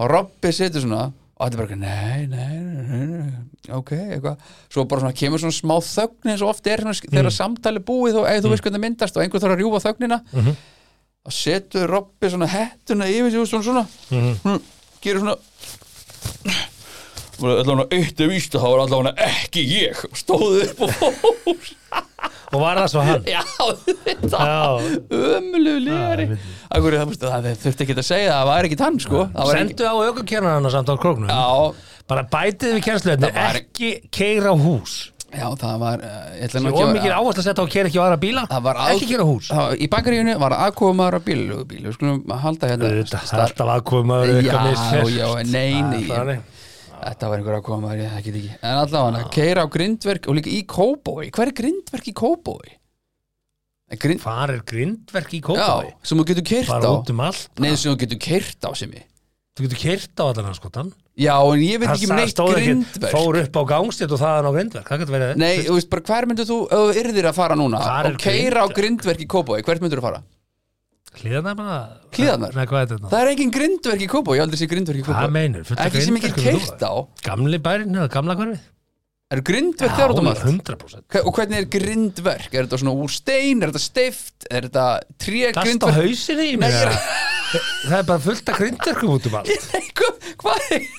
Speaker 1: og Robby situr svona og þetta er bara, eitthvað, nei, nei, nei, nei, nei ok, eitthvað, svo bara svona kemur svona smá þögn eins og oft er svona, þegar samtali er búið og eða þú veist hvernig það myndast og einhver þarf að rjúfa þögnina og setur Robby svona hettuna yfir sig og svona svona mm. gerir svona og allavega eitt er víst að það var allavega ekki ég stóð upp og fór
Speaker 2: Og var það svo hann?
Speaker 1: já, þetta
Speaker 2: Já.
Speaker 1: ömlu
Speaker 2: Já,
Speaker 1: líðari
Speaker 2: ég veit
Speaker 1: Akkur, það, veist, það þurfti ekki að segja það var ekki tann sko það var ekki,
Speaker 2: Sendu á aukakennar hann samt á króknum.
Speaker 1: já,
Speaker 2: Bara bætið við kennsluðinni,
Speaker 1: Það var-
Speaker 2: ekki keira hús.
Speaker 1: já, það var eh, ég ætla nú
Speaker 2: Og
Speaker 1: ekki að-
Speaker 2: mikið áherslu að setja á að keira ekki á aðra bíla.
Speaker 1: það var al-
Speaker 2: Ekki keira hús.
Speaker 1: það var, í bakaríunni var aðkomaður á bílugubíl við skulum halda hérna
Speaker 2: Þetta er alltaf aðkomaður
Speaker 1: já,
Speaker 2: auka misferð.
Speaker 1: já, nei,
Speaker 2: Það er
Speaker 1: nei
Speaker 2: þannig.
Speaker 1: Þetta var einhver aðkomaður, ég þekki þetta ekki En allavega, ah. keira á grindverk og líka í kóbói Hver er grindverk í kóbói? Er Grind...
Speaker 2: Hvar er grindverk í
Speaker 1: Já,
Speaker 2: kópaði?
Speaker 1: sem þú getur keirt
Speaker 2: Bara
Speaker 1: á
Speaker 2: út um allt.
Speaker 1: Nei, sem þú getur keirt á sem ég
Speaker 2: Þú getur keirt á allan hans skotan.
Speaker 1: Já, en ég veit
Speaker 2: Það
Speaker 1: ekki um neitt
Speaker 2: stóð ekki,
Speaker 1: grindverk
Speaker 2: Fór upp á gangstétt og þaðan á grindverk. Það getur verið.
Speaker 1: Nei, þú veist bara, hver myndir þú, ef þú yrðir að fara núna
Speaker 2: Hvar er
Speaker 1: og keira á grindverk í kóbói, hvert myndir þú fara?
Speaker 2: Hliðarnar bara?
Speaker 1: Hliðarnar?
Speaker 2: Nei, hvað er þetta?
Speaker 1: Það er engin grindverk í kóbói, ég hef aldrei sé grindverk í
Speaker 2: Hvað
Speaker 1: kóbói
Speaker 2: meinur? Fullt af
Speaker 1: Ekki sem ekki
Speaker 2: grindverkum í
Speaker 1: keirt á
Speaker 2: Kópavogi. Gamli bærin eða gamla hverfið?
Speaker 1: Er grindverk þér út um allt?
Speaker 2: 100%
Speaker 1: Hve- Og hvernig er grindverk? Er þetta svona úr stein, er þetta steift, er þetta tré
Speaker 2: Gasta
Speaker 1: grindverk?
Speaker 2: hausinni í
Speaker 1: Nei,
Speaker 2: mig
Speaker 1: ég er-
Speaker 2: eða? Það er bara fullt af grindverkum út um allt
Speaker 1: Nei, hva- hvað er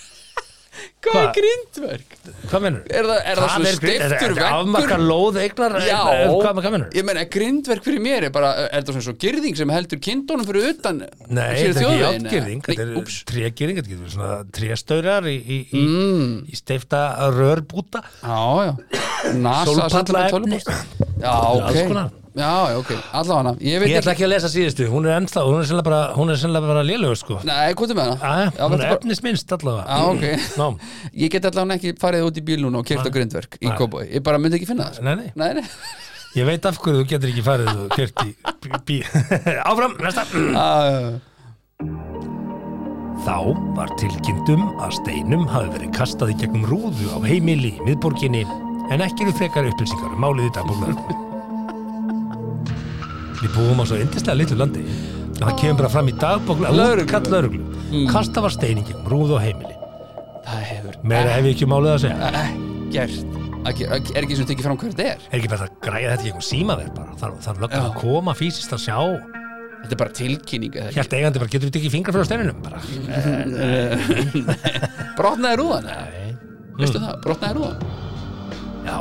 Speaker 1: hvað er
Speaker 2: Hva?
Speaker 1: grindverk?
Speaker 2: Hvað meinur?
Speaker 1: Er það, er það, svona stiftur
Speaker 2: Afmarka
Speaker 1: veggur?
Speaker 2: lóð eignar
Speaker 1: Já,
Speaker 2: eh, Hvað hvað meinur?
Speaker 1: ég meina grindverk fyrir mér er bara, er það svona svo girðing sem heldur kindónum fyrir utan
Speaker 2: Nei,
Speaker 1: sér
Speaker 2: þetta er ekki
Speaker 1: þjóðveginn,
Speaker 2: játgirðing
Speaker 1: eða?
Speaker 2: Þetta
Speaker 1: Nei,
Speaker 2: er
Speaker 1: úps,
Speaker 2: trégirðing Þetta getur verið svona tréstaurar í, í, í,
Speaker 1: Mm.
Speaker 2: í steifta rörbúta
Speaker 1: já, já NASA
Speaker 2: Sólpalla-
Speaker 1: sendur mér tölvupóst. Já, ok
Speaker 2: Alls konar.
Speaker 1: Já, já, ok, allavega ég
Speaker 2: Ég
Speaker 1: veit ekki
Speaker 2: ætla ekki að lesa síðustu Hún er ennþá, hún er sennilega bara, hún er sennilega bara lélögur sko
Speaker 1: Nei, hvað er með hana?
Speaker 2: Æ,
Speaker 1: Já,
Speaker 2: Hún
Speaker 1: vertu
Speaker 2: er
Speaker 1: bara-
Speaker 2: efnisminnst allavega
Speaker 1: Já, ok
Speaker 2: Nám.
Speaker 1: Ég get allavega ekki farið út í bíl núna og kert á grindverk í
Speaker 2: Nei.
Speaker 1: Kóboi Ég bara myndi ekki finna það sko.
Speaker 2: Nei, Ah, nei
Speaker 1: Nei, nei
Speaker 2: Ég veit af hverju þú getur ekki farið og kert í bí- bí. Áfram, næsta
Speaker 1: Ah,
Speaker 2: Þá var tilkynntum að steinum hafi verið kastað í gegnum rúðu á heimili í miðborginni en ekki eru frekar upplýsingar um málið í dagbúrlega. Við búum á svo yndislega litlu landi en það kemur bara fram í dagbókla
Speaker 1: Lögreglu. Mm.
Speaker 2: kall lauruglu. Kasta var stein í gegnum rúðu á heimili.
Speaker 1: Það hefur
Speaker 2: Meira hef ég ekki um málið að segja.
Speaker 1: ekkert Ekki- ekki- Er ekki sem tekið fram hvað þetta er
Speaker 2: Er ekki bara að græja þetta í gegnum símaverð bara. Þar, þar löggan
Speaker 1: Já.
Speaker 2: að koma fysiskt að sjá.
Speaker 1: Þetta er bara tilkynning eða ekki?
Speaker 2: Hjælt eigandi bara getur við ekki fingra frá steininum bara.
Speaker 1: Brotnaði rúðan eða?
Speaker 2: Nei.
Speaker 1: Veistu það? Brotnaði rúðan
Speaker 2: Já,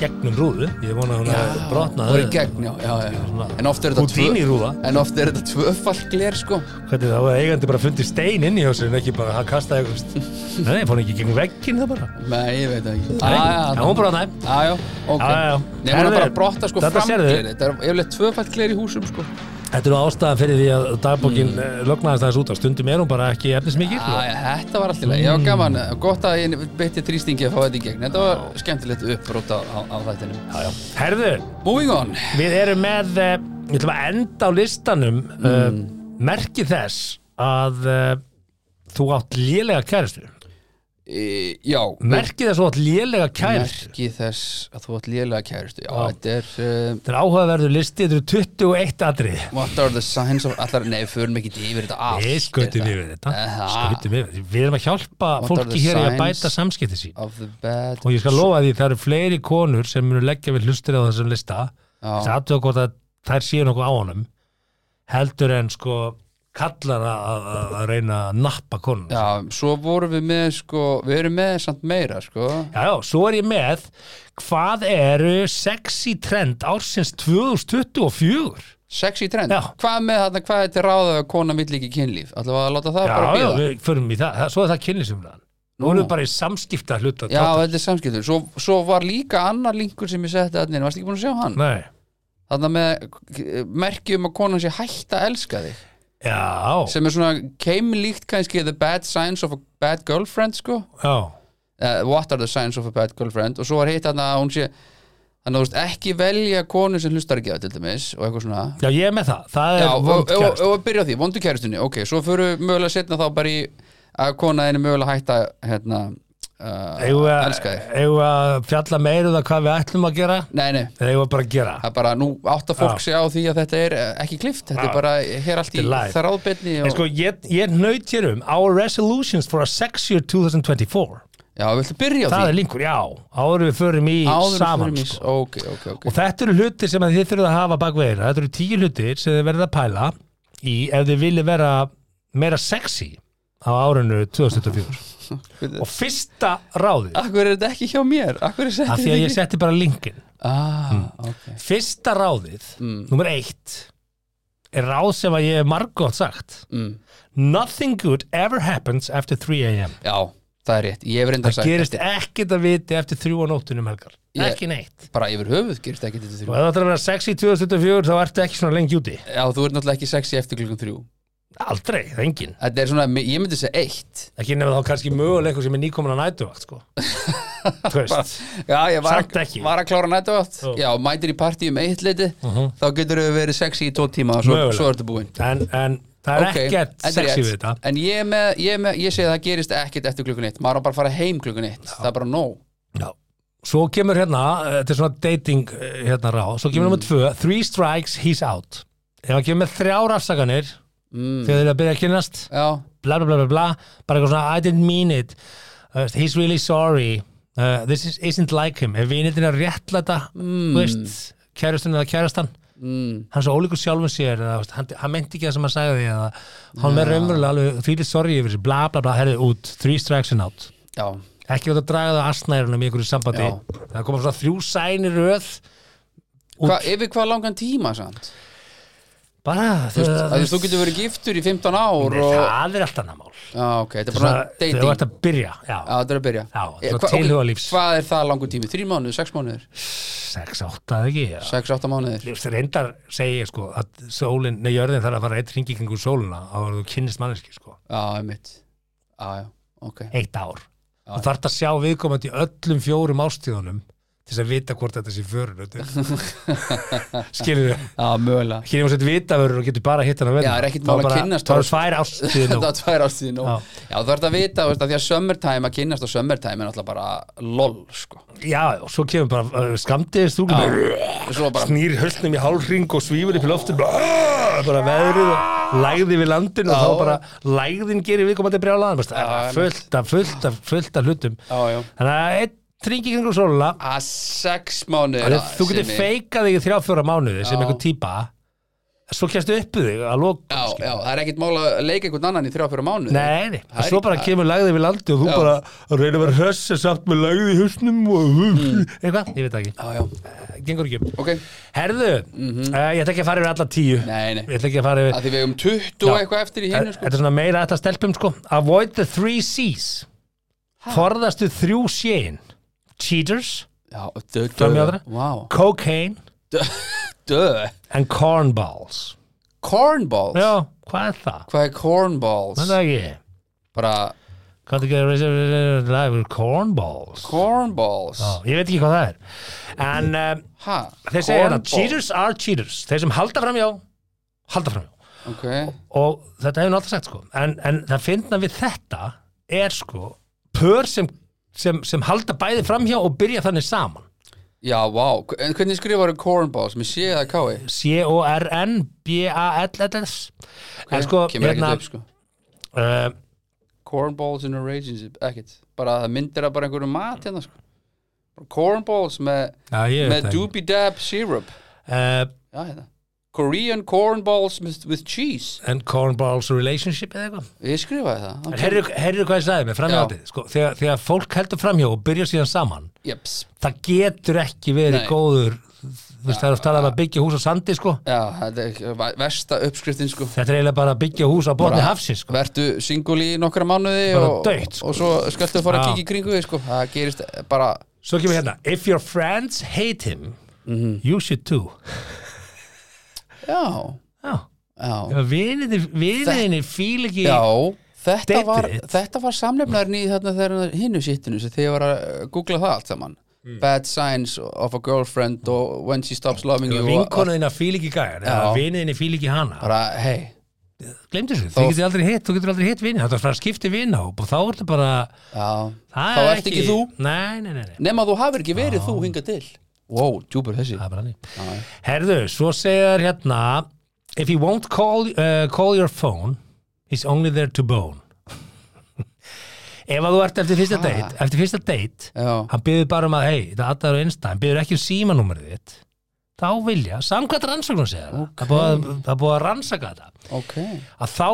Speaker 2: gegnum rúðu Ég vona að hún að brotna
Speaker 1: Voru í gegn, já, já, já En oft er þetta
Speaker 2: Houdini rúða.
Speaker 1: En oft er þetta tvöfall gler sko
Speaker 2: Hvernig það var eigandi bara fundið stein inn í þessu en ekki bara að kasta eitthvað Nei, nei, fór hann ekki gegnum vegginn það bara
Speaker 1: Nei, ég veit það ekki
Speaker 2: Nei, Ah, já, hún brotnaði
Speaker 1: Já, já, ok
Speaker 2: Já, já, já.
Speaker 1: Nei, hún er
Speaker 2: Herðu,
Speaker 1: bara að brotta sko
Speaker 2: þetta
Speaker 1: framgler
Speaker 2: sérðu.
Speaker 1: Þetta er yfirleitt tvöfall gler í húsum sko
Speaker 2: Þetta er nú ástæðan fyrir því að dagbókin mm. lögnaðist aðeins út á stundum er hún bara ekki efnismikil
Speaker 1: Já, já, þetta var alltaf leið
Speaker 2: Mm.
Speaker 1: Já, gaman Gott að ég beitti þrýstingi að fá þetta í gegn Þetta var skemmtilegt uppbrot á, á, á þættinu
Speaker 2: já, já. Herðu,
Speaker 1: Moving on
Speaker 2: við erum með eh, Ég ætlum að enda á listanum mm. Merki þess að uh, þú átt lélega kæristu
Speaker 1: e, Já
Speaker 2: Merki þess að þú átt lélega kæristu
Speaker 1: Merki þess að þú átt lélega kæristu Já,
Speaker 2: Já.
Speaker 1: þetta er uh,
Speaker 2: Þetta er áhugaverður listi, þetta eru 21 atrið
Speaker 1: What are the signs of allar Nei, förum ekki yfir þetta allt
Speaker 2: Við skautum
Speaker 1: þetta.
Speaker 2: yfir þetta
Speaker 1: Aha.
Speaker 2: Skautum yfir þetta Við erum að hjálpa
Speaker 1: What are
Speaker 2: fólki
Speaker 1: the
Speaker 2: hér í að
Speaker 1: signs?
Speaker 2: bæta samskipti sín
Speaker 1: Of the bad
Speaker 2: Og ég skal lofa því, það eru fleiri konur sem munu leggja við hlustir á þessum lista
Speaker 1: Já.
Speaker 2: Það aðtöða hvort að þær séu nokkuð á honum Heldur en sko kallar að- að að reyna að nappa konur
Speaker 1: Já, svo vorum við með sko Við erum með samt meira sko
Speaker 2: Já, já, svo er ég með Hvað eru sexy trend ársins 2024?
Speaker 1: Sexy trend
Speaker 2: Já.
Speaker 1: Hvað með þarna, hvað er til ráða að kona vill ekki kynlíf Alltaf að láta það bara
Speaker 2: já,
Speaker 1: bíða
Speaker 2: við förum í það, það Svo er það kynlisumlaðan Nú erum við bara í samskipta hluta
Speaker 1: Já, þetta er samskiptur svo, svo var líka annar linkur sem ég setti að neina, varstu ekki búin að sjá hann?
Speaker 2: Nei
Speaker 1: þarna með merkjum að konan sé hætt að elska þig
Speaker 2: Já,
Speaker 1: sem er svona keimlíkt kannski The Bad Signs of a Bad Girlfriend sko
Speaker 2: já,
Speaker 1: uh, What are the signs of a bad girlfriend og svo var hitt þarna að hún sé þannig að þú veist ekki velja konu sem hlustar ekki á til dæmis og eitthvað svona
Speaker 2: já, ég er með það Það
Speaker 1: Já,
Speaker 2: er
Speaker 1: og, og,
Speaker 2: vond
Speaker 1: og,
Speaker 2: kjærst
Speaker 1: og byrja á því, vondu kærustunni ok, svo fyrir mögulega setna þá bara í að konaðin er mögulega hægt að hérna, uh,
Speaker 2: Eigum við að-
Speaker 1: elska þig
Speaker 2: eigum við að fjalla meira um það hvað við ætlum að gera
Speaker 1: Nei, nei,
Speaker 2: eða eigum við bara að gera
Speaker 1: það er bara, nú átta fólk
Speaker 2: Já.
Speaker 1: sig á því að þetta er eh, ekki klift, þetta
Speaker 2: Já.
Speaker 1: er bara hér allt í
Speaker 2: Þetta er live.
Speaker 1: þráðbyrni
Speaker 2: En
Speaker 1: og,
Speaker 2: sko, ég, ég nöyt hér um Our resolutions for a sex year 2024
Speaker 1: Já, viltu byrja á
Speaker 2: Það er
Speaker 1: því?
Speaker 2: linkur, já, áður en við förum í
Speaker 1: Áður en við
Speaker 2: saman
Speaker 1: förum í-
Speaker 2: sko.
Speaker 1: Ok, ok, ok
Speaker 2: Og þetta eru hlutir sem að þið þurfum að hafa bak við eyrað. Þetta eru tíu hlutir sem þið verðið að pæla í ef þið viljið vera meira sexy á árinu 2024.
Speaker 1: Bíddu.
Speaker 2: og fyrsta ráðið,
Speaker 1: Akkur er þetta ekki hjá mér? Akkur er þetta
Speaker 2: af því að ég Mm. setti bara linkin.
Speaker 1: Ah, ok
Speaker 2: Fyrsta ráðið, mm. nummer eitt, er ráð sem að ég hef margótt sagt.
Speaker 1: Mm.
Speaker 2: Nothing good ever happens after 3 a.m.
Speaker 1: Já, það er rétt, ég hef reynda
Speaker 2: Það
Speaker 1: sagt
Speaker 2: gerist ekkert að viti eftir 3 á nóttunum helgar.
Speaker 1: Ég-
Speaker 2: Ekki neitt.
Speaker 1: Bara yfir höfuð gerist ekki þetta
Speaker 2: Og
Speaker 1: þrjú
Speaker 2: ef það ætlar að vera sexy 2024 þá ertu ekki svona lengi úti.
Speaker 1: Já, þú ert náttúrulega ekki sexy eftir klukkan þrjú
Speaker 2: Aldrei, það er engin.
Speaker 1: Þetta er svona, ég myndi segja eitt
Speaker 2: ekki nefnir þá kannski möguleg eitthvað sem er nýkomin að nætuvakt sko Þú veist,
Speaker 1: Já, ég var,
Speaker 2: Samt ekki.
Speaker 1: var að klára nættuátt
Speaker 2: Ó. Mhm.
Speaker 1: Já, mætir í partí um eitt leiti Þá getur þau verið sexy í tól tíma og Svo,
Speaker 2: Mögulega.
Speaker 1: svo ertu búin
Speaker 2: en, en það er ekkert
Speaker 1: þetta er
Speaker 2: sexy
Speaker 1: rétt.
Speaker 2: við þetta
Speaker 1: En ég, er með, ég, er með, ég segi að það gerist ekkert eftir klukkan eitt Maður á bara að fara heim klukkan eitt Það er bara nóg
Speaker 2: Já. svo kemur hérna eh, þetta er svona dating eh, hérna ráð svo kemur mm. nummer tvö, three strikes, he's out ef hann kemur með þrjár afsakanir
Speaker 1: mm.
Speaker 2: þegar þeir eru að byrja að kynnast
Speaker 1: Já,
Speaker 2: bla bla bla bla bla bara eitthvað svona I didn't mean it uh, he's really sorry uh, this is, isn't like him ef vinildin er réttlæta mm. veist, kærustun eða kærastan mm. hann er svo ólíkur sjálfum sér eða, þú veist, hann, hann meinti ekki það sem hann sagði eða, hann er raunverulega alveg really sorry yfir sér bla bla bla herðið út three strikes and out
Speaker 1: já,
Speaker 2: ekki átt að draga það aðsnærunum í einhverju sambandi
Speaker 1: Já.
Speaker 2: það koma svona þrjú sæni röð
Speaker 1: Hva, yfir hvað langan tíma samt
Speaker 2: bara
Speaker 1: Þú
Speaker 2: það,
Speaker 1: veist, að þú veist, þú getur verið giftur í 15 ár og...
Speaker 2: Uh, það er allt annað mál
Speaker 1: Já, ok, þetta er bara
Speaker 2: það,
Speaker 1: dating
Speaker 2: það var að byrja já,
Speaker 1: Já, þetta er að byrja
Speaker 2: Já,
Speaker 1: Eh,
Speaker 2: svona
Speaker 1: hva- ok,
Speaker 2: tilhugalífs.
Speaker 1: Hvað er það langur tími? Þrír mánuður, sex mánuður,
Speaker 2: sex átta eða ekki já.
Speaker 1: sex, átta mánuður
Speaker 2: Þú veist, reyndar segi ég sko að sólin, nei, jörðin þarf að fara eitt ringi kringu sóluna á að þú kynnist manneski sko
Speaker 1: Já, einmitt Já, já, ok
Speaker 2: eitt ár og þarf að sjá viðkomandi í öllum fjórum ástíðunum til þess að vita hvort þetta sé förun skilur þau
Speaker 1: Já, mögulega
Speaker 2: hér er maður sett vitavörur og getur bara hitt hann að
Speaker 1: Já,
Speaker 2: verða
Speaker 1: það er ekkert mál að kynnast
Speaker 2: þá er
Speaker 1: þá-
Speaker 2: svær
Speaker 1: Þetta
Speaker 2: ástíðin
Speaker 1: var tvær ástíði nú
Speaker 2: Já.
Speaker 1: Já, þú þarf að vita, veist, að því að summertime að kynnast á summertime er náttúrulega bara lol, sko
Speaker 2: já, og svo kemur bara uh, skamtiðis þú
Speaker 1: Svo bara,
Speaker 2: snýr höllnum í hálfring og svífur upp í loftin bara, "Ah!" bara veðrið og lægði við landin og
Speaker 1: Já.
Speaker 2: þá bara lægðin gerir viðkomandi brjálaðan veist, það er fullt af, fullt af, fullt af hlutum
Speaker 1: já, já
Speaker 2: þannig að einn tringi kringur sóluna
Speaker 1: Að Ah, sex ah, mánuður
Speaker 2: þannig að þú getur feikað þig í þrjá fjóra mánuði sem
Speaker 1: Já.
Speaker 2: einhver típa svo kemstu uppu þig að loka
Speaker 1: Já, já, það er ekkert mál að leika einhvern annan í þrjá fyrir mánuð
Speaker 2: Nei, nei,
Speaker 1: Það er
Speaker 2: svo
Speaker 1: í-
Speaker 2: bara kemur lagðið við landi og þú
Speaker 1: Já.
Speaker 2: bara að reyna að vera hröss en samt með lagðið í husnum og eitthvað, ég veit það ekki,
Speaker 1: Já, já,
Speaker 2: gengur ekki upp
Speaker 1: Mm. ok Mhm.
Speaker 2: Herðu, eh, ég ætla ekki að fara yfir alla tíu
Speaker 1: Nei, nei,
Speaker 2: Ég ætla ekki að fara yfir
Speaker 1: að því við um 20 og
Speaker 2: Já.
Speaker 1: eitthvað eftir í hinu, sko
Speaker 2: Þetta er svona meira þetta stelpum sko Avoid the three C's Forðastu þrjú séin Cheaters,
Speaker 1: Já, dö, dö,
Speaker 2: Fram í aðra.
Speaker 1: Vá,
Speaker 2: cocaine
Speaker 1: dö
Speaker 2: and cornballs
Speaker 1: Cornballs?
Speaker 2: Já, hvað er það?
Speaker 1: Hvað er cornballs?
Speaker 2: Hvað er það ekki?
Speaker 1: Bara
Speaker 2: Hvað er ekki? Cornballs
Speaker 1: cornballs
Speaker 2: Já, Ég veit ekki hvað það er En um,
Speaker 1: Ha?
Speaker 2: þeir segja hérna
Speaker 1: cornballs.
Speaker 2: Cheaters are cheaters Þeir sem halda framjá Halda framjá
Speaker 1: Ok,
Speaker 2: og þetta hefur náttúrulega sagt sko en, en það finna við þetta er sko pör sem, sem, sem halda bæði framhjá og byrja þannig saman
Speaker 1: já, vá En hvernig skrifar cornballs? Mér sé það kái
Speaker 2: C-O-R-N-B-A-L-L-S en sko,
Speaker 1: Kemur ekkert
Speaker 2: hérna
Speaker 1: upp, sko
Speaker 2: uh,
Speaker 1: Cornballs in a relationship, ekkert Bara það myndir að bara einhverju mat hérna, sko Cornballs með,
Speaker 2: já, ég
Speaker 1: með
Speaker 2: veit það
Speaker 1: doobie dab syrup
Speaker 2: uh,
Speaker 1: Já, hérna Korean cornballs with, with cheese
Speaker 2: and cornballs relationship eða eitthvað
Speaker 1: Ég skrifaði það
Speaker 2: En
Speaker 1: okay.
Speaker 2: heyrðu heyrðu hvað ég sagði með framhjáttið sko, þegar, þegar fólk heldur framhjá og byrja síðan saman
Speaker 1: Jeps
Speaker 2: það getur ekki verið
Speaker 1: Nei.
Speaker 2: góður þú veist það er að tala um að byggja hús á sandi sko
Speaker 1: Já, þetta er versta uppskriftin, sko
Speaker 2: þetta er eiginlega bara að byggja hús á borni
Speaker 1: Bara-
Speaker 2: hafsins sko.
Speaker 1: Vertu single í nokkra mánuði
Speaker 2: Bara
Speaker 1: og,
Speaker 2: dautt, sko.
Speaker 1: og svo skaltu að fara
Speaker 2: Já.
Speaker 1: að kíkja í kringu því sko. það gerist bara Mhm.
Speaker 2: Svo kemur hérna If your friends hate him You should too
Speaker 1: já,
Speaker 2: Já,
Speaker 1: já,
Speaker 2: viniðinni fíl ekki
Speaker 1: já þetta
Speaker 2: David.
Speaker 1: var, þetta var samlefnaðurinn í þarna þegar hinnu sittinu sem þegar ég var að uh, googla það allt saman Bad signs of a girlfriend og when she stops loving you og-
Speaker 2: vinkonuðina fíl ekki gæjar eða
Speaker 1: Já.
Speaker 2: viniðinni fíl ekki hana
Speaker 1: bara, hei,
Speaker 2: glemdi þessu, þú getur aldrei hitt þú getur aldrei hitt vinið, þetta er að fara að skipta vinna og þá er þetta bara,
Speaker 1: já
Speaker 2: það
Speaker 1: Þá
Speaker 2: er
Speaker 1: ert ekki þú.
Speaker 2: nei, nei, nei, nei.
Speaker 1: nema þú hafir ekki verið þú hinga til wow, djúpur þessi
Speaker 2: það er bara hann herðu, svo segir hérna if he won't call, uh, call your phone he's only there to bone ef að þú ert eftir fyrsta date eftir fyrsta date
Speaker 1: já,
Speaker 2: hann byður bara um að hei, þetta aðdæður og einstæð hann byður ekki um símanúmerið þitt þá vilja, samkvæmt rannsóknum segja okay. það er búið að- það er búið að rannsaka þetta
Speaker 1: ok
Speaker 2: að þá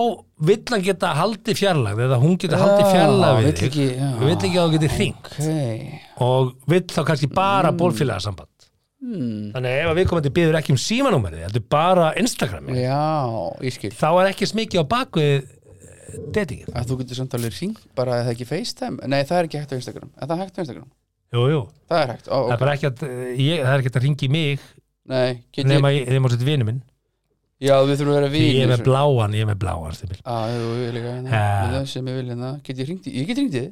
Speaker 2: vill hann geta haldið fjarlægð eða hún geta haldið fjarlægð við
Speaker 1: vill
Speaker 2: þig
Speaker 1: ekki- já.
Speaker 2: vill ekki að þú geti hringt
Speaker 1: ok,
Speaker 2: og vill þá kannski bara mm. bólfélagasamband
Speaker 1: Hmm,
Speaker 2: mm. þannig að ef að viðkomandi byður ekki um símanúmerið þetta er bara Instagrami
Speaker 1: já, ég skil
Speaker 2: þá er ekki smikið á bakvið eh, datingið
Speaker 1: að þú getur samt alveg ringt bara eða ekki FaceTime nei það er ekki hægt á Instagram er það hægt á Instagram?
Speaker 2: jú, jú,
Speaker 1: það er hægt, ó,
Speaker 2: það
Speaker 1: ok,
Speaker 2: er bara ekki að eh, ég, það er ekki hægt að ringi mig
Speaker 1: nei get ég,
Speaker 2: nema ég, nema þetta vinu minn
Speaker 1: já við þurfum að vera
Speaker 2: Því
Speaker 1: vín
Speaker 2: ég er með bláan, ég er með bláan Stímil.
Speaker 1: að þú er líka hérna
Speaker 2: Ha.
Speaker 1: með það sem ég vil hérna get ég ringt í, ég get ringt í þið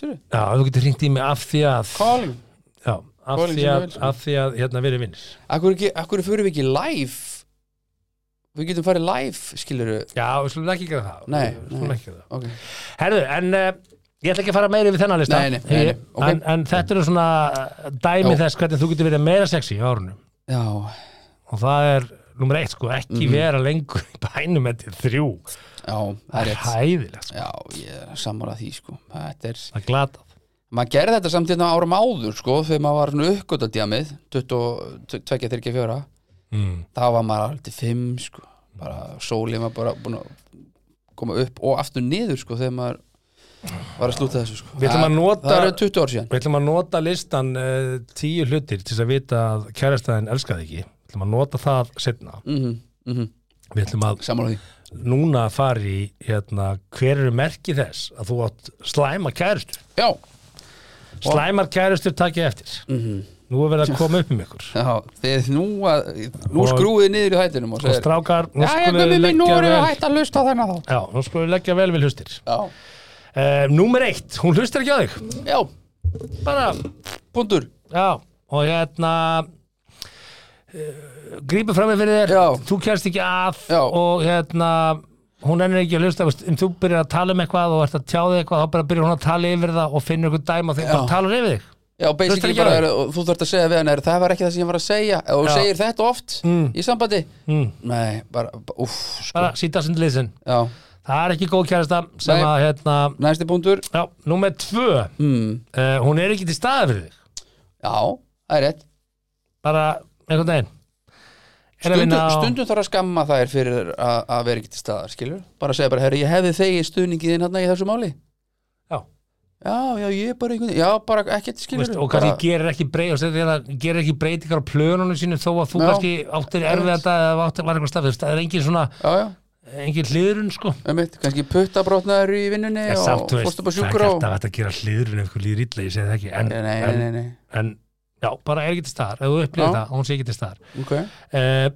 Speaker 1: sérðu,
Speaker 2: já, þú getur ringt í mig af því að
Speaker 1: calling
Speaker 2: já, af
Speaker 1: Calling
Speaker 2: því
Speaker 1: sem ég
Speaker 2: að,
Speaker 1: vil, sko.
Speaker 2: af því að hérna verið vinnir
Speaker 1: akkur ekki, akkur fyrir við ekki live við getum farið live skiluru,
Speaker 2: já, við slúum ekki gera það
Speaker 1: Nei,
Speaker 2: Við skulum
Speaker 1: nei.
Speaker 2: ekki gera það.
Speaker 1: ok
Speaker 2: herðu, en uh, ég ætla ekki að fara meira við þennan lista
Speaker 1: Nei, nei, nei, nei,
Speaker 2: Ég-
Speaker 1: ok.
Speaker 2: en, en þetta eru svona eh, dæmi
Speaker 1: Já.
Speaker 2: þess hvernig þú getur verið meira sexy á árunum
Speaker 1: já,
Speaker 2: og það er nummer eitt sko, ekki
Speaker 1: Mhm.
Speaker 2: vera lengur í bænum eftir þrjú
Speaker 1: já, það er rétt
Speaker 2: hæðilegt, sko.
Speaker 1: já, ég er sammála því sko þetta er
Speaker 2: það er glatað
Speaker 1: maður gerði þetta samt hérna árum áður sko, þegar maður var svona uppgöta djamið 22-34
Speaker 2: mm.
Speaker 1: þá var maður aldrei 5 sko. bara sólið maður bara búin að koma upp og aftur niður sko, þegar maður var að slúta þessu sko.
Speaker 2: Við ætlum að
Speaker 1: Það-
Speaker 2: nota-
Speaker 1: það eru 20 ár síðan
Speaker 2: við ætlum að nota listan uh, tíu hlutir til þess að vita að kærastæðin elskaði ekki við ætlum að nota það setna
Speaker 1: mm -hmm, mm -hmm.
Speaker 2: við ætlum að
Speaker 1: sammála því
Speaker 2: núna fara í hérna, hver eru merki þess að þú átt slæma kærastur
Speaker 1: já,
Speaker 2: slæmar kærastur takja eftir
Speaker 1: Mhm.
Speaker 2: nú er verið að koma upp um ykkur
Speaker 1: já, þið nú, að, nú
Speaker 2: Og-
Speaker 1: skrúið niður í hættinum og
Speaker 2: og
Speaker 1: segir
Speaker 2: strákar, nú
Speaker 1: já, ég
Speaker 2: skulum
Speaker 1: gummi
Speaker 2: við
Speaker 1: minn, nú
Speaker 2: leggja
Speaker 1: erum við
Speaker 2: vel
Speaker 1: hætt að lusta þennan þá
Speaker 2: já, nú skulum við leggja vel við hlustir
Speaker 1: já,
Speaker 2: uh, númer eitt, hún hlustar ekki á þig
Speaker 1: já,
Speaker 2: bara
Speaker 1: pundur
Speaker 2: Já, og hérna uh, grípur fram með fyrir þér
Speaker 1: Já.
Speaker 2: þú kjærst ekki að
Speaker 1: Já.
Speaker 2: og hérna hún ennir ekki að hlusta veist, en þú byrjar að tala um eitthvað og ert að tjá þig eitthvað þá bara byrjar hún að tala yfir það og finnur eitthvað dæma og þegar
Speaker 1: Já.
Speaker 2: bara talar yfir þig
Speaker 1: Já, basically
Speaker 2: ekki á
Speaker 1: bara,
Speaker 2: þig?
Speaker 1: er, og þú þarft að segja við hann er, það var ekki það sem ég var að segja og þú
Speaker 2: Já.
Speaker 1: segir þetta oft í sambandi
Speaker 2: mm,
Speaker 1: Nei, bara, bara uff sko.
Speaker 2: bara síta sinni liðsinn
Speaker 1: Já,
Speaker 2: það er ekki góð kjærasta sem
Speaker 1: Nei.
Speaker 2: að hérna
Speaker 1: næsti punktur
Speaker 2: já, númer tvö
Speaker 1: mm.
Speaker 2: uh, hún er ekki til staða fyrir þig
Speaker 1: Já, það er rétt
Speaker 2: bara einhvern veginn Er að
Speaker 1: Stundum,
Speaker 2: vinna á-
Speaker 1: stundum þarf að skamma þær fyrir að að vera ekki til staðar, skilur Bara segja bara, herri, ég hefði þegi stuðningið þinn hann í þessu máli
Speaker 2: Já.
Speaker 1: Já, já, ég er bara einhvern Já, bara ekkert,
Speaker 2: Þú
Speaker 1: skilur
Speaker 2: veist, og kannski gerir ekki, brey, og sem þetta er að- gerir ekki breytingar á plönunum sínum þó að þú
Speaker 1: Já.
Speaker 2: kannski áttir erfið
Speaker 1: Einmitt.
Speaker 2: þetta eða áttir var eitthvað stafið, það er engin svona
Speaker 1: Já, já,
Speaker 2: engin hliðrun sko
Speaker 1: einmitt, kannski puttabrotnaður í vinnunni
Speaker 2: En samt,
Speaker 1: og
Speaker 2: þú veist,
Speaker 1: fórstu bara
Speaker 2: það er ekki
Speaker 1: sjúkur á
Speaker 2: alltaf hægt að gera hliðrun ef ykkur líður illa, ég segi það ekki en,
Speaker 1: Nei, nei,
Speaker 2: en,
Speaker 1: nei, nei,
Speaker 2: en já, bara er ekki til staðar, ef þú upplýðir
Speaker 1: Já.
Speaker 2: það, hún sé ekki til staðar
Speaker 1: nei Ok
Speaker 2: uh,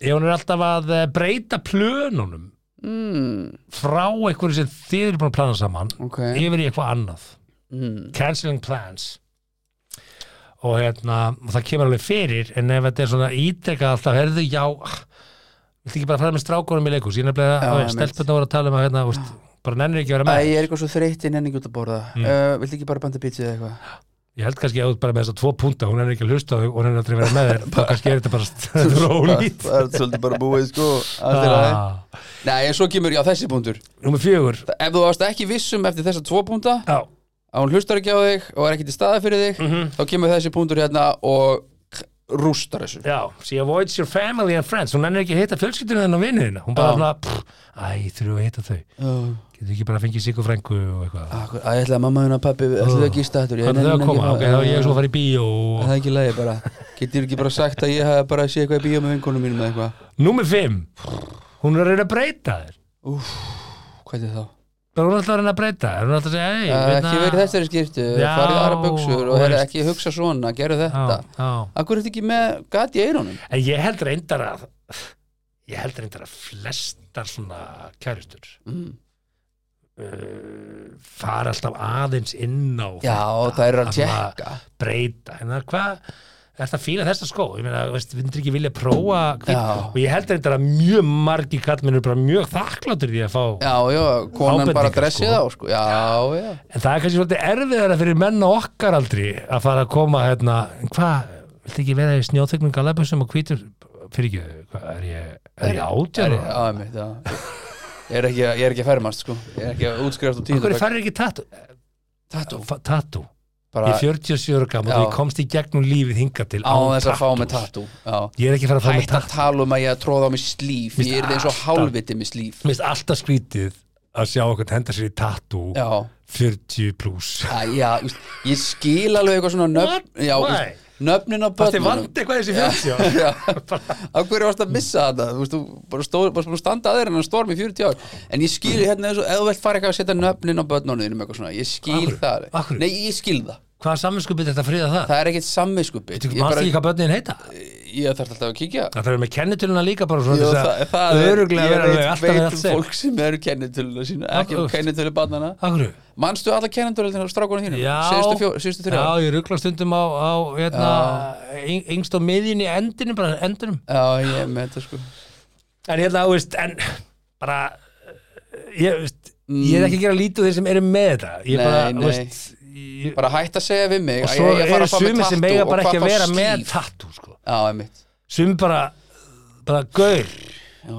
Speaker 2: ef hún er alltaf að eh, breyta plönunum
Speaker 1: mm,
Speaker 2: frá einhverju sem þið eru búin að plana saman
Speaker 1: Ok
Speaker 2: yfir í eitthvað annað
Speaker 1: mm.
Speaker 2: canceling plans og hérna, og það kemur alveg fyrir en ef þetta er svona ítekka alltaf herðu, já, viltu ekki bara fara með strákunum í leikus, ég er nefnilega
Speaker 1: Já,
Speaker 2: að
Speaker 1: einmitt.
Speaker 2: stelpunna voru að tala um að hérna, veist, bara nennir ekki að
Speaker 1: Æ,
Speaker 2: vera með
Speaker 1: ég er eitthvað svo þreytti en ekki út að borða mm. uh, Viltu ekki bara banda pítsu eða eitthvað?
Speaker 2: ég held kannski að þú ert bara með þessa tvo punta hún er ekki að hlusta á þig og hún er aldrei að vera með þér þá kannski er þetta bara þetta er ólít
Speaker 1: Það er svolítið bara búið sko Allt er að-
Speaker 2: Ah,
Speaker 1: Nei, en svo kemur já þessi punktur
Speaker 2: Númer fjögur
Speaker 1: Þa- Ef þú varst ekki vissum eftir þessa tvo punkta
Speaker 2: Já,
Speaker 1: að hún hlustar ekki á þig og er ekki til staða fyrir þig
Speaker 2: Mhm.
Speaker 1: þá kemur þessi punktur hérna og k- rústar þessu
Speaker 2: já, she avoids your family and friends hún er ekki að hitta fjölskyldunum þennan og vinnu þína hún bara
Speaker 1: Já.
Speaker 2: svona, pff, æ, þurfum við að hitta þau
Speaker 1: Æ,
Speaker 2: getur ekki bara að fengið sig og frængu og eitthvað
Speaker 1: ég ætla að mamma hérna pappi ætla þau að gista þetta
Speaker 2: Hvernig þau að koma, ok, Uh, þá ég er svo að fara í bíó og...
Speaker 1: Það er ekki lægi bara Getur ekki bara sagt að ég hef bara séð eitthvað í bíó með vinkonum mínum eða eitthvað
Speaker 2: Númer 5 Hún er að reyna að breyta þér
Speaker 1: Hvað er það?
Speaker 2: Bara hún er alltaf að reyna að breyta þér Hún er alltaf að segja,
Speaker 1: Uh,
Speaker 2: hérna hei,
Speaker 1: ekki verið þessari skiptu,
Speaker 2: Já,
Speaker 1: farið aðra buksur og hefði
Speaker 2: veist.
Speaker 1: ekki hugsa svona, gerðu þetta
Speaker 2: Já, já
Speaker 1: Akkur er þetta ekki með gat í eyrunum?
Speaker 2: En ég held reyndar að ég held reyndar að flestar svona kærustur mm. uh, fara alltaf aðeins inn á
Speaker 1: Já, það eru að
Speaker 2: svona
Speaker 1: tjekka.
Speaker 2: breyta, en það er hvað er það fíla þessa skó, ég meina, veist, við myndir ekki vilja prófa hvít,
Speaker 1: Já.
Speaker 2: og ég held reyndar að mjög margi kallminn eru bara mjög þakkláttur því að fá,
Speaker 1: Já, já, konan bara
Speaker 2: Ábendingar,
Speaker 1: dressið
Speaker 2: sko.
Speaker 1: á sko. Já, já,
Speaker 2: en það er kannski svolítið erfiðara fyrir menna okkar aldrei að fara að koma hérna, hvað, viltu ekki vera í snjóþögnum galabusum og hvítur fyrir ekki, hvað er ég, er ég átján?
Speaker 1: já, einmitt, já. Ég er ekki, að- ég er ekki að fermast sko. Ég er ekki að útskrifast úr
Speaker 2: Akkur
Speaker 1: tíðum
Speaker 2: er farir ekki tattu?
Speaker 1: Tattoo.
Speaker 2: Fa- Tattu, ég
Speaker 1: bara
Speaker 2: er 47 ára gammal og
Speaker 1: Já.
Speaker 2: ég komst í gegnum lífið hinga til
Speaker 1: á þess að fá
Speaker 2: tattoos.
Speaker 1: með tattoo Já.
Speaker 2: Ég er ekki að fara að fá með
Speaker 1: Hætt að
Speaker 2: tattu
Speaker 1: tala um að ég að tróða á mig slíf
Speaker 2: Mér
Speaker 1: Ég er eins og
Speaker 2: alltaf-
Speaker 1: hálfviti með slíf
Speaker 2: Mér finnst alltaf skrítið að sjá okkur henda sér í tattu
Speaker 1: Já,
Speaker 2: 40 pluss
Speaker 1: Æ, já, þú veist, ég skil alveg eitthvað svona nöfn,
Speaker 2: What?
Speaker 1: já, þú
Speaker 2: Why?
Speaker 1: veist, nöfnin á
Speaker 2: Það er
Speaker 1: börnunum
Speaker 2: vandi eitthvað þessi 40 ára
Speaker 1: Já, af hverju varst að missa þetta þú veist, þú bara stóð, bara búin að standa að þér en hann storm í 40 ár, en ég skil hérna eins og eða þú vilt fara eitthvað að setja nöfnin á börnunum þínum eitthvað svona, ég skil
Speaker 2: Af hverju?
Speaker 1: það
Speaker 2: Af hverju?
Speaker 1: Nei, ég skil það,
Speaker 2: Hvaða samvinskupið þetta friða það?
Speaker 1: það er ekkit samviskupi
Speaker 2: Þú manst ekki hvað börnin heita?
Speaker 1: ég þarf alltaf að kíkja
Speaker 2: Það þarf með kennitöluna líka bara svona
Speaker 1: Jó,
Speaker 2: þess
Speaker 1: það,
Speaker 2: að
Speaker 1: það er,
Speaker 2: Öruglega vera alveg
Speaker 1: ég
Speaker 2: alltaf
Speaker 1: veit,
Speaker 2: við
Speaker 1: veit
Speaker 2: allt
Speaker 1: fólk
Speaker 2: segja
Speaker 1: sem eru kennitöluna sína, ekki
Speaker 2: Af-
Speaker 1: kennitölu barnana
Speaker 2: Akkur?
Speaker 1: Manstu alla kennitöluna á strákunum þínum?
Speaker 2: Já,
Speaker 1: Síðustu fjó- Síðustu
Speaker 2: já,
Speaker 1: þrjá?
Speaker 2: ég ruggla stundum á, á hérna, yng- yngst á miðjunni endinum, bara endinum
Speaker 1: Já, ég er með þetta sko
Speaker 2: en hérna, þú veist, en bara ég, veist, ég er ekki að gera lítið úr þeir sem eru með þetta
Speaker 1: Mm.
Speaker 2: ég
Speaker 1: Nei,
Speaker 2: bara,
Speaker 1: nei.
Speaker 2: þú veist ég,
Speaker 1: Bara hætt að segja við mig
Speaker 2: og
Speaker 1: að
Speaker 2: svo
Speaker 1: ég- ég fara
Speaker 2: eru
Speaker 1: að fá mér
Speaker 2: sumir sem
Speaker 1: tattoo
Speaker 2: eiga
Speaker 1: og
Speaker 2: bara
Speaker 1: hvað
Speaker 2: ekki
Speaker 1: þá
Speaker 2: að vera með
Speaker 1: slíf?
Speaker 2: tattoo sko.
Speaker 1: Já, einmitt
Speaker 2: sumir bara, bara gaur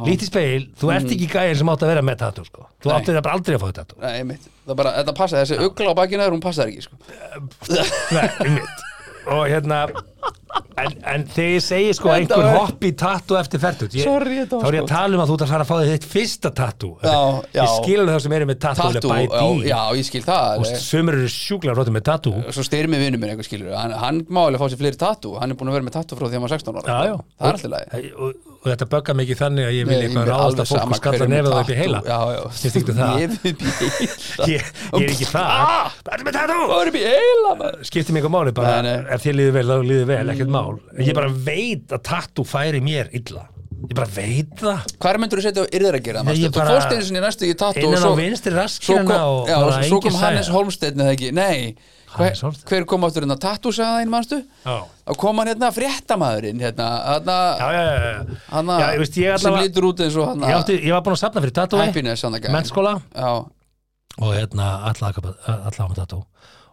Speaker 2: lítið speil, þú
Speaker 1: Mm.
Speaker 2: ert ekki gæðin sem átt að vera með tattoo sko. þú átt þetta bara aldrei að fá þetta tattoo
Speaker 1: Nei, einmitt Það bara, þetta passa, þessi ugla á bakinu þér, hún passar ekki sko
Speaker 2: Nei, einmitt. og hérna en, en þegar ég segi sko
Speaker 1: Þetta
Speaker 2: einhver
Speaker 1: var-
Speaker 2: hopp í tattoo eftir fertut ég,
Speaker 1: Sorry, þetta var
Speaker 2: þá er ég að
Speaker 1: sko-
Speaker 2: tala um að þú ert að fara að fá þér þitt fyrsta tattoo
Speaker 1: Já, já.
Speaker 2: ég skil alveg þá sem eru með tattoo,
Speaker 1: Tattoo,
Speaker 2: alveg by
Speaker 1: já,
Speaker 2: deed.
Speaker 1: já, ég skil það
Speaker 2: og sömur eru sjúklega rótið með tattoo
Speaker 1: Svo styrir mig vinnum minn eitthvað skilur hann, hann má alveg fá sér fleiri tattoo Hann er búin að vera með tattoo frá því að maður 16 ára
Speaker 2: Já, já.
Speaker 1: Það er alltaf lagi
Speaker 2: og, og, og þetta böggar mig ekki þannig að ég vil
Speaker 1: Nei,
Speaker 2: eitthvað
Speaker 1: mér er
Speaker 2: ráðast
Speaker 1: alveg
Speaker 2: að fólk
Speaker 1: sama
Speaker 2: og skalla
Speaker 1: hverju með
Speaker 2: nefið á upp í
Speaker 1: tattoo.
Speaker 2: heila
Speaker 1: Já, já
Speaker 2: Finnst ykkur það?
Speaker 1: Nefið upp í heila
Speaker 2: ég, ég er ekki það
Speaker 1: Ah!
Speaker 2: Það er með tattoo
Speaker 1: Það er upp í heila maður.
Speaker 2: skiptir mig eitthvað máli bara
Speaker 1: Nei, nei.
Speaker 2: ef þér líður vel, þá líður vel, ekkert mál En ég bara veit að tattoo færi mér illa ég bara veit það
Speaker 1: Hvar myndur þú setja á yrðir að gera það?
Speaker 2: Nei, ég
Speaker 1: manstu? Þú
Speaker 2: bara-
Speaker 1: fórst einu sinni næstu í tattoo og
Speaker 2: innan á
Speaker 1: svo-
Speaker 2: vinstri
Speaker 1: svo kom-
Speaker 2: raskina og
Speaker 1: Já,
Speaker 2: bara
Speaker 1: svo kom
Speaker 2: engin
Speaker 1: Hannes
Speaker 2: sagði.
Speaker 1: Holmsteinn eða ekki Nei,
Speaker 2: Hannes
Speaker 1: hver,
Speaker 2: Hólmsteinn.
Speaker 1: hver kom áttur hérna tattoo sagði mannstu?
Speaker 2: Já.
Speaker 1: Þá kom hann hérna fréttamaðurinn hérna, hérna,
Speaker 2: já, já, já, já.
Speaker 1: hérna
Speaker 2: já ég veist, ég
Speaker 1: sem
Speaker 2: allavega
Speaker 1: lítur út eins og
Speaker 2: ég,
Speaker 1: hérna
Speaker 2: átti, ég var búinn að safna fyrir tattoo
Speaker 1: happiness hann að
Speaker 2: mennskóla
Speaker 1: Já,
Speaker 2: og hérna allavega allavega með tattoo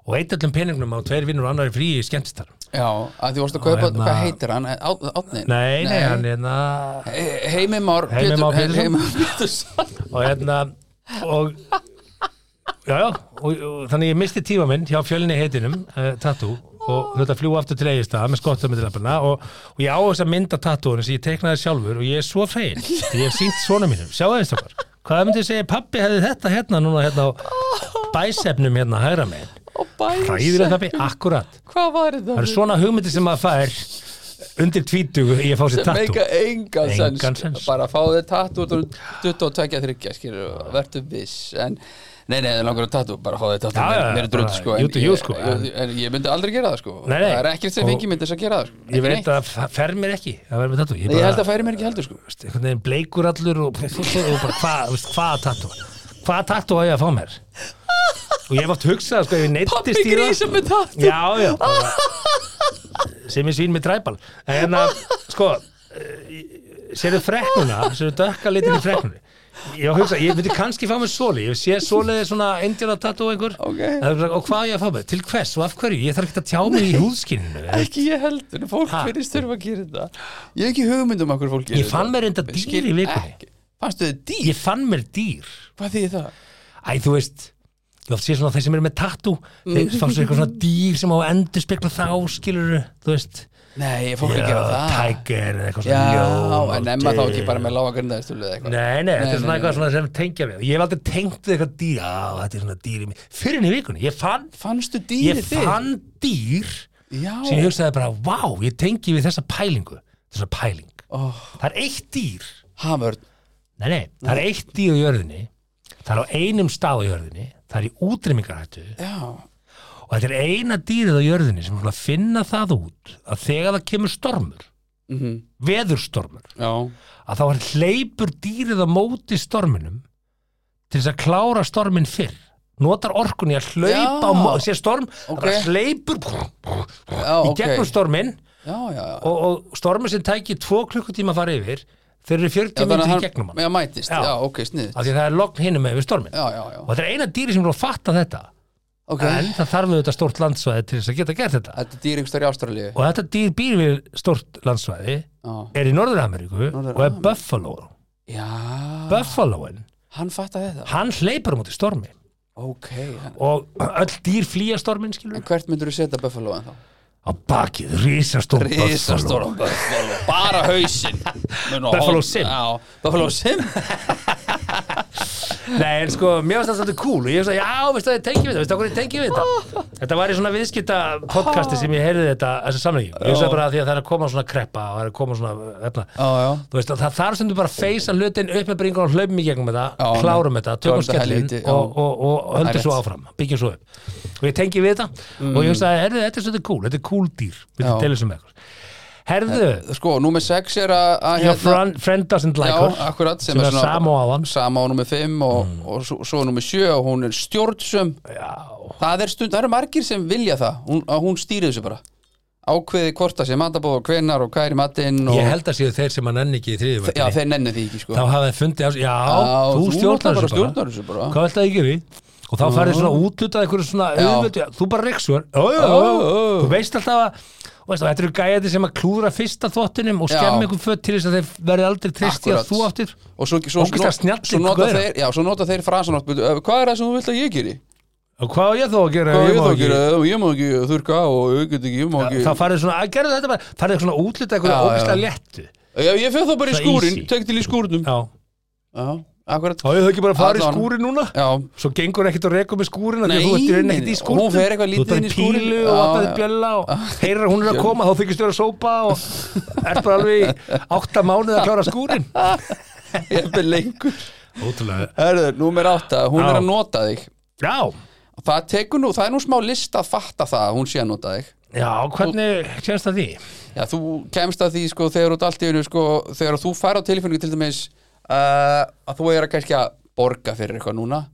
Speaker 2: og eitt öllum peningnum á tveir vinnur og annar í frí í skemmtistar
Speaker 1: já, að því vorst að kaupa,
Speaker 2: hérna-
Speaker 1: hvað heitir hann? Átnin?
Speaker 2: nei, nei, hann hérna
Speaker 1: Heimi Már
Speaker 2: Heimir Már Pétursson.
Speaker 1: Heimi Már Pétursson
Speaker 2: og hérna og já, já, og, og þannig ég misti tíma minn hjá fjölni heitinum uh, tattoo og þetta fljú aftur til eigistað með skottamindilabana og, og ég á þess að mynda tattooinu sem ég teiknaði sjálfur og ég er svo fegin ég hef sínt svona mínum, sjá aðeins okkar hvað myndi ég segja, pappi hefði þetta hérna núna hérna á bæsefnum hérna hægra megin
Speaker 1: og bæs
Speaker 2: hræðilegt pappi, akkurat
Speaker 1: Hvað var
Speaker 2: það
Speaker 1: þetta?
Speaker 2: eru svona hugmyndir sem maður fær undir tvítugu í að fá sér tattoo
Speaker 1: Meika engan sens,
Speaker 2: Engan sens.
Speaker 1: Bara fá þér tattoo út og 22 þryggja skilur og verður viss en Nei, nei, það langar að tattoo, bara fá þér tattoo
Speaker 2: Já, já,
Speaker 1: mér- mér er drull,
Speaker 2: bara
Speaker 1: sko,
Speaker 2: you do
Speaker 1: en,
Speaker 2: you,
Speaker 1: ég,
Speaker 2: sko,
Speaker 1: en,
Speaker 2: en-
Speaker 1: ég myndi aldrei gera það, sko
Speaker 2: Nei, nei.
Speaker 1: Það er ekkert sem
Speaker 2: Og-
Speaker 1: fengi myndi þess að gera það, sko
Speaker 2: ég
Speaker 1: Ekki
Speaker 2: veit
Speaker 1: neitt.
Speaker 2: að það fer mér ekki það verður með tattoo
Speaker 1: Nei, Ég held að færi mér ekki heldur, sko
Speaker 2: veist, einhvern veginn bleikur allur og, og bara hvað, þú veist, hvaða tattoo hvaða tattoo á ég að fá mér og ég hef oft hugsað, sko, ef ég neittist
Speaker 1: Pappi grísum með tattoo
Speaker 2: já, já bara, sem ég svín með dræbal en hérna, sko eh, sérðu freknuna, sérðu dökka litin í freknunni ég hef hugsað, ég myndi kannski fá mér soli, ég sé soliði svona indjána tattoo einhver
Speaker 1: Ok.
Speaker 2: En það er bara, og hvað á ég að fá mér, til hvers og af hverju ég þarf ekki að tjá mig í húðskinninu
Speaker 1: Ekki ég heldur, fólk
Speaker 2: Ha?
Speaker 1: finnst þurfa að gera þetta Ég hef ekki hugmynd um okkur fólk gerir
Speaker 2: ég fann mér enda
Speaker 1: Ég
Speaker 2: dýr
Speaker 1: skil
Speaker 2: í vikunni
Speaker 1: ekki. Fannstu þið dýr?
Speaker 2: ég fann mér dýr
Speaker 1: Hvað þýðir það?
Speaker 2: Æ, þú veist Ég oft sé svona þeir sem eru með tattoo Þeir fá sér eitthvað svona dýr sem á að endur spekla þá skilur Þú veist
Speaker 1: Nei, ég fór ekki að gera það
Speaker 2: Tiger eða eitthvað
Speaker 1: Já,
Speaker 2: svona ljón
Speaker 1: en
Speaker 2: og
Speaker 1: emma þá
Speaker 2: deer.
Speaker 1: ekki bara með lága grindaðistölu eða eitthvað
Speaker 2: Nei, nei, þetta
Speaker 1: Nei,
Speaker 2: er svona
Speaker 1: nei,
Speaker 2: eitthvað
Speaker 1: nei.
Speaker 2: svona sem tengja mig Ég hef aldrei tengt við eitthvað dýr Já, þetta er svona dýr í mig Fyrir henni vikunni, ég fann
Speaker 1: Fannstu
Speaker 2: Ég
Speaker 1: dýrið þitt?
Speaker 2: fann dýr
Speaker 1: Já,
Speaker 2: sem ég hugsaði bara, vá, ég tengi við þessa pælingu Þessa pæling
Speaker 1: oh,
Speaker 2: Það er eitt dýr
Speaker 1: Hamörn
Speaker 2: Nei, nei, það
Speaker 1: Mm.
Speaker 2: er eitt dýr á jörðinni Það er á einum stað á jörðinni Það er í útrýmingarhættu
Speaker 1: Já,
Speaker 2: og þetta er eina dýrið á jörðinni sem svona finna það út að þegar það kemur stormur
Speaker 1: Mhm.
Speaker 2: veðurstormur
Speaker 1: já,
Speaker 2: að þá er hleypur dýrið á móti storminum til þess að klára stormin fyrr notar orkun í að hlaupa
Speaker 1: Já.
Speaker 2: á móti sér storm,
Speaker 1: Ok.
Speaker 2: okay. bara hleypur
Speaker 1: já,
Speaker 2: í
Speaker 1: ok.
Speaker 2: gegnum stormin
Speaker 1: já, já, já.
Speaker 2: og, og stormur sem tæki tvo klukkutíma að fara yfir þeir eru 40
Speaker 1: þannig að
Speaker 2: minnir í
Speaker 1: hann-
Speaker 2: gegnum hann
Speaker 1: já, mætist,
Speaker 2: Já.
Speaker 1: já, ok, snið
Speaker 2: af því að það er logn hinum með yfir stormin
Speaker 1: já, já, já,
Speaker 2: og þetta er eina dýri sem er að fatta þetta
Speaker 1: ok
Speaker 2: en það þarf auðvitað stórt landsvæði til þess að geta gert þetta
Speaker 1: þetta er dýr einhverstað í Ástralíu
Speaker 2: og þetta dýr býr við stórt landsvæði
Speaker 1: já.
Speaker 2: er í Norður-Ameríku og er Buffalo
Speaker 1: já,
Speaker 2: Buffaloin,
Speaker 1: hann fattar þetta
Speaker 2: hann hleypur á móti stormi
Speaker 1: ok, en
Speaker 2: og öll dýr flýja stormin skilur
Speaker 1: en hvert myndur þú setja Buffalo en þá?
Speaker 2: á bakið, risastór
Speaker 1: Rísastóra
Speaker 2: Buffalo
Speaker 1: Buffalo bara hausinn Mun á
Speaker 2: Buffalo
Speaker 1: hol-
Speaker 2: Sim.
Speaker 1: já, Buffalo Sim
Speaker 2: nei en sko, mér finnst það svolítið cool og ég finnst að já, veistu að ég tengi við þetta, veistu að hvernig ég tengi við þetta þetta var í svona viðskipta podcasti sem ég heyrði þetta, þessi samlíking ég finnst það bara að því að það er að koma svona kreppa og það er að koma svona, þetta
Speaker 1: já, já
Speaker 2: þú veist, að það þarf stundum bara að feysa hlutin upp með bringur og hlaupum í gegnum þetta,
Speaker 1: Já,
Speaker 2: klárum þetta, tökum
Speaker 1: Klárum þetta
Speaker 2: skellin
Speaker 1: helvíti, já.
Speaker 2: og, og, og, og
Speaker 1: Það er
Speaker 2: höndum
Speaker 1: rétt.
Speaker 2: svo
Speaker 1: Mm.
Speaker 2: áfram, byggjum svo upp og ég tengi við þetta og ég hugsaði, herðu, þetta er svolítið cool, þetta er cool dýr við
Speaker 1: Já.
Speaker 2: þetta telum sem eitthvað herðu,
Speaker 1: sko, númer 6 er að að
Speaker 2: your friend, friend doesn't like
Speaker 1: Hérna- já,
Speaker 2: her
Speaker 1: akkurat sem,
Speaker 2: sem
Speaker 1: er
Speaker 2: er
Speaker 1: svona
Speaker 2: Samo áðan.
Speaker 1: sama á númer 5 og, og svo, svo númer 7 og hún er stjórnsum
Speaker 2: já,
Speaker 1: það er stund, það eru margir sem vilja það hún, að hún stýri þessu bara ákveði hvort það sé matabóð og hvenar og hvað er í matinn og
Speaker 2: ég held að séu þeir sem hann enn ekki í
Speaker 1: já,
Speaker 2: þriðjumvættinni
Speaker 1: þeir nenni því ekki sko
Speaker 2: þá hafa þeir fundið á, já,
Speaker 1: Já,
Speaker 2: þú
Speaker 1: náttúrulega
Speaker 2: stjórnar
Speaker 1: bara
Speaker 2: þessu bara
Speaker 1: stjórnar þessu bara
Speaker 2: hvað ætlaði ekki við? Og þá færði svona útlutað einhverju svona auðvöldu, þú bara reiksur,
Speaker 1: Ó, ó.
Speaker 2: þú veist alltaf að, þú veist, og þetta eru gæði sem að klúðra fyrsta þvottinum og
Speaker 1: Já.
Speaker 2: skemmi einhver föt til þess að þeir verði aldrei trist í að
Speaker 1: Akkúrat.
Speaker 2: þú áttir.
Speaker 1: og svo, svo, svo,
Speaker 2: Ógeðslega snjallir
Speaker 1: svo nota
Speaker 2: gaurar.
Speaker 1: þeir já, svo nota þeir frasan oft, "Bíddu, hvað er það sem þú vilt að ég geri?
Speaker 2: Og hvað á ég þó að gera?
Speaker 1: hvað
Speaker 2: ef
Speaker 1: er
Speaker 2: má
Speaker 1: það að
Speaker 2: ekki-
Speaker 1: gera? ég má ekki þurka og ég get ekki, ég má ekki
Speaker 2: Þá færði svona, að gera þetta bara, færði svona útlutað
Speaker 1: Já,
Speaker 2: einhverju
Speaker 1: já.
Speaker 2: ógislega léttu.
Speaker 1: já, ég fer þá bara í
Speaker 2: Það er
Speaker 1: skúrin,
Speaker 2: easy.
Speaker 1: tek til í skúrinum
Speaker 2: Já,
Speaker 1: já, akkurat
Speaker 2: þá hefur þau ekki bara að fara í
Speaker 1: Allan.
Speaker 2: skúrin núna?
Speaker 1: já,
Speaker 2: Svo gengur ekkert að reka með skúrin, því
Speaker 1: Nei,
Speaker 2: að þú ert í rauninni ekkert í
Speaker 1: nei,
Speaker 2: skúrin.
Speaker 1: hún fer eitthvað lítið inn í skúrinn.
Speaker 2: Þú ert bara í pílu og
Speaker 1: Já,
Speaker 2: alltaf
Speaker 1: já.
Speaker 2: bjölla og heyrir að hún er að koma, þá þykist þú að sópa og ert bara alveg í átta mánuð að klára skúrin.
Speaker 1: ég er með lengur
Speaker 2: Ótrúlega.
Speaker 1: herður, númer átta, hún
Speaker 2: Já.
Speaker 1: er að nota þig
Speaker 2: Já,
Speaker 1: það tekur nú, það er nú smá list að fatta það að hún sé að nota þig
Speaker 2: já, hvernig kemst það því?
Speaker 1: Já, þú kemst að því sko þegar út allt í einu sko þegar þú fær á tilfinningu til dæmis uh, að þú er að kannski að borga fyrir eitthvað núna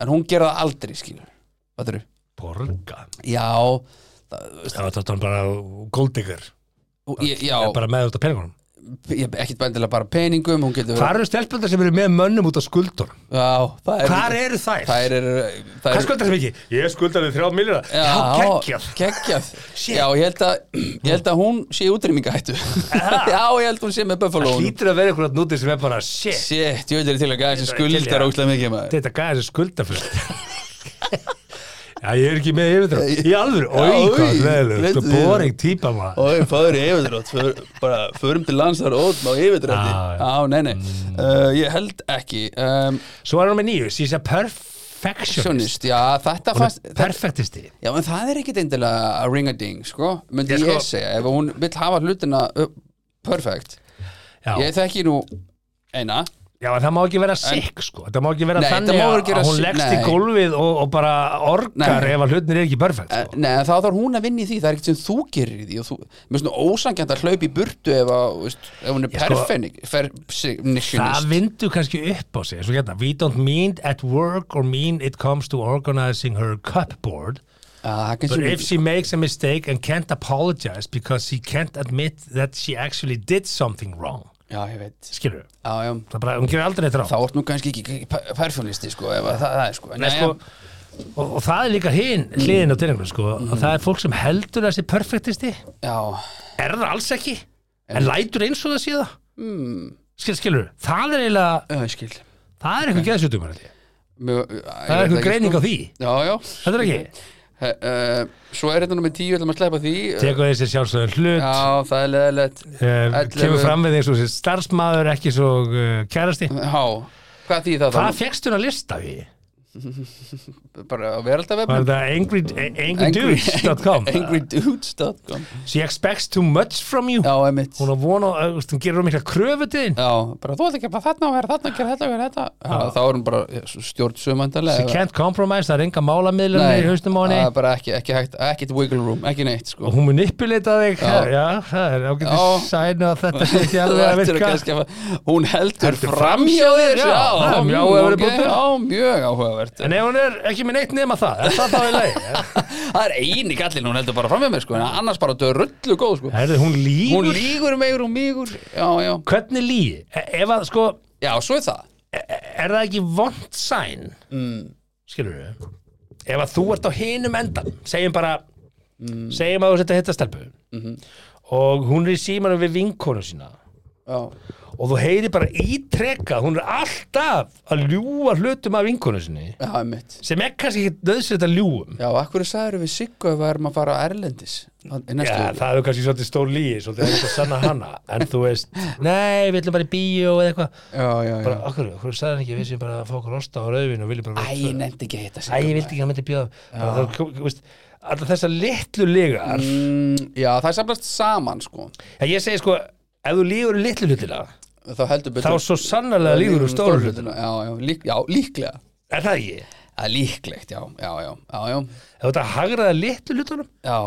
Speaker 1: en hún gera það aldrei skilur Fattur þú?
Speaker 2: Borga.
Speaker 1: Já,
Speaker 2: Það var þetta bara goldigger,
Speaker 1: þú- ég, já
Speaker 2: bara með út af peningunum.
Speaker 1: ég, ekkit bændilega bara peningum hún getur
Speaker 2: Hvar eru stelpöldar sem eru með mönnum út af skuldur?
Speaker 1: Já, það er
Speaker 2: Hvar eru þær?
Speaker 1: Það er, það
Speaker 2: Hvað
Speaker 1: er
Speaker 2: skuldar sem ekki? Ég skuldar þið þrjá miljóna. Já, geggjað.
Speaker 1: geggjað. Já, ég held, að, ég held að hún sé útrýmingahættu Já, ég held hún sé með Buffalo
Speaker 2: Það hlýtur að vera einhverjum nútið sem er bara, shit,
Speaker 1: Shit, ég veit er til að gæða sem
Speaker 2: Ég er til í
Speaker 1: skuldar
Speaker 2: að-
Speaker 1: óslega mikið maður
Speaker 2: þetta gæði þessi skuldafrönd Já, ég er ekki með yfirdrátt Í alvöru, oi,
Speaker 1: Já,
Speaker 2: hvað
Speaker 1: oj,
Speaker 2: leðileg Sko
Speaker 1: leðilegt.
Speaker 2: boring típa maður
Speaker 1: Ói, fáður í yfirdrátt för, bara förum til landsar og ótum á yfirdrætti
Speaker 2: Já, Mm. já.
Speaker 1: Já, nei, nei, uh, ég held ekki um,
Speaker 2: Svo er hann með nýju, she's a perfectionist
Speaker 1: Sjónist, já, þetta
Speaker 2: Hún
Speaker 1: fannst
Speaker 2: er
Speaker 1: þetta-
Speaker 2: perfektisti
Speaker 1: Já, en það er ekkit eindilega að ringa ding, sko myndi
Speaker 2: Ég
Speaker 1: ég,
Speaker 2: sko-
Speaker 1: segja, ef hún vill hafa hlutina uh, perfect
Speaker 2: Já,
Speaker 1: Ég þekki nú eina
Speaker 2: já, en það má ekki vera sikk sko Það má ekki vera
Speaker 1: Nei, það
Speaker 2: þannig
Speaker 1: má
Speaker 2: að,
Speaker 1: ekki vera
Speaker 2: að hún
Speaker 1: sikk,
Speaker 2: leggst í
Speaker 1: nei.
Speaker 2: gólfið og, og bara orgar
Speaker 1: Nei.
Speaker 2: ef að hlutin er ekki perfekt
Speaker 1: Eh,
Speaker 2: sko.
Speaker 1: Nei, en þá þarf hún að vinna í því, það er ekkert sem þú gerir í því og þú, mér finnst nú ósangjant að hlaupa í burtu ef, að, veist, ef hún er
Speaker 2: sko-
Speaker 1: perfenik
Speaker 2: Það
Speaker 1: perfectionist
Speaker 2: vindu kannski upp á sig, svo hérna We don't mean at work or mean it comes to organizing her cupboard
Speaker 1: Ah, það
Speaker 2: But
Speaker 1: kannski-
Speaker 2: if she makes a mistake and can't apologize because she can't admit that she actually did something wrong
Speaker 1: Já, ég veit
Speaker 2: skilur,
Speaker 1: Já, já,
Speaker 2: það er bara, hún gerir aldrei þetta
Speaker 1: þá
Speaker 2: rá
Speaker 1: ert nú kannski ekki pe- perfectionisti sko, ef að það, það er sko,
Speaker 2: Nei, sko, og, og það er líka hin hliðin á teiningur sko, að það er fólk sem heldur þessi perfektisti,
Speaker 1: já,
Speaker 2: er það alls ekki en lætur eins og það sé það mm. skilur, skilur, það er eiginlega
Speaker 1: já, ég skil
Speaker 2: það er eitthvað geðsjötumar það
Speaker 1: Mjö,
Speaker 2: er eitthvað
Speaker 1: sko?
Speaker 2: greining á því,
Speaker 1: já, já,
Speaker 2: þetta er ekki
Speaker 1: He, uh, svo er þetta nummer 10 ætlum að sleppa því
Speaker 2: tekur þessi sjálfsögðan hlut
Speaker 1: já, það er leðilegt
Speaker 2: eh,
Speaker 1: ellefu. Mm.
Speaker 2: kemur fram við eins og þessi starfsmaður ekki svo uh, kærasti
Speaker 1: já, hvað því það
Speaker 2: hvað
Speaker 1: þá?
Speaker 2: fegst hún að lista því?
Speaker 1: bara á veraldavefnum
Speaker 2: Var þetta angry, angrydudes.com
Speaker 1: angrydudes.com
Speaker 2: She expects too much from you
Speaker 1: Já, emitt
Speaker 2: Hún á vona, á- uh, þú veist, hún gerur mikla kröfu til þín
Speaker 1: Já, bara þú ert ekki að bara þarna að vera þarna að gera þetta að vera þetta Já, þá er hún bara stjórn
Speaker 2: She
Speaker 1: sömandalega
Speaker 2: can't compromise, það er enga málamiðlunni í haustum á henni
Speaker 1: er bara ekki, ekki hægt, ekkit wiggle room, ekki neitt sko
Speaker 2: og hún manipulita þig já. það er ágætið
Speaker 1: Já.
Speaker 2: sæn og þetta sé ekki
Speaker 1: Þú
Speaker 2: alveg að
Speaker 1: ættir að
Speaker 2: virka
Speaker 1: kannski að fara- Hún heldur
Speaker 2: Heldur
Speaker 1: fram hjá þér
Speaker 2: já,
Speaker 1: Já,
Speaker 2: það er
Speaker 1: mm,
Speaker 2: mjög áhugaverður
Speaker 1: ok,
Speaker 2: punktur.
Speaker 1: Já, mjög áhugavert
Speaker 2: en ef hún er ekki með neitt nema það er það þá í lagi
Speaker 1: Það er eini gallin, hún heldur bara fram hjá mér sko En annars bara dörrullu góð sko
Speaker 2: Herðu, hún lígur
Speaker 1: Hún lýgur megur og mígur Já, já,
Speaker 2: hvernig lígi? E ef að, sko,
Speaker 1: já, svo er það
Speaker 2: er það ekki vond sæn mm. skilur við ef að þú ert á hinum endan segjum bara, segjum að þú setja hitta stelpu og hún er í símanum við vinkonu sína
Speaker 1: Já,
Speaker 2: og þú heyri bara ítrekka hún er alltaf að ljúga hlutum af vinkonu sinni
Speaker 1: já, mitt
Speaker 2: sem er kannski ekki nöðsynlegt að ljúum
Speaker 1: Já, akkur sagður við Siggu ef við erum að fara erlendis í næstu
Speaker 2: Já,
Speaker 1: viku?
Speaker 2: það er kannski svolítið stór líi, svolítið er þetta að sanna hana en þú veist, nei, við ætlum bara í bíó eða eitthvað,
Speaker 1: já, já, já
Speaker 2: bara, okkur, okkur sagði hann ekki við sem bara að fá okkur rosta á rauðvin og viljum
Speaker 1: Æ,
Speaker 2: bara vera
Speaker 1: ég
Speaker 2: tvö.
Speaker 1: nefndi ekki að hitta
Speaker 2: Æ,
Speaker 1: Siggu
Speaker 2: ég vildi ekki að hann myndi bjóða Alltaf þessar litlu lygar
Speaker 1: Mm, Já, það er samlast saman sko
Speaker 2: En Ég segi sko, ef þú lígur litlu hlutina
Speaker 1: Þá heldur
Speaker 2: þá
Speaker 1: betur
Speaker 2: svo sannarlega lígur þú stóru hlutina
Speaker 1: hlutina Já, já, lík, já líklega
Speaker 2: Er það ekki?
Speaker 1: Það er líklegt, já, já, já, já, já
Speaker 2: Ef þú ert að hagraða litlu hlutunum
Speaker 1: Já,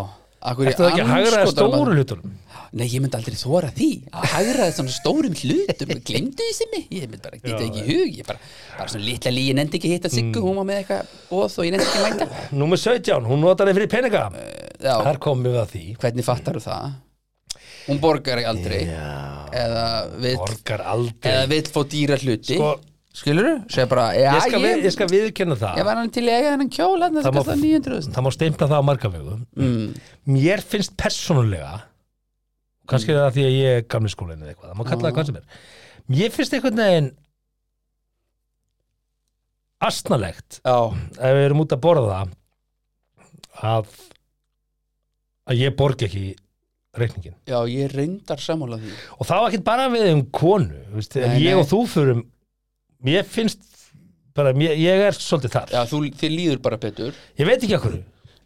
Speaker 1: akkur
Speaker 2: Ertu það ekki að hagraða stóru hlutunum?
Speaker 1: Nei, ég myndi aldrei þóra því að hagraði svona stórum hlutum glemdu því sem ég, ég myndi bara
Speaker 2: Já, Mm.
Speaker 1: geta ekki í hug ég bara, bara svona litla lí, ég nefndi ekki að hitta Siggu hún var með eitthvað bóð og ég nefndi ekki að mæta
Speaker 2: Númer 17, hún notar þig fyrir peninga
Speaker 1: Já,
Speaker 2: Þar komum við að því
Speaker 1: hvernig fattar það? Hún borgar aldrei
Speaker 2: Já,
Speaker 1: eða vill,
Speaker 2: orgar
Speaker 1: eða
Speaker 2: aldrei
Speaker 1: vill fá dýra hluti
Speaker 2: Sko,
Speaker 1: Skilur þú? Segð bara, já,
Speaker 2: ég skal, við,
Speaker 1: ég,
Speaker 2: ég skal viðurkenna það
Speaker 1: ég var hann til að eiga hennan kjól hann
Speaker 2: Það
Speaker 1: það
Speaker 2: má-
Speaker 1: kostar 900
Speaker 2: Það má steimpla það á margavegu
Speaker 1: mm.
Speaker 2: Mér finnst persónulega kannski
Speaker 1: Mm.
Speaker 2: er það því að ég er gamli skólinn eða eitthvað, það má kalla það hvað sem er Mér finnst einhvern veginn astnalegt
Speaker 1: Já,
Speaker 2: ef við erum út að borða að að ég borgi ekki reikningin
Speaker 1: já, ég reyndar sammála því
Speaker 2: og það var ekkert bara við um konu þú veist, ef
Speaker 1: Nei,
Speaker 2: ég
Speaker 1: nei.
Speaker 2: og þú fyrum mér finnst bara, mér, ég er svolítið þar
Speaker 1: Já, þú, þið líður bara betur
Speaker 2: ég veit ekki okkur,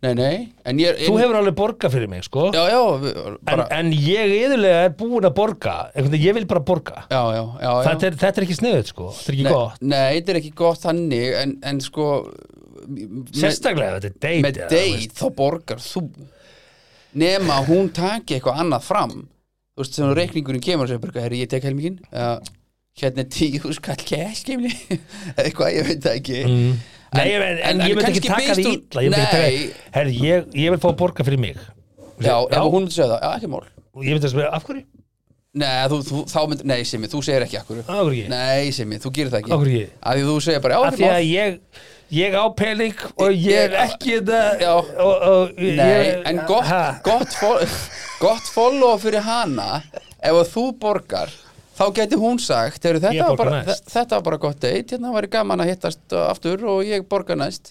Speaker 1: Nei, nei, en ég
Speaker 2: þú hefur alveg borgað fyrir mig sko,
Speaker 1: Já, já, við,
Speaker 2: en,
Speaker 1: bara
Speaker 2: en ég yðurlega er búin að borga einhvern veginn, ég vil bara borga
Speaker 1: Já, já, já, já
Speaker 2: þetta er, þetta er ekki sniðut sko, þetta er ekki
Speaker 1: nei,
Speaker 2: gott
Speaker 1: Nei, þetta er ekki gott þannig en, en sko með,
Speaker 2: sérstaklega ef þetta er date,
Speaker 1: með
Speaker 2: eða, þú veist.
Speaker 1: date þá borgar þú nema hún taki eitthvað annað fram þú veist, þegar reikningurinn kemur og segir bara, herri, ég tek helmingin uh, hérna er tíu skall cash kemur eitthvað, ég veit það ekki mm.
Speaker 2: Nei, en, en, en ég myndi ekki taka því illa Ég myndi ekki taka
Speaker 1: Nei,
Speaker 2: því Herri, ég, ég vil fá að borga fyrir mig
Speaker 1: já, ef hún myndi segja það, já, ekki mál
Speaker 2: Og Ég myndi að spyrja, af hverju?
Speaker 1: Nei, þú, þú, þá mynd, nei, Simmi, þú segir ekki akkur
Speaker 2: Af hverju ekki?
Speaker 1: Nei, Simmi, þú gerir það ekki
Speaker 2: Af hverju ekki?
Speaker 1: Af því þú segir bara, já,
Speaker 2: Af
Speaker 1: ekki
Speaker 2: því að
Speaker 1: mál
Speaker 2: ég, ég á pening og ég er ekki þetta
Speaker 1: Já.
Speaker 2: og, og,
Speaker 1: Nei,
Speaker 2: ég,
Speaker 1: en gott,
Speaker 2: Ha?
Speaker 1: gott, fol, gott follow fyrir hana ef að þú borgar þá geti hún sagt "Heyrðu,
Speaker 2: Ég
Speaker 1: þetta var,
Speaker 2: borga
Speaker 1: bara,
Speaker 2: næst."
Speaker 1: þe- þetta var bara gott deitt hérna væri gaman að hittast uh, aftur og ég borga næst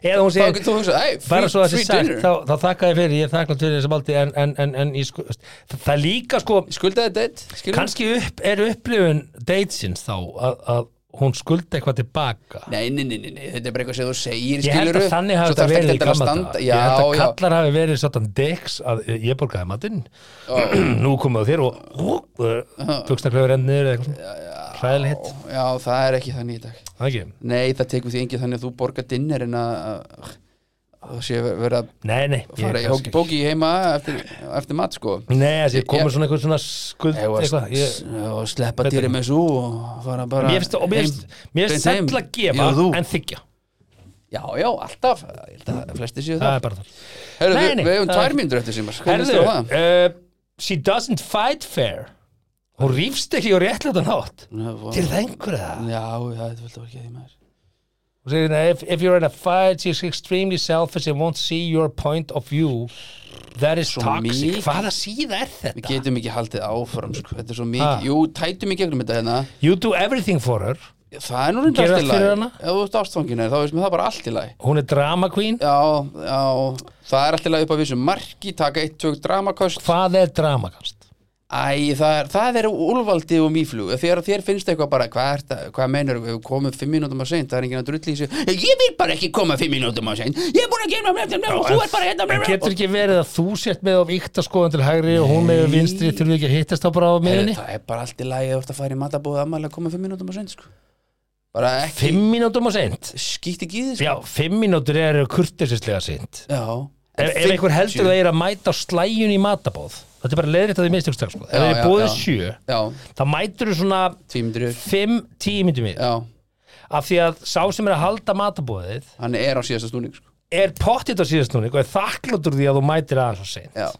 Speaker 2: Eða hún
Speaker 1: þá
Speaker 2: segir
Speaker 1: getur þú hugsað, ei,
Speaker 2: bara
Speaker 1: free,
Speaker 2: svo að
Speaker 1: free
Speaker 2: þessi sagt,
Speaker 1: dinner
Speaker 2: þá, þá þakka ég fyrir ég er þakklátt fyrir þessum aldrei en, en, en, en ég sko, það- það er líka sko
Speaker 1: skuldaði deitt, skilur
Speaker 2: kannski upp, er upplifun datesins þá að, að hún skulda eitthvað tilbaka
Speaker 1: Nei, nei, nei, nei, nei, þetta er bara eitthvað sem þú segir
Speaker 2: Ég held að
Speaker 1: skilurðu.
Speaker 2: þannig hafi
Speaker 1: Svo
Speaker 2: þetta
Speaker 1: þarf
Speaker 2: verið í
Speaker 1: ekkert endilega
Speaker 2: gamla
Speaker 1: að standa-
Speaker 2: dag Ég held að
Speaker 1: Já,
Speaker 2: kallar hafi verið svolítan deks að eh, ég borgaði matinn Nú komuðu þér og buksnaklöfur enn niður eða eitthvað Hræðileg hitt,
Speaker 1: já, já, það er ekki þannig í dag
Speaker 2: það ekki
Speaker 1: Nei, það tekur því engin þannig að þú borgar dinner en að að- að sé verið að
Speaker 2: Nei, nei, ég
Speaker 1: fara í
Speaker 2: kannski-
Speaker 1: hóki bóki heima eftir, eftir mat sko
Speaker 2: Nei, þessi,
Speaker 1: Ég-
Speaker 2: komið svona eitthvað svona skuld
Speaker 1: Ég var-
Speaker 2: eitthvað ég-
Speaker 1: og sleppa dýri með svo og fara bara
Speaker 2: Mér finnst- og mér finnst- mér
Speaker 1: beint
Speaker 2: finnst
Speaker 1: heim.
Speaker 2: sæll að
Speaker 1: Já,
Speaker 2: gefa
Speaker 1: þú.
Speaker 2: en þykja
Speaker 1: já, já, alltaf, Ég held að flesti séu
Speaker 2: Það
Speaker 1: það
Speaker 2: er bara það
Speaker 1: Heru,
Speaker 2: Nei,
Speaker 1: við,
Speaker 2: nei,
Speaker 1: við hefum
Speaker 2: það er-
Speaker 1: tvær mínútur eftir símar
Speaker 2: Herðu, uh, she doesn't fight fair Hún rýfst ekki og réttlega nátt Til það einhverja
Speaker 1: já, já, þetta viltu ekki að því maður
Speaker 2: Hún segir, "Now, if, if you're in a fight, she's extremely selfish and won't see your point of view. That is
Speaker 1: Svo
Speaker 2: toxic.
Speaker 1: mikið.
Speaker 2: Hvaða síða er
Speaker 1: við
Speaker 2: þetta?
Speaker 1: getum ekki haldið áfram sko. þetta er svo
Speaker 2: Ha.
Speaker 1: mikið, jú, tætum í gegnum þetta hérna
Speaker 2: You do everything for her.
Speaker 1: það er nú reynda
Speaker 2: Gera
Speaker 1: allt í
Speaker 2: allt fyrir
Speaker 1: lagi
Speaker 2: hana?
Speaker 1: ef þú ert ástfangin er, þá veist mér það bara allt í lagi
Speaker 2: Hún er drama queen.
Speaker 1: já, já, það er allt í lagi upp að vissu marki, taka eitt, tök dramakost
Speaker 2: Hvað er dramakast?
Speaker 1: Æ, það er, það er úlvaldi og mýflug þegar þér finnst eitthvað bara hvað, er, það- hvað meinar, við hefum komið fimm mínútum að seint það er enginn að drulli í sig, ég vil bara ekki koma fimm mínútum að seint, ég er búin að gera og þú er bara hérna
Speaker 2: En getur ekki verið að þú sért með of ykta skoðan til hægri og hún með vinstri þurfi ekki að hittast þá bara á
Speaker 1: Heyrðu,
Speaker 2: miðunni?
Speaker 1: það er bara allt í lagi að þú ert að fara í matabóð að maður að koma fimm mínútum að seint sko. bara ekki,
Speaker 2: Fimm mínútur má seint?
Speaker 1: skýtt ekki í því sko.
Speaker 2: Já, fimm mínútur eru kurtisislega seint.
Speaker 1: já, En
Speaker 2: Ef, ef einhver
Speaker 1: 50
Speaker 2: heldur það er að mæta á slæjun í matabóð, þetta er bara leiðrætt að því mistökstak sko. Ef
Speaker 1: Já,
Speaker 2: það er
Speaker 1: já,
Speaker 2: búið
Speaker 1: já.
Speaker 2: sjö,
Speaker 1: já,
Speaker 2: þá mætur þú svona
Speaker 1: tvímyndur já,
Speaker 2: fimm, tíu myndum við. Af því að sá sem er að halda matabóðið
Speaker 1: hann er á síðasta stúning sko.
Speaker 2: er pottitt á síðastnúning og er þakkláttur því að þú mætir aðeins og seint.
Speaker 1: já,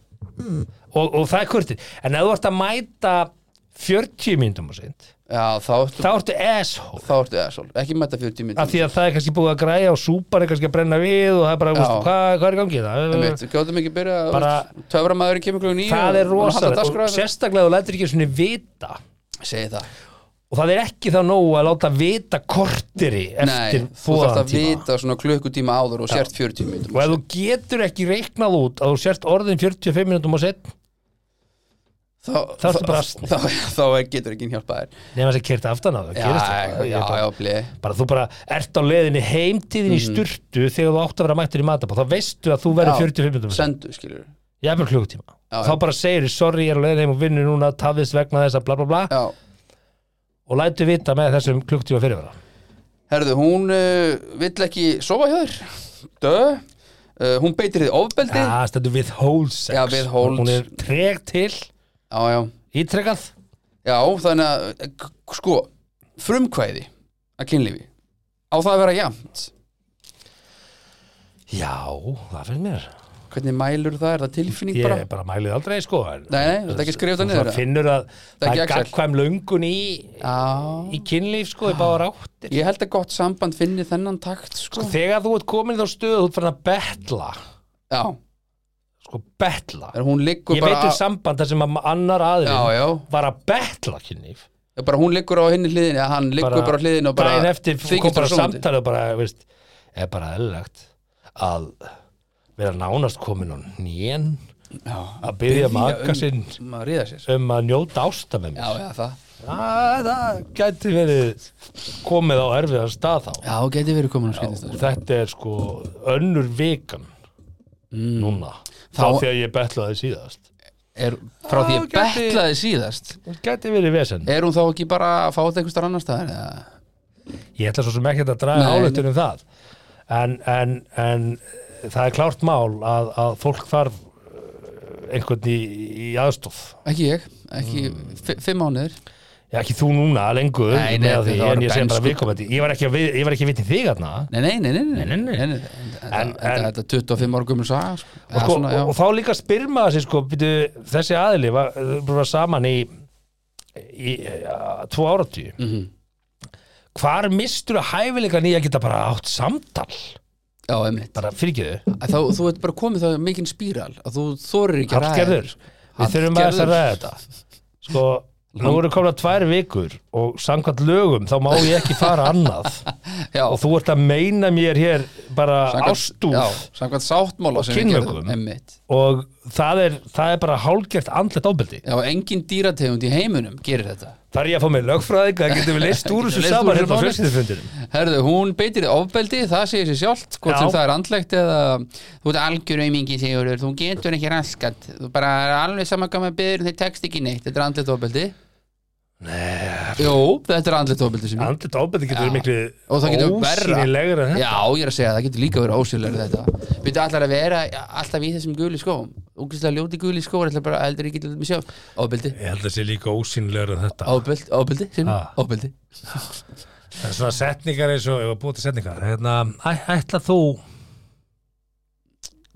Speaker 2: Og, og það er kurtið. En ef þú ert að mæta 40 myndum og seint,
Speaker 1: já, þá ertu,
Speaker 2: þá ertu asshole.
Speaker 1: þá ertu eða, svolítið, ekki mæta 40
Speaker 2: Af
Speaker 1: mínútum
Speaker 2: því að það er kannski búið að græja og súpar er kannski að brenna við og það er bara,
Speaker 1: Já.
Speaker 2: veistu, hvað, hvað er í gangi það?
Speaker 1: Einmitt, gjóðum ekki byrja
Speaker 2: Bara-
Speaker 1: bara, töframæðurinn kemur klokkan nýju
Speaker 2: Það er
Speaker 1: og- og halda
Speaker 2: rosalega
Speaker 1: dagskrá hérna.
Speaker 2: og
Speaker 1: eftir.
Speaker 2: sérstaklega þú lætur ekki svona vita
Speaker 1: segi það
Speaker 2: og það er ekki þá nógu að láta vita kortiri eftir
Speaker 1: Nei, þú þarft
Speaker 2: fóðan
Speaker 1: að
Speaker 2: tíma
Speaker 1: vita svona klukkutíma áður og sért 40 mínútur
Speaker 2: og ef þú getur ekki reiknað út að þú sért orðin 45 minútum og sett
Speaker 1: þá,
Speaker 2: þá ertu bara asni.
Speaker 1: þá, þá, getur ekki hjálpað þér
Speaker 2: nema þess að kerta aftan á það
Speaker 1: Já,
Speaker 2: gerist
Speaker 1: já,
Speaker 2: eitthvað. Ég
Speaker 1: já,
Speaker 2: er bara-
Speaker 1: já, blei
Speaker 2: bara þú bara ert á leiðinni heimtíðin
Speaker 1: Mhm.
Speaker 2: í sturtu þegar þú átt að vera mættur í matabóð þá veistu að þú verður 45 minútum sett
Speaker 1: Sendu, skilur
Speaker 2: ég er bara klukkutíma
Speaker 1: Já,
Speaker 2: þá bara segir þið sorry ég er á leiðinni heim og vinnu núna tafðist vegna þess að bla bla bla
Speaker 1: Já,
Speaker 2: og lætu vita með þessum klukkutíma fyrirvara
Speaker 1: herðu, hún uh, vill ekki sofa hjá þér Dö uh, Hún beitir þið ofbeldi Já,
Speaker 2: Já, Ah, stendur við hold sex
Speaker 1: Já, withhold.
Speaker 2: Hún er treg til,
Speaker 1: já, já,
Speaker 2: ítrekað
Speaker 1: þannig að eh, k- Sko, frumkvæði að kynlífi Á það að vera jafnt
Speaker 2: Já, það finnst mér
Speaker 1: Hvernig mælur það, er það tilfinning
Speaker 2: Ég
Speaker 1: bara?
Speaker 2: bara, bara mælið aldrei, sko en-
Speaker 1: Nei, nei, þetta er ekki skrifað
Speaker 2: Þú
Speaker 1: niður,
Speaker 2: svona
Speaker 1: eða?
Speaker 2: finnur að
Speaker 1: er
Speaker 2: það
Speaker 1: ekki
Speaker 2: er
Speaker 1: Excel.
Speaker 2: gagkvæm löngun í,
Speaker 1: Já,
Speaker 2: í kynlíf, sko, í báðar áttir
Speaker 1: ég held að gott samband finni þennan takt sko.
Speaker 2: Þegar þú ert komin í þá stöðu, þú ert farin að betla
Speaker 1: Já,
Speaker 2: Sko, betla
Speaker 1: en hún liggur
Speaker 2: Ég
Speaker 1: bara
Speaker 2: veit um
Speaker 1: á-
Speaker 2: samband þar sem að annar
Speaker 1: Já,
Speaker 2: aðri
Speaker 1: já,
Speaker 2: var að betla kynlíf
Speaker 1: Já, bara hún liggur á hinni hliðinni að hann liggur bara, á hliðinni og bara
Speaker 2: daginn eftir kom bara
Speaker 1: samtala
Speaker 2: samtalið og bara, veist, er bara eðlilegt að vera nánast komin á nén að byggja maka sinn
Speaker 1: að ríða sér
Speaker 2: um að njóta ásta með
Speaker 1: um- já,
Speaker 2: mér
Speaker 1: já, það
Speaker 2: það, það gæti verið komið á erfiðan stað þá
Speaker 1: já, hún geti verið komin á skemmtist
Speaker 2: og þetta er sko önnur vikan núna
Speaker 1: Mm.
Speaker 2: þá
Speaker 1: Þá-
Speaker 2: þegar ég betlaði síðast
Speaker 1: er, frá því
Speaker 2: Já,
Speaker 1: ég
Speaker 2: gæti-
Speaker 1: betlaði síðast
Speaker 2: það gæti verið vesen
Speaker 1: er hún þá ekki bara að fá þetta einhverstaðar annar staðar eða?
Speaker 2: ég ætla svo sem ekki að draga
Speaker 1: Nei,
Speaker 2: álöktun um það en, en, en eh, það er klárt mál að, að fólk þarf eh, einhvern í, í aðstof
Speaker 1: ekki ég, ekki fi- fimm mánuður
Speaker 2: Já, ekki þú núna, lengur
Speaker 1: Nei, nei,
Speaker 2: með því,
Speaker 1: þetta var
Speaker 2: en ég segi bara
Speaker 1: bernsku.
Speaker 2: viðkomandi ég var ekki að, við, ég var ekki að vitni þig þarna
Speaker 1: nei, nei, nei, nei, nei,
Speaker 2: Nei, nei, nei.
Speaker 1: þetta
Speaker 2: En-
Speaker 1: þetta-
Speaker 2: en-
Speaker 1: þetta er 25 ára gömur saga sko.
Speaker 2: og,
Speaker 1: Eða
Speaker 2: sko,
Speaker 1: svona, já.
Speaker 2: og, og þá líka spyrma þessi sko, byrju, þessi aðili var, eh, þau voru saman í, í uh, tvo áratíu mm
Speaker 1: Mhm.
Speaker 2: -hmm. hvar mistur að hæfileika nýja geta bara átt samtal
Speaker 1: já, einmitt
Speaker 2: bara fyrirgeðu,
Speaker 1: þá, þú ert bara komið það mikinn spíral að þú þorir ekki að ræða
Speaker 2: Hallgerður við þurfum að þess að ræða þetta sko, nú eru komna tvær vikur og samkvæmt lögum þá má ég ekki fara annað
Speaker 1: já,
Speaker 2: og þú ert að meina mér hér bara
Speaker 1: samkvæmt-
Speaker 2: ástúð
Speaker 1: já, samkvæmt sáttmála
Speaker 2: Og
Speaker 1: sem við gerðum,
Speaker 2: kynmökum.
Speaker 1: einmitt
Speaker 2: og það er, það er bara hálgert andlet ofbeldi
Speaker 1: Já, engin dýrategund í heiminum gerir þetta.
Speaker 2: Þar ég að fá mig lögfræðing, það getum við leist úr þessu
Speaker 1: Getum við leyst úr þessu
Speaker 2: saman hérna á
Speaker 1: máli.
Speaker 2: fjölskyldufundinum.
Speaker 1: Herðu, hún beitir þig ofbeldi, það segir sér sjálft, hvort
Speaker 2: Já.
Speaker 1: sem það er andlegt eða þú ert algjör aumingi, segir þú getur ekki raskat, þú bara er alveg samangamma byrður, þeir tekst ekki neitt, þetta er andlegt ofbeldi. Nei. Jú, þetta er andlegt ofbeldi sem ég.
Speaker 2: Andlet ofbeldi getur verið
Speaker 1: Mm. Og það getur
Speaker 2: miklu
Speaker 1: verra.
Speaker 2: ósýnilegra en þetta.
Speaker 1: Já, ég er að segja, það getur líka verið ósýrlega þetta. Byrðu allar að vera alltaf í þessum guli skóum, úkislega ljóti guli skóar, ætlar bara, heldur ekki til mig sjá, ofbeldi.
Speaker 2: Ég held að það sé líka ósýnilegra en þetta.
Speaker 1: Ofbeldi, ofbeldi, sem,
Speaker 2: Ah.
Speaker 1: ofbeldi
Speaker 2: Það er svona setningar eins og, ég var búið til setningar, hérna, æ, ætla þú,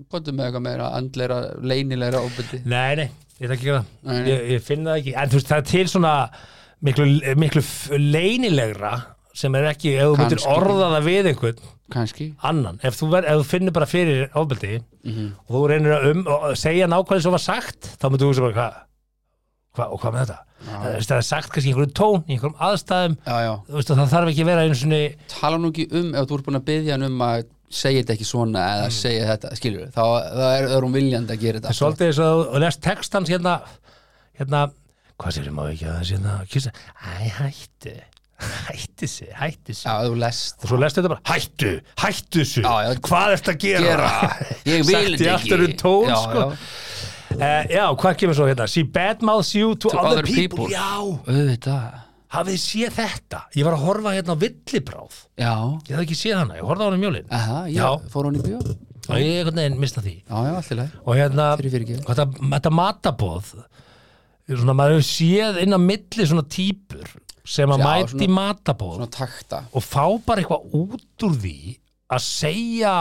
Speaker 1: Kvotum með eitthvað meira andleira, leynilegra ofbeldi
Speaker 2: nei, nei, ég ætla ekki að gera það.
Speaker 1: Nei, nei.
Speaker 2: Ég, ég finn það ekki, en þú veist, það er til svona miklu, miklu f- leynilegra sem er ekki, ef þú myndir
Speaker 1: Kannski.
Speaker 2: orða það við einhvern
Speaker 1: Kanski
Speaker 2: annan, ef þú, ver, ef þú finnir bara fyrir ofbeldi og þú reynir að um, og segja nákvæmlega svo var sagt þá myndir þú hugsa bara hvað hva, og hvað með þetta? Það, veist, það er sagt kannski í einhverjum tón, í einhverjum aðstæðum
Speaker 1: Já, já
Speaker 2: þú veist, og það þarf ekki að vera einu sinni
Speaker 1: Tala nú ekki um ef þú ert búin að byggja hann um að segja þetta ekki svona eða segja þetta, skilur við þá, þá er, er hún viljandi að gera
Speaker 2: það er
Speaker 1: þetta
Speaker 2: svolítið þess að þú lest textans hérna hérna hvað sér, má ekki að það sé það að kissa æ, hættu, hættu sig hættu sig,
Speaker 1: Já, þú lest
Speaker 2: og svo lestu þetta bara hættu, hættu sig,
Speaker 1: Já, já.
Speaker 2: hvað ertu að gera,
Speaker 1: Ég vil
Speaker 2: Sagt í
Speaker 1: þetta
Speaker 2: aftur
Speaker 1: ekki.
Speaker 2: um tón
Speaker 1: Já,
Speaker 2: sko. Uh, já, hvað kemur svo hérna she badmouths you to, other,
Speaker 1: other
Speaker 2: people.
Speaker 1: people.
Speaker 2: já,
Speaker 1: Auðvitað
Speaker 2: hafið þið séð þetta ég var að horfa hérna á villibráð
Speaker 1: Já,
Speaker 2: ég hafði ekki séð hana, ég horfði á hana um jólin
Speaker 1: aha, ég
Speaker 2: Já.
Speaker 1: fór hún í bjó Já,
Speaker 2: og ég einhvern veginn mista því
Speaker 1: já, allt í lagi
Speaker 2: og hérna,
Speaker 1: Fyrir fyrirgefðu.
Speaker 2: hvað þetta, þetta matabóð svona maður hefur séð inn á milli svona típur sem að
Speaker 1: Já,
Speaker 2: mæti
Speaker 1: svona-
Speaker 2: í matabóð
Speaker 1: Svona takta
Speaker 2: og fá bara eitthvað út úr því að segja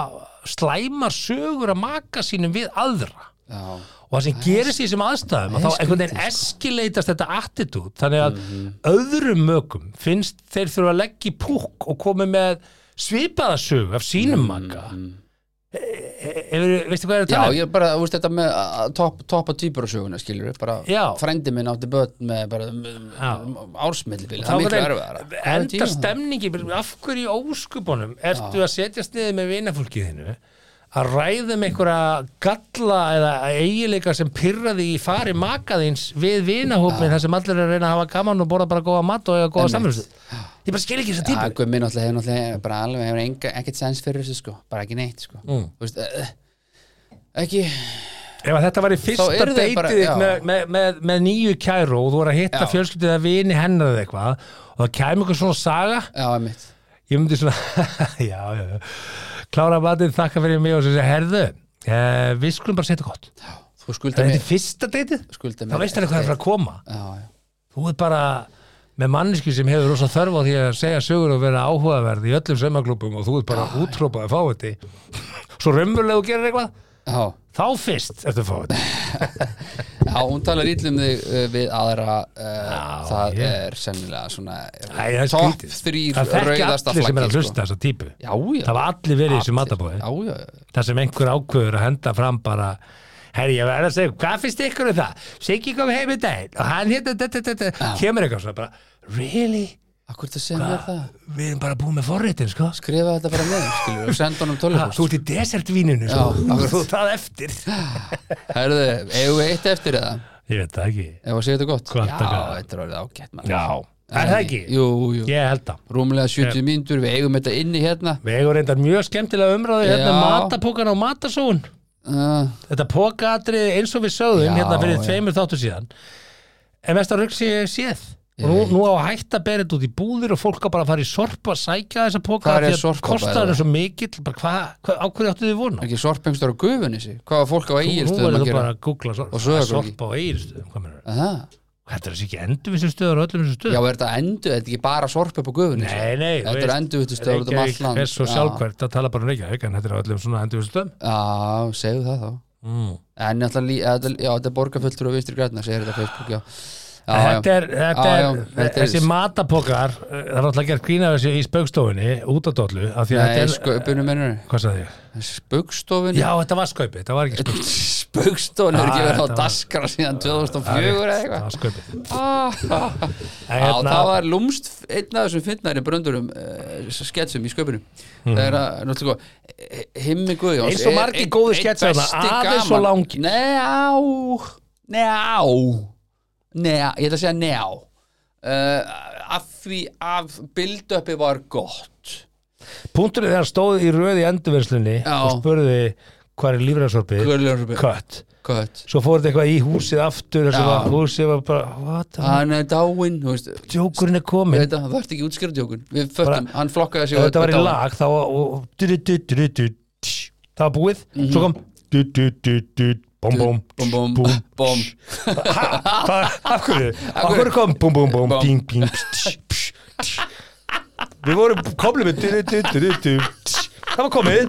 Speaker 2: slæmar sögur að maka sínum við aðra
Speaker 1: Já,
Speaker 2: og það sem gerist í þessum aðstæðum
Speaker 1: það
Speaker 2: að
Speaker 1: er
Speaker 2: þá
Speaker 1: sko.
Speaker 2: einhvern veginn eskileitast þetta attitút þannig að
Speaker 1: Mhm.
Speaker 2: öðrum mögum finnst þeir þurfa að leggja í púk og komi með svipaða sög af sínum maka e, e, e, veistu hvað ég er að
Speaker 1: Mhm. já
Speaker 2: tala um?
Speaker 1: ég bara, þú veist þetta með að topp top að týpur og söguna skilur við bara
Speaker 2: Já.
Speaker 1: Frendi minn átti börn með bara ársmillibili Það er miklu erfiðara
Speaker 2: Þá endar stemningin af hverju í óskupunum ertu að setjast niður með vinafólkið þínu að ræðum einhverja galla eða eigileika sem pyrraði í fari makaðins við vinahópin þar sem allir er að reyna að hafa gaman og borða bara góða mat og eiga góða samfélstu ég bara skil ekki þessa
Speaker 1: Já,
Speaker 2: típu
Speaker 1: guð minn alltaf hefur náttúrulega bara alveg hefur enga, ekkert sens fyrir þessu sko bara ekki neitt sko mm. veist, uh, ekki,
Speaker 2: ef að þetta var í
Speaker 1: Þá
Speaker 2: fyrsta
Speaker 1: eru þeir bara-
Speaker 2: deytið þitt
Speaker 1: já.
Speaker 2: með, með, með, með nýju kæru og þú voru að hitta
Speaker 1: Já.
Speaker 2: fjölskyldið að vini hennar eða eitthvað og það kæmi eitthvað svona saga
Speaker 1: já, einmitt
Speaker 2: ég myndi svona já, já, já. klára matið, þakka fyrir mig og svo segja, herðu uh, við skulum bara setja gott er
Speaker 1: þú skulda
Speaker 2: þetta
Speaker 1: mér,
Speaker 2: fyrsta deytið?
Speaker 1: skulda
Speaker 2: þá
Speaker 1: mér
Speaker 2: veist hann hvað það er frá að koma
Speaker 1: já, já,
Speaker 2: þú er bara með mannesku sem hefur rosa þörf á því að segja sögur og vera áhugaverð í öllum saumaklubum og þú er
Speaker 1: Ah.
Speaker 2: bara útrópað að fá þetta svo raunverulega þú gerir eitthvað
Speaker 1: já,
Speaker 2: þá fyrst ertu að fá þetta
Speaker 1: já, hún talar ítlum þig uh, við aðra uh,
Speaker 2: Já,
Speaker 1: það
Speaker 2: ég-
Speaker 1: er sennilega svona
Speaker 2: Æ, það er
Speaker 1: topp
Speaker 2: skrítið.
Speaker 1: þrýr
Speaker 2: það þekki
Speaker 1: rauðasta
Speaker 2: allir sem er að
Speaker 1: flaggið sko.
Speaker 2: hlusta þessa típu
Speaker 1: já, já,
Speaker 2: það var allir verið í þessu
Speaker 1: Allir.
Speaker 2: matabóði
Speaker 1: já, já, já,
Speaker 2: þar sem einhver ákveður að henda fram bara herri, ég verð að segja, hvað finnst ykkur um það? Siggi kom heim í daginn og hann hérna, þetta, þetta, þetta, kemur eitthvað svona bara, really?
Speaker 1: akkur það sem er það
Speaker 2: Við erum bara búin með forritin, sko
Speaker 1: skrifa þetta bara með, skilur, og senda honum
Speaker 2: Ha, Þú
Speaker 1: tölvupúst
Speaker 2: ert í desertvíninu, sko
Speaker 1: akkurat.
Speaker 2: þú það eftir
Speaker 1: herðu, eigum við eitt eftir eða
Speaker 2: Ég veit það ekki
Speaker 1: ef að segja þetta gott,
Speaker 2: Hvað
Speaker 1: já,
Speaker 2: taka?
Speaker 1: þetta er orðið ágætt maður.
Speaker 2: Já, er það ekki?
Speaker 1: jú, jú
Speaker 2: Ég held það
Speaker 1: rúmlega 70 mínútur, við eigum þetta inni hérna
Speaker 2: Við eigum reyndar mjög skemmtilega umræðu hérna
Speaker 1: Já.
Speaker 2: matapókan og matasón
Speaker 1: uh,
Speaker 2: Þetta pókaatrið eins og við sögðum
Speaker 1: Já,
Speaker 2: hérna fyrir
Speaker 1: já.
Speaker 2: tveimur þáttu síðan en mesta rugg sem ég hef séð og nú, nú á að hætta að bera þetta út í búðir og fólk á bara að fara í sorpu að sækja þessa póka
Speaker 1: Hvar
Speaker 2: af
Speaker 1: er
Speaker 2: því að
Speaker 1: Sorpa,
Speaker 2: kostar
Speaker 1: by the
Speaker 2: hann svo mikill bara hvað, hva, á hverju áttu þið vona?
Speaker 1: ekki sorpengstur á gufunni sig hvað var fólk á
Speaker 2: Nú verður
Speaker 1: eigilstöðum að
Speaker 2: þú
Speaker 1: gera
Speaker 2: bara að googla
Speaker 1: Og
Speaker 2: sorpa,
Speaker 1: Sauðárkróki.
Speaker 2: sorpa á eiginstöðum hvað meinarðu?
Speaker 1: Aha.
Speaker 2: Þetta er þessi ekki endur við sem stöður og öllum sem
Speaker 1: já,
Speaker 2: stöður
Speaker 1: er þetta endu, þetta er ekki bara sorp upp á gufunni
Speaker 2: Nei, nei, þú
Speaker 1: þetta er
Speaker 2: veist,
Speaker 1: endurvinnslustöðvar út um allt land.
Speaker 2: er svo
Speaker 1: Já.
Speaker 2: sjálfkvært að tala bara um Reykjavík en þetta er á öllum svona endur við stöðum
Speaker 1: já, segðu það þá
Speaker 2: mm.
Speaker 1: en náttúrulega, lí- þetta- já, þetta er borgarfulltur og vinstri grætna, segir þetta á Facebook, já já,
Speaker 2: Þetta er, þetta
Speaker 1: Já,
Speaker 2: er,
Speaker 1: já, þetta er-
Speaker 2: þessi matapokar uh, það er alltaf að gera grína þessu í spaukstofunni út af dollu, af því að
Speaker 1: nei,
Speaker 2: þetta er
Speaker 1: sköpunum mennur
Speaker 2: Hvað sagði ég?
Speaker 1: spaukstofun
Speaker 2: Já, þetta var skaupið, þetta var ekki skaupið
Speaker 1: spaukstofun er ekki
Speaker 2: Já,
Speaker 1: verið
Speaker 2: þetta
Speaker 1: á
Speaker 2: var-
Speaker 1: daskara síðan 2004 eða
Speaker 2: Það
Speaker 1: eitthvað
Speaker 2: var skaupið
Speaker 1: Ah.
Speaker 2: En
Speaker 1: Já,
Speaker 2: hérna-
Speaker 1: það var lúmst einn af þessum fyndnæri bröndurum uh, sketsum í sköpunum það er að, náttúrulega sko, eh, Himmi Guðjóns
Speaker 2: Mhm. Eins og
Speaker 1: er
Speaker 2: margir
Speaker 1: einn-
Speaker 2: góðir
Speaker 1: einn
Speaker 2: sketsar þarna,
Speaker 1: besti
Speaker 2: aðeins
Speaker 1: gaman-
Speaker 2: of langir.
Speaker 1: Njá, njá, njá, ég ætla að segja njá uh, af því að build-upi var gott
Speaker 2: Punturinn þegar hann stóð í röði endurverslunni
Speaker 1: Já.
Speaker 2: og spurði hvað er lífræðsorpið
Speaker 1: Guðjóns
Speaker 2: Kött
Speaker 1: Kött
Speaker 2: Svo fór þetta eitthvað í húsið aftur þess
Speaker 1: Já.
Speaker 2: að var- húsið var bara What the
Speaker 1: Hann er dáinn, þú veist
Speaker 2: Djókurinn er komin
Speaker 1: Þetta, það ert ekki útskýra djókun Við föttum, hann flokkaði sig
Speaker 2: Ef
Speaker 1: og-
Speaker 2: þetta var í
Speaker 1: dáinn.
Speaker 2: lag þá var og- du- du- du- du- du- tsh. Það var búið Svo kom du- du- du- du- Bum bum
Speaker 1: Búm, búm,
Speaker 2: búm,
Speaker 1: búm
Speaker 2: Ha, hvað, af hverju? Af
Speaker 1: hverju?
Speaker 2: hverju kom búm, búm, búm,
Speaker 1: Búm.
Speaker 2: ping, ping, pst, pst, pst. Við vorum komlið með du, du, du, du, du, du, pst. Það var komið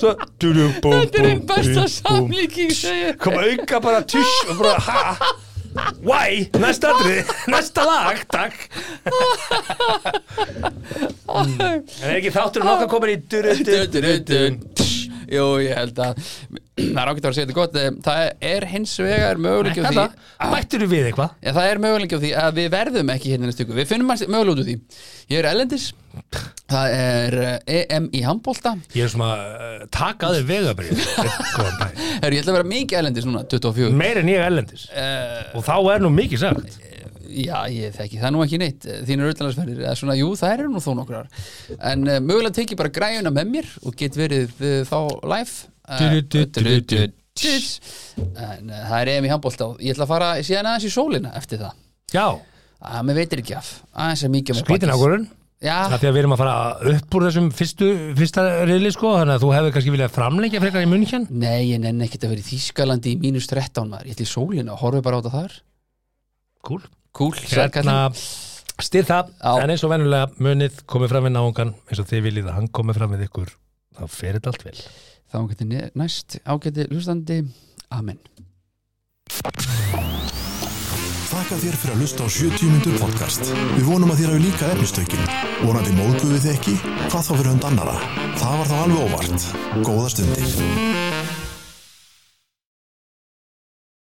Speaker 2: Svo du, du, búm, búm,
Speaker 1: Þetta er einn besta
Speaker 2: ping, búm.
Speaker 1: samlíking, segir
Speaker 2: Kom auka bara tush og bara ha Why? Næsta atrið, næsta lag, takk
Speaker 1: Ah.
Speaker 2: mm. En er ekki þáttur nokkuð komin í du, du, du, du, du,
Speaker 1: Jú, ég held að það er ágætt að vera að segja þetta gott eh, það er hins vegar möguleik á því
Speaker 2: Þetta, bættur við eitthvað
Speaker 1: Já, það er möguleik á því að við verðum ekki hérna í stöku, við finnum hans möguleik út úr því ég er Ellendis það er eh, EM í handbólta
Speaker 2: Ég er svona uh, takaði vegabrið Góðan dag.
Speaker 1: Herru, ég ætla að vera mikið Ellendis núna, 24
Speaker 2: Meir en ég ellendis
Speaker 1: uh,
Speaker 2: Og þá er nú mikið sagt
Speaker 1: Eh. Já, ég þekki, það er nú ekki neitt eh, þínar auðvitaðsferðir, eða svona, jú, það eru nú þó nokkrar en uh, mögulega teki bara græjuna með mér og get verið uh, þá live Eh,
Speaker 2: Du- du- du- du- du-
Speaker 1: en uh, það er EM í handbólta og ég ætla að fara síðan aðeins í sólina eftir það
Speaker 2: Já,
Speaker 1: að mér veitir ekki af, aðeins að mikið
Speaker 2: skrítin ákvörðun
Speaker 1: Já,
Speaker 2: Það því að við erum að fara upp úr þessum fyrstu, fyrsta riðli sko Þannig að þú hefur kannski viljað framlengja frekar í munnkjann
Speaker 1: Nei, ég nenni ekkert að vera í Þýskalandi í mínus 13 maður, ég ætla í sólina og horfi bara á þetta þar
Speaker 2: Kúl
Speaker 1: Kúl,
Speaker 2: Hérna,
Speaker 1: sérkallin
Speaker 2: styr það
Speaker 1: Já.
Speaker 2: En eins og venjulega munið komið fram við náungan Eins og þið viljið að hann komið fram við ykkur Þá fer þetta allt vel
Speaker 1: Þá geti ne- næst ágæti hlustandi Amen
Speaker 3: Þakka þér fyrir að hlusta á 70 mínútur podcast. Við vonum að þér hafi líka efnistökin. Vonandi móðguðu þið ekki, hvað þá fyrir hund annara. Það var þá alveg óvart. Góða stundir.